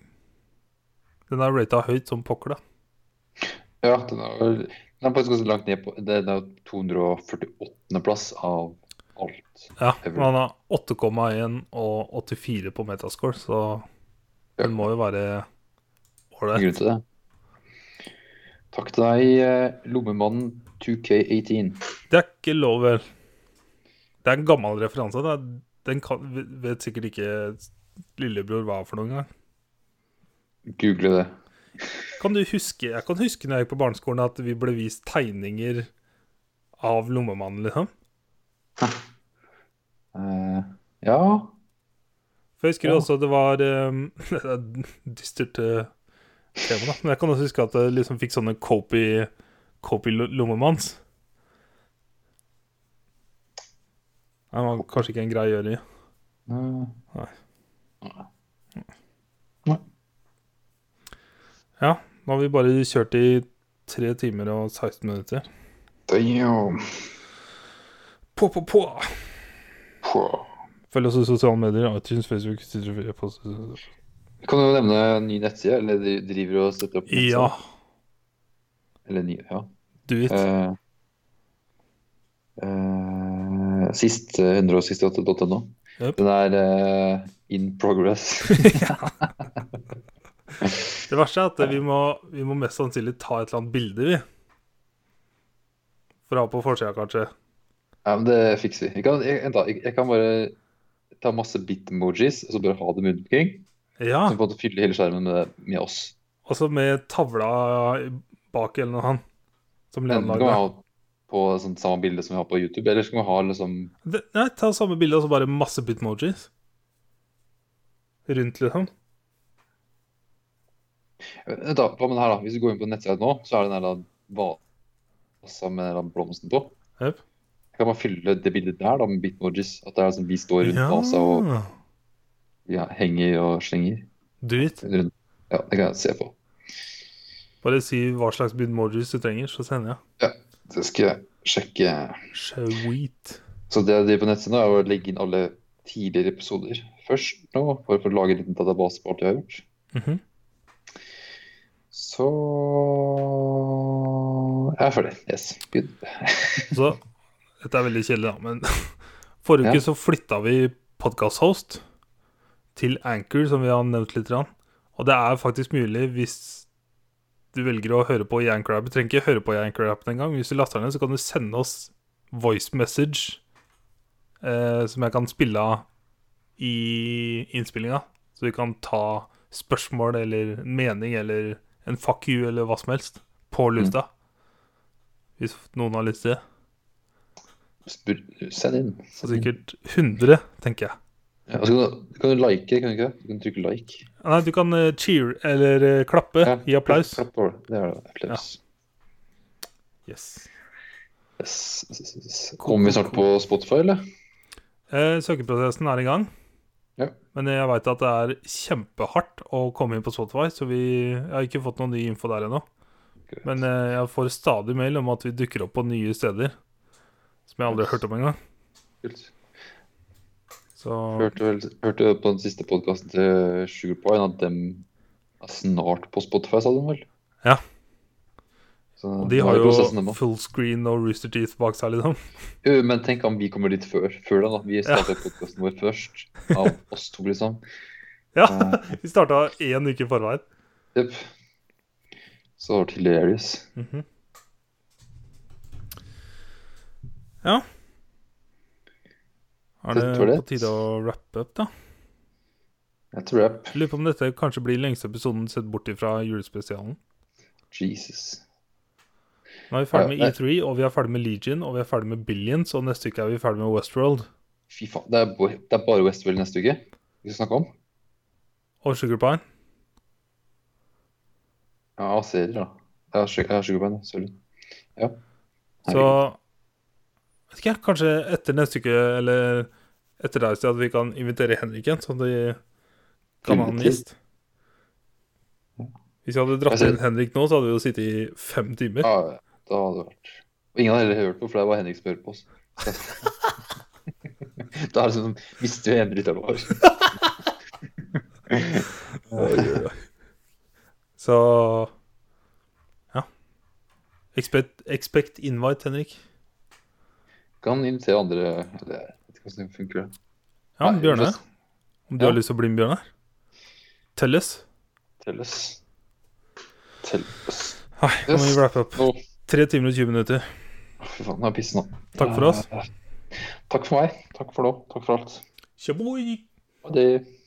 Den er rata høyt som pokker, da.
ja, den er vel Den er faktisk ganske langt ned på Det det er 248. plass av alt.
Ja,
Det er
men
vel-
han har 8,1 og 84 på metascore, så
Ja.
den må jo være
Det er
ålreit.
grunn til det. Takk til deg, eh, lommemannen 2K18.
Det er ikke lov, vel. Det er en gammel referanse. Da. Den kan, vet sikkert ikke lillebror hva for noen gang.
Google det.
Kan du huske, Jeg kan huske når jeg gikk på barneskolen at vi ble vist tegninger av lommemannen, liksom.
Eh, ja
For jeg husker
Ja.
også det var um, <laughs> Det er dystert eh, tema, da. Men jeg kan også huske at jeg liksom fikk sånne copy, copy lo- lommemanns. Det var kanskje ikke en grei å gjøre i.
eh,
Nå har vi bare kjørt i 3 timer og 16 minutter.
Damn.
På, på, på!
Pwah.
Følg oss i sosiale medier. iTunes, Facebook, Twitter, Post
Kan du nevne en ny nettside, eller de driver og støtter opp? nettsida?
Ja,
Eller ny, ja.
do it.
Eh, eh, siste 168.no.
Jep.
Den er eh, in progress.
<laughs> Det verste er at vi må, vi må mest sannsynlig ta et eller annet bilde, vi. For å ha på forsida, kanskje.
ja, men det fikser vi. Jeg kan, jeg, vent da, jeg, jeg kan bare ta masse bit-emojis og så bare ha dem rundt omkring.
Ja.
Så på en måte fylle hele skjermen med, med oss.
Altså med tavla bak eller noe han som
Enten
Leon
kan vi
lagde.
ha på sånn, samme bilde som vi har på YouTube, eller så kan vi ha liksom
Det- Nei, ta samme bilde og så bare masse bitmojis. Rundt, liksom.
Vent da, hva med det her da? Hvis du går inn på nettsida nå, så er det den der da vasa med den der blomsten på.
Jep.
Jeg kan bare fylle det bildet der da med bitmojis. At det er sånn, vi står rundt
Ja.
vasa og ja, henger og slenger.
Do it.
Rundt. Ja, det kan jeg se på.
Bare si hva slags bitmojis du trenger, så sender jeg.
Det skal jeg sjekke.
Sweet.
Så det jeg driver på nettsiden nå, er å legge inn alle tidligere episoder først nå. Bare for å lage en liten database på alt jeg har gjort.
Mhm.
Så Jeg er ferdig. Yes. Good.
Så dette er veldig kjedelig, da, men <laughs> forrige uke
Ja.
så flytta vi podkast-host til Anchor, som vi har nevnt litt. grann. Og det er faktisk mulig hvis du velger å høre på i Anchor-app. Du trenger ikke høre på i Anchor-appen engang. Hvis du laster den ned, så kan du sende oss voice message eh, som jeg kan spille av i innspillinga. Så vi kan ta spørsmål eller mening eller en fuck you eller hva som helst på lufta. Hvis noen har lyst til det.
Spør, send inn.
Så sikkert 100, tenker jeg.
Ja, og så kan, du, kan du like, kan du ikke det? Du kan trykke like.
Nei, du kan eh, cheer, eller eh, klappe,
Ja,
gi applaus.
Klapp over det. Det er det. Applaus.
Yes.
Yes. yes, yes, yes. Kommer vi snart på Spotify, eller?
Eh, søkeprosessen er i gang.
Ja.
Men jeg veit at det er kjempehardt å komme inn på Spotify, så vi jeg har ikke fått noen ny info der ennå.
Greit.
Men eh, jeg får stadig mail om at vi dukker opp på nye steder. Som jeg aldri har hørt om engang.
Kult.
Så
Hørte, vel, hørte på den siste podkasten til Sugar Pine at dem er snart på Spotify, sa de vel?
Ja.
Så
og
nå
de
er
har
det prosessen
jo
dem, da.
full screen og Rooster Teeth bak seg, liksom. <laughs>
Jo, jo, Men tenk om vi kommer dit før, før da, da. Vi starter podkasten vår først. Av oss to,
<laughs>
liksom.
Ja,
Eh,
Vi starta én uke i forveien.
Jepp. Så var det hilarious.
Mhm. Ja. Er
Det var
det
det.
på tide å wrappe opp, da?
Jeg tror jeg
Jeg Lurer på om dette kanskje blir lengste episoden sett bort ifra julespesialen.
Jesus.
Nå er vi ferdig med
Ja, nei.
E3, og vi er ferdig med Legion, og vi er ferdig med Billions, og neste uke er vi ferdig med Westworld
Fy faen, det er, bo- det er bare Westworld neste uke vi skal snakke om.
og Sugar Pine.
Ja, serier, da. Det Ja, Sug- ja, Sugarband. Sorry. Ja.
Så vet ikke jeg, kanskje etter neste uke eller etter deg, Stig, at vi kan invitere Henrik igjen, så de kan ha en gjest. Hvis vi hadde dratt
Jeg ser-
inn Henrik nå, så hadde vi jo sittet i fem timer.
Ja, da hadde det vært Og ingen hadde heller hørt på, for det var Henrik som hørte på oss. <laughs> da er det sånn Visste jo Henrik det var
<laughs> Så ja. Expect, expect invite, Henrik.
Kan invitere andre eller, Jeg vet ikke hvordan det funker. det.
Ja,
Nei,
Bjørne.
just-
Om du
Ja.
har lyst til å bli med Bjørne? Tell us.
Telles. Telles.
Nei, nå må vi
Yes.
wrap up.
Nå,
Tre timer og 20 minutter.
fy faen, nå er jeg pissen nå.
Takk for oss.
Eh, Takk for meg. Takk for nå. Takk for alt.
Tjaboy!
Ha det.